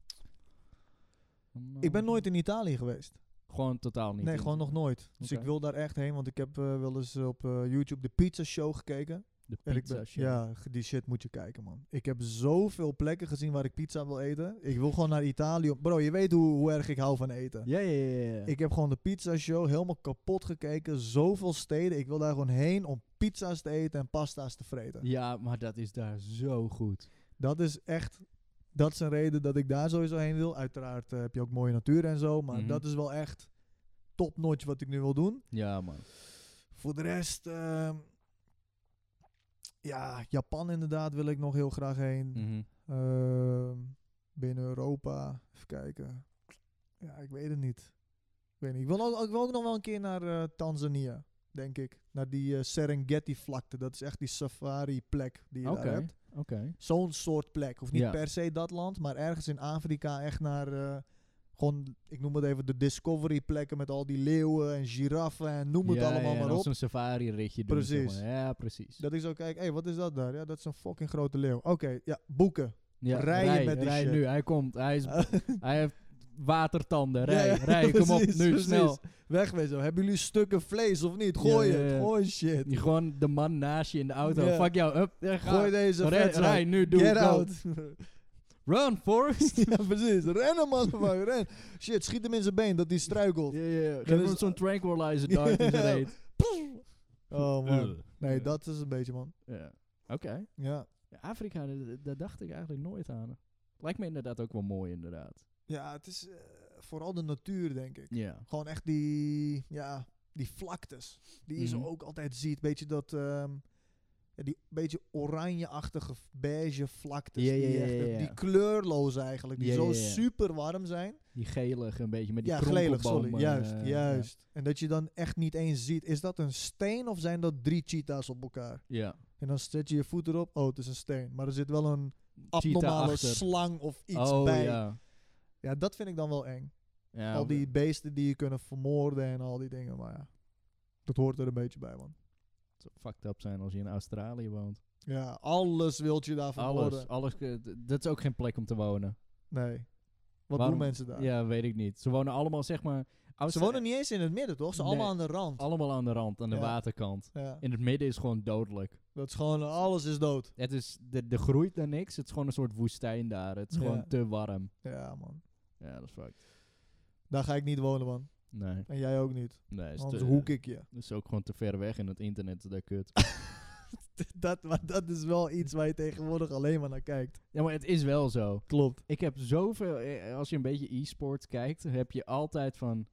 [SPEAKER 2] Dan, eh,
[SPEAKER 1] ik ben nooit in Italië geweest.
[SPEAKER 2] Gewoon totaal niet.
[SPEAKER 1] Nee,
[SPEAKER 2] in-
[SPEAKER 1] gewoon nog nooit. Dus
[SPEAKER 2] Oké.
[SPEAKER 1] ik wil daar echt heen, want ik heb eh, wel eens op eh, YouTube de Pizza Show gekeken.
[SPEAKER 2] De
[SPEAKER 1] En ik
[SPEAKER 2] pizza
[SPEAKER 1] ben-
[SPEAKER 2] show.
[SPEAKER 1] Ja, g- die shit moet je kijken, man. Ik heb zoveel plekken gezien waar ik pizza wil eten. Ik wil gewoon naar Italië. om- Bro, je weet hoe, hoe erg ik hou van eten.
[SPEAKER 2] Ja, ja, ja, ja.
[SPEAKER 1] Ik heb gewoon de Pizza Show helemaal kapot gekeken. Zoveel steden. Ik wil daar gewoon heen om pizza's te eten en pasta's te vreten.
[SPEAKER 2] ja, maar dat is daar zo goed.
[SPEAKER 1] Dat is echt. Dat is een reden dat ik daar sowieso heen wil. Uiteraard eh, heb je ook mooie natuur en zo. Maar
[SPEAKER 2] Mhm.
[SPEAKER 1] dat is wel echt topnotch wat ik nu wil doen.
[SPEAKER 2] Ja, man.
[SPEAKER 1] Voor de rest. ehm, ja, Japan inderdaad wil ik nog heel graag heen.
[SPEAKER 2] Mhm.
[SPEAKER 1] Ehm, binnen Europa. Even kijken. Ja, ik weet het niet. Ik weet niet. Ik wil ook, ik wil ook nog wel een keer naar eh, Tanzania. Denk ik. Naar die eh, Serengeti-vlakte. Dat is echt die safari-plek die je
[SPEAKER 2] Oké,
[SPEAKER 1] daar hebt
[SPEAKER 2] oké.
[SPEAKER 1] zo'n soort plek. Of niet
[SPEAKER 2] Ja.
[SPEAKER 1] per se dat land, maar ergens in Afrika echt naar eh, Gewoon, ik noem het even de Discovery plekken met al die leeuwen en giraffen en noem het
[SPEAKER 2] ja,
[SPEAKER 1] allemaal
[SPEAKER 2] ja,
[SPEAKER 1] maar
[SPEAKER 2] en
[SPEAKER 1] op.
[SPEAKER 2] als een safari-ritje doen. zeg
[SPEAKER 1] Precies.
[SPEAKER 2] maar. Ja, precies.
[SPEAKER 1] Dat ik zo kijk, hé, wat is dat daar? Ja, dat is een fucking grote leeuw. Oké, ja, boeken.
[SPEAKER 2] Ja,
[SPEAKER 1] Rijden
[SPEAKER 2] rij,
[SPEAKER 1] met die
[SPEAKER 2] rij
[SPEAKER 1] shit.
[SPEAKER 2] nu, hij komt. Hij, is,
[SPEAKER 1] [LAUGHS]
[SPEAKER 2] hij heeft watertanden. Rij,
[SPEAKER 1] Ja, ja,
[SPEAKER 2] rij, kom op, nu,
[SPEAKER 1] precies, precies.
[SPEAKER 2] snel.
[SPEAKER 1] Wegwezen. Hebben jullie stukken vlees of niet? Gooi
[SPEAKER 2] Ja, ja, ja.
[SPEAKER 1] het. Gooi shit.
[SPEAKER 2] Je gewoon de man naast je in de auto.
[SPEAKER 1] Ja.
[SPEAKER 2] Fuck jou, up, daar ga.
[SPEAKER 1] Gooi deze
[SPEAKER 2] Rij,
[SPEAKER 1] vets
[SPEAKER 2] rij,
[SPEAKER 1] uit.
[SPEAKER 2] nu, doe
[SPEAKER 1] Get
[SPEAKER 2] go.
[SPEAKER 1] out. [LAUGHS]
[SPEAKER 2] Run, Forrest.
[SPEAKER 1] ja, precies. Rennen, man. Ren. Shit, schiet hem in zijn been dat hij struikelt.
[SPEAKER 2] Ja, ja, ja. Geef
[SPEAKER 1] Dat
[SPEAKER 2] hem
[SPEAKER 1] is-
[SPEAKER 2] zo'n tranquilizer dart in zijn
[SPEAKER 1] Ja.
[SPEAKER 2] reet.
[SPEAKER 1] Oh, man. Nee,
[SPEAKER 2] Ja.
[SPEAKER 1] dat is een beetje, man.
[SPEAKER 2] Ja. Oké.
[SPEAKER 1] Ja.
[SPEAKER 2] Ja, Afrika, d- d- daar dacht ik eigenlijk nooit aan. Lijkt me inderdaad ook wel mooi, inderdaad.
[SPEAKER 1] Ja, het is eh, vooral de natuur, denk ik.
[SPEAKER 2] Ja.
[SPEAKER 1] Gewoon echt die, ja, die vlaktes. Die je
[SPEAKER 2] Mhm.
[SPEAKER 1] zo ook altijd ziet. Beetje dat, ehm, ja, die beetje oranje-achtige v- beige vlaktes.
[SPEAKER 2] Ja, ja,
[SPEAKER 1] die,
[SPEAKER 2] ja,
[SPEAKER 1] echt,
[SPEAKER 2] ja,
[SPEAKER 1] eh,
[SPEAKER 2] ja.
[SPEAKER 1] die kleurloos eigenlijk. Die
[SPEAKER 2] Ja,
[SPEAKER 1] zo
[SPEAKER 2] ja, ja.
[SPEAKER 1] super warm zijn.
[SPEAKER 2] Die gelige een beetje met die
[SPEAKER 1] ja, glelig,
[SPEAKER 2] kronkelbomen.
[SPEAKER 1] sorry. Juist,
[SPEAKER 2] eh,
[SPEAKER 1] juist. En dat je dan echt niet eens ziet, is dat een steen of zijn dat drie cheetahs op elkaar?
[SPEAKER 2] Ja.
[SPEAKER 1] En dan zet je je voet erop, oh, het is een steen. Maar er zit wel een
[SPEAKER 2] Cheetah
[SPEAKER 1] abnormale
[SPEAKER 2] achter.
[SPEAKER 1] slang of iets
[SPEAKER 2] oh,
[SPEAKER 1] bij. Ja.
[SPEAKER 2] ja.
[SPEAKER 1] dat vind ik dan wel eng.
[SPEAKER 2] ja.
[SPEAKER 1] al die beesten die je kunnen vermoorden en al die dingen. Maar ja, dat hoort er een beetje bij, man.
[SPEAKER 2] Het zou fucked up zijn als je in Australië woont.
[SPEAKER 1] Ja, alles wilt je daar vermoorden.
[SPEAKER 2] Alles, alles. eh, d- Dat is ook geen plek om te wonen.
[SPEAKER 1] Nee. Wat
[SPEAKER 2] Waarom-
[SPEAKER 1] doen mensen daar?
[SPEAKER 2] Ja, weet ik niet. Ze wonen allemaal, zeg maar... Austra-
[SPEAKER 1] Ze wonen niet eens in het midden, toch? Ze
[SPEAKER 2] Nee.
[SPEAKER 1] allemaal aan de rand.
[SPEAKER 2] Allemaal aan de rand, aan de
[SPEAKER 1] Ja.
[SPEAKER 2] waterkant.
[SPEAKER 1] Ja.
[SPEAKER 2] In het midden is gewoon dodelijk.
[SPEAKER 1] Dat is gewoon, alles is dood.
[SPEAKER 2] Het is, de, de groeit daar niks. Het is gewoon een soort woestijn daar. Het is
[SPEAKER 1] Ja.
[SPEAKER 2] gewoon te warm.
[SPEAKER 1] Ja, man.
[SPEAKER 2] Ja, dat is fucked.
[SPEAKER 1] Daar ga ik niet wonen, man.
[SPEAKER 2] Nee,
[SPEAKER 1] En jij ook niet.
[SPEAKER 2] nee. Is
[SPEAKER 1] Anders
[SPEAKER 2] te-
[SPEAKER 1] hoek ik je.
[SPEAKER 2] Het is ook gewoon te ver weg en het internet is daar kut. [LAUGHS]
[SPEAKER 1] dat, maar dat is wel iets waar je tegenwoordig alleen maar naar kijkt.
[SPEAKER 2] ja, maar het is wel zo.
[SPEAKER 1] Klopt.
[SPEAKER 2] Ik heb zoveel... eh, Als je een beetje e-sport kijkt, heb je altijd van...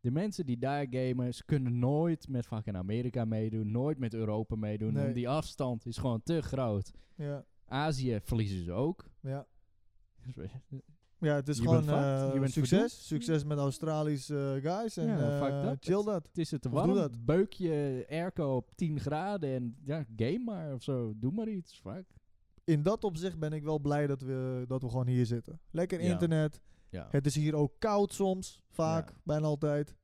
[SPEAKER 2] De mensen die daar gamen, ze kunnen nooit met fucking Amerika meedoen. Nooit met Europa meedoen.
[SPEAKER 1] Nee.
[SPEAKER 2] En die afstand is gewoon te groot.
[SPEAKER 1] Ja,
[SPEAKER 2] Azië verliezen ze ook. [LAUGHS]
[SPEAKER 1] ja.
[SPEAKER 2] ja,
[SPEAKER 1] ja het is
[SPEAKER 2] Je
[SPEAKER 1] gewoon
[SPEAKER 2] bent fucked.
[SPEAKER 1] eh,
[SPEAKER 2] Je bent verdoemd.
[SPEAKER 1] succes. Succes met Australische eh, guys. En
[SPEAKER 2] Ja, fuck
[SPEAKER 1] eh,
[SPEAKER 2] dat.
[SPEAKER 1] chill dat.
[SPEAKER 2] het is het te
[SPEAKER 1] Of doe
[SPEAKER 2] warm.
[SPEAKER 1] dat.
[SPEAKER 2] Beuk je airco op 10 graden en ja, game maar of zo. Doe maar iets. Fuck.
[SPEAKER 1] In dat opzicht ben ik wel blij dat we, dat we gewoon hier zitten. Lekker
[SPEAKER 2] Ja.
[SPEAKER 1] internet.
[SPEAKER 2] Ja.
[SPEAKER 1] Het is hier ook koud soms. Vaak,
[SPEAKER 2] Ja.
[SPEAKER 1] bijna altijd.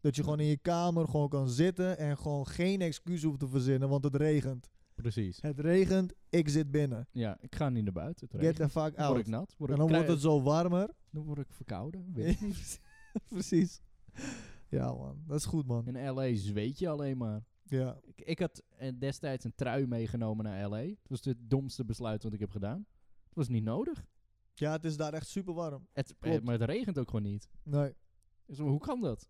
[SPEAKER 1] Dat je
[SPEAKER 2] Ja.
[SPEAKER 1] gewoon in je kamer gewoon kan zitten en gewoon geen excuus hoeft te verzinnen, want het regent.
[SPEAKER 2] Precies.
[SPEAKER 1] Het regent, ik zit binnen.
[SPEAKER 2] Ja, ik ga niet naar buiten. Het
[SPEAKER 1] Get
[SPEAKER 2] regent.
[SPEAKER 1] the fuck
[SPEAKER 2] word ik
[SPEAKER 1] out.
[SPEAKER 2] nat. Word
[SPEAKER 1] En
[SPEAKER 2] ik
[SPEAKER 1] dan
[SPEAKER 2] krij-
[SPEAKER 1] wordt het zo warmer.
[SPEAKER 2] dan word ik verkouden. weet
[SPEAKER 1] [LAUGHS]
[SPEAKER 2] ik niet.
[SPEAKER 1] Precies. Ja, man. Dat is goed, man.
[SPEAKER 2] In LA zweet je alleen maar.
[SPEAKER 1] Ja.
[SPEAKER 2] Ik, ik had eh, destijds een trui meegenomen naar LA. Het was het domste besluit wat ik heb gedaan. Het was niet nodig.
[SPEAKER 1] Ja, het is daar echt super warm.
[SPEAKER 2] Het, eh,
[SPEAKER 1] Klopt.
[SPEAKER 2] maar het regent ook gewoon niet.
[SPEAKER 1] Nee.
[SPEAKER 2] Dus hoe kan dat?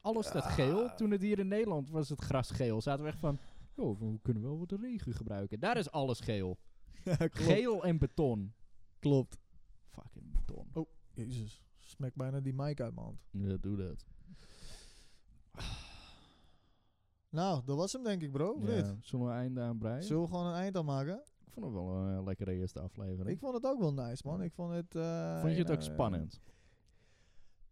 [SPEAKER 2] Alles staat
[SPEAKER 1] Ja.
[SPEAKER 2] geel. Toen het hier in Nederland was het gras geel. Zaten we echt van, joh, we kunnen wel wat regen gebruiken. Daar is alles geel.
[SPEAKER 1] [LAUGHS] Ja, klopt.
[SPEAKER 2] Geel en beton.
[SPEAKER 1] klopt. Oh.
[SPEAKER 2] Fucking beton.
[SPEAKER 1] Jezus. Smek bijna die mic uit mijn hand.
[SPEAKER 2] Ja, doe dat.
[SPEAKER 1] Nou, dat was hem denk ik, bro. of niet?
[SPEAKER 2] Ja, zullen we een einde aan breien?
[SPEAKER 1] Zullen we gewoon een eind aan maken?
[SPEAKER 2] Ik vond het wel een eh, lekkere eerste aflevering.
[SPEAKER 1] Ik vond het ook wel nice, man. Ik vond het... eh,
[SPEAKER 2] vond je het ook
[SPEAKER 1] eh,
[SPEAKER 2] spannend?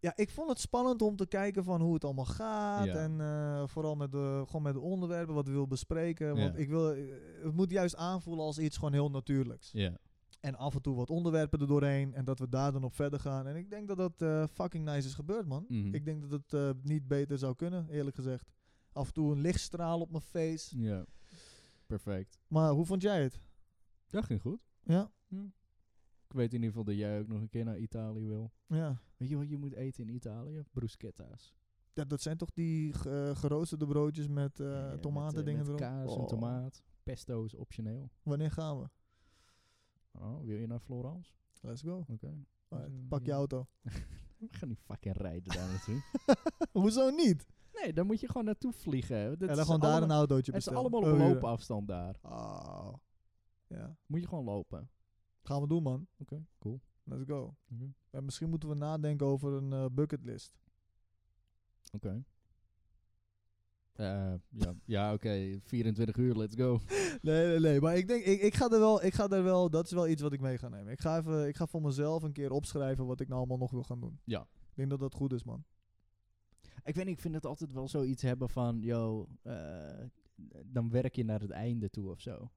[SPEAKER 1] Ja, ik vond het spannend om te kijken van hoe het allemaal gaat.
[SPEAKER 2] Ja.
[SPEAKER 1] En eh, vooral met de, gewoon met de onderwerpen, wat we wil bespreken. Want
[SPEAKER 2] Ja.
[SPEAKER 1] ik wil, eh, het moet juist aanvoelen als iets gewoon heel natuurlijks.
[SPEAKER 2] Ja.
[SPEAKER 1] En af en toe wat onderwerpen er doorheen. En dat we daar dan op verder gaan. En ik denk dat dat eh, fucking nice is gebeurd, man.
[SPEAKER 2] Mhm.
[SPEAKER 1] Ik denk dat het eh, niet beter zou kunnen, eerlijk gezegd. Af en toe een lichtstraal op mijn face.
[SPEAKER 2] Ja. Perfect.
[SPEAKER 1] Maar hoe vond jij het?
[SPEAKER 2] Dat ging goed.
[SPEAKER 1] Ja?
[SPEAKER 2] Ik weet in ieder geval dat jij ook nog een keer naar Italië wil.
[SPEAKER 1] Ja.
[SPEAKER 2] Weet je wat je moet eten in Italië? Bruschetta's.
[SPEAKER 1] Dat, dat zijn toch die ge- eh, geroosterde broodjes met eh
[SPEAKER 2] Ja, met, eh,
[SPEAKER 1] tomaten dingen
[SPEAKER 2] met
[SPEAKER 1] erop?
[SPEAKER 2] kaas en
[SPEAKER 1] Oh.
[SPEAKER 2] tomaat. Pesto is optioneel.
[SPEAKER 1] Wanneer gaan we?
[SPEAKER 2] Oh, wil je naar Florence?
[SPEAKER 1] Let's go.
[SPEAKER 2] Oké.
[SPEAKER 1] Alright,
[SPEAKER 2] eh,
[SPEAKER 1] pak je
[SPEAKER 2] ja.
[SPEAKER 1] auto.
[SPEAKER 2] We gaan niet fucking rijden daar [LAUGHS] naartoe.
[SPEAKER 1] [LAUGHS] Hoezo niet?
[SPEAKER 2] Nee, dan moet je gewoon naartoe vliegen. Dat
[SPEAKER 1] en
[SPEAKER 2] is
[SPEAKER 1] dan gewoon daar een
[SPEAKER 2] allemaal-
[SPEAKER 1] autootje
[SPEAKER 2] Het is
[SPEAKER 1] bestellen.
[SPEAKER 2] allemaal op
[SPEAKER 1] Oh, huren.
[SPEAKER 2] loopafstand daar.
[SPEAKER 1] Oh. Ja.
[SPEAKER 2] Moet je gewoon lopen.
[SPEAKER 1] Gaan we doen, man.
[SPEAKER 2] Oké, cool.
[SPEAKER 1] Let's go.
[SPEAKER 2] Oké.
[SPEAKER 1] En misschien moeten we nadenken over een eh, bucketlist.
[SPEAKER 2] Oké. Eh, ja, ja oké. 24 uur, let's go.
[SPEAKER 1] Nee, nee, nee. Maar ik denk, ik, ik ga er wel, ik ga er wel, dat is wel iets wat ik mee ga nemen. Ik ga, even, ik ga voor mezelf een keer opschrijven wat ik nou allemaal nog wil gaan doen.
[SPEAKER 2] Ja.
[SPEAKER 1] Ik denk dat dat goed is, man.
[SPEAKER 2] [LAUGHS] Ik weet niet, ik vind het altijd wel zoiets hebben van... Yo, eh, dan werk je naar het einde toe of zo.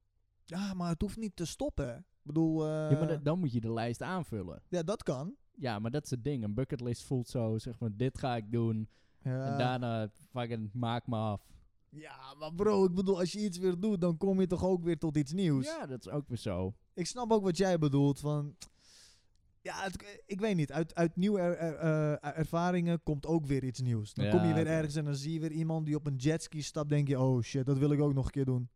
[SPEAKER 1] Ja, maar het hoeft niet te stoppen, hè. Ik bedoel, eh,
[SPEAKER 2] ja, maar da- dan moet je de lijst aanvullen.
[SPEAKER 1] ja, dat kan.
[SPEAKER 2] Ja, maar dat is het ding. Een bucketlist voelt zo, zeg maar, dit ga ik doen.
[SPEAKER 1] Ja.
[SPEAKER 2] En daarna, fucking, maak me af.
[SPEAKER 1] Eh, ja, maar bro, ik bedoel, als je iets weer doet, dan kom je toch ook weer tot iets nieuws.
[SPEAKER 2] Ja, dat is ook weer zo.
[SPEAKER 1] Ik snap ook wat jij bedoelt, van... Ja, het- ik weet niet. Uit, uit nieuwe er- er- eh, ervaringen komt ook weer iets nieuws. Dan
[SPEAKER 2] Ja,
[SPEAKER 1] kom je weer
[SPEAKER 2] oké.
[SPEAKER 1] ergens en dan zie je weer iemand die op een jetski stapt. denk je, oh shit, dat wil ik ook nog een keer doen.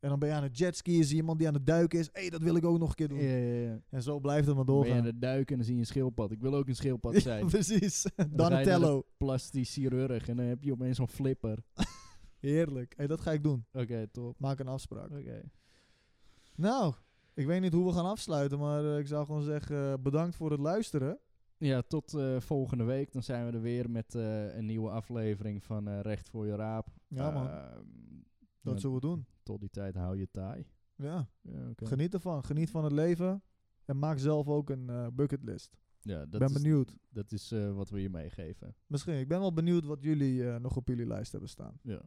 [SPEAKER 1] En dan ben je aan het jetski, zie je iemand die aan het duiken is. Hé, hey, dat wil ik ook nog een keer doen.
[SPEAKER 2] ja.
[SPEAKER 1] En zo blijft het maar
[SPEAKER 2] Ben je aan
[SPEAKER 1] doorgaan.
[SPEAKER 2] het duiken en dan zie je een schildpad. Ik wil ook een
[SPEAKER 1] [LAUGHS]
[SPEAKER 2] schildpad
[SPEAKER 1] Ja,
[SPEAKER 2] zijn.
[SPEAKER 1] precies.
[SPEAKER 2] ga je naar de-
[SPEAKER 1] Donatello.
[SPEAKER 2] Plastisch chirurg. En dan heb je opeens zo'n flipper.
[SPEAKER 1] Heerlijk. Hey, dat ga ik doen.
[SPEAKER 2] Oké, top.
[SPEAKER 1] Maak een afspraak.
[SPEAKER 2] Oké.
[SPEAKER 1] Nou, ik weet niet hoe we gaan afsluiten, maar eh, ik zou gewoon zeggen eh, bedankt voor het luisteren.
[SPEAKER 2] Ja, tot eh, volgende week. Dan zijn we er weer met eh, een nieuwe aflevering van eh, Recht voor je raap.
[SPEAKER 1] Ja man,
[SPEAKER 2] Ehm,
[SPEAKER 1] dat
[SPEAKER 2] ja,
[SPEAKER 1] zullen we doen.
[SPEAKER 2] Tot die tijd hou je taai.
[SPEAKER 1] Ja,
[SPEAKER 2] Ja, oké.
[SPEAKER 1] geniet ervan. Geniet van het leven. En maak zelf ook een eh, bucketlist.
[SPEAKER 2] ja
[SPEAKER 1] Ik
[SPEAKER 2] dat
[SPEAKER 1] ben
[SPEAKER 2] is,
[SPEAKER 1] benieuwd.
[SPEAKER 2] dat is eh, wat we je meegeven.
[SPEAKER 1] Misschien. Ik ben wel benieuwd wat jullie eh, nog op jullie lijst hebben staan.
[SPEAKER 2] Ja.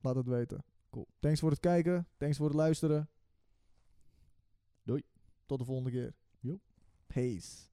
[SPEAKER 1] Laat het weten.
[SPEAKER 2] Cool.
[SPEAKER 1] Thanks voor het kijken. Thanks voor het luisteren.
[SPEAKER 2] Doei.
[SPEAKER 1] Tot de volgende keer.
[SPEAKER 2] Jo.
[SPEAKER 1] Peace.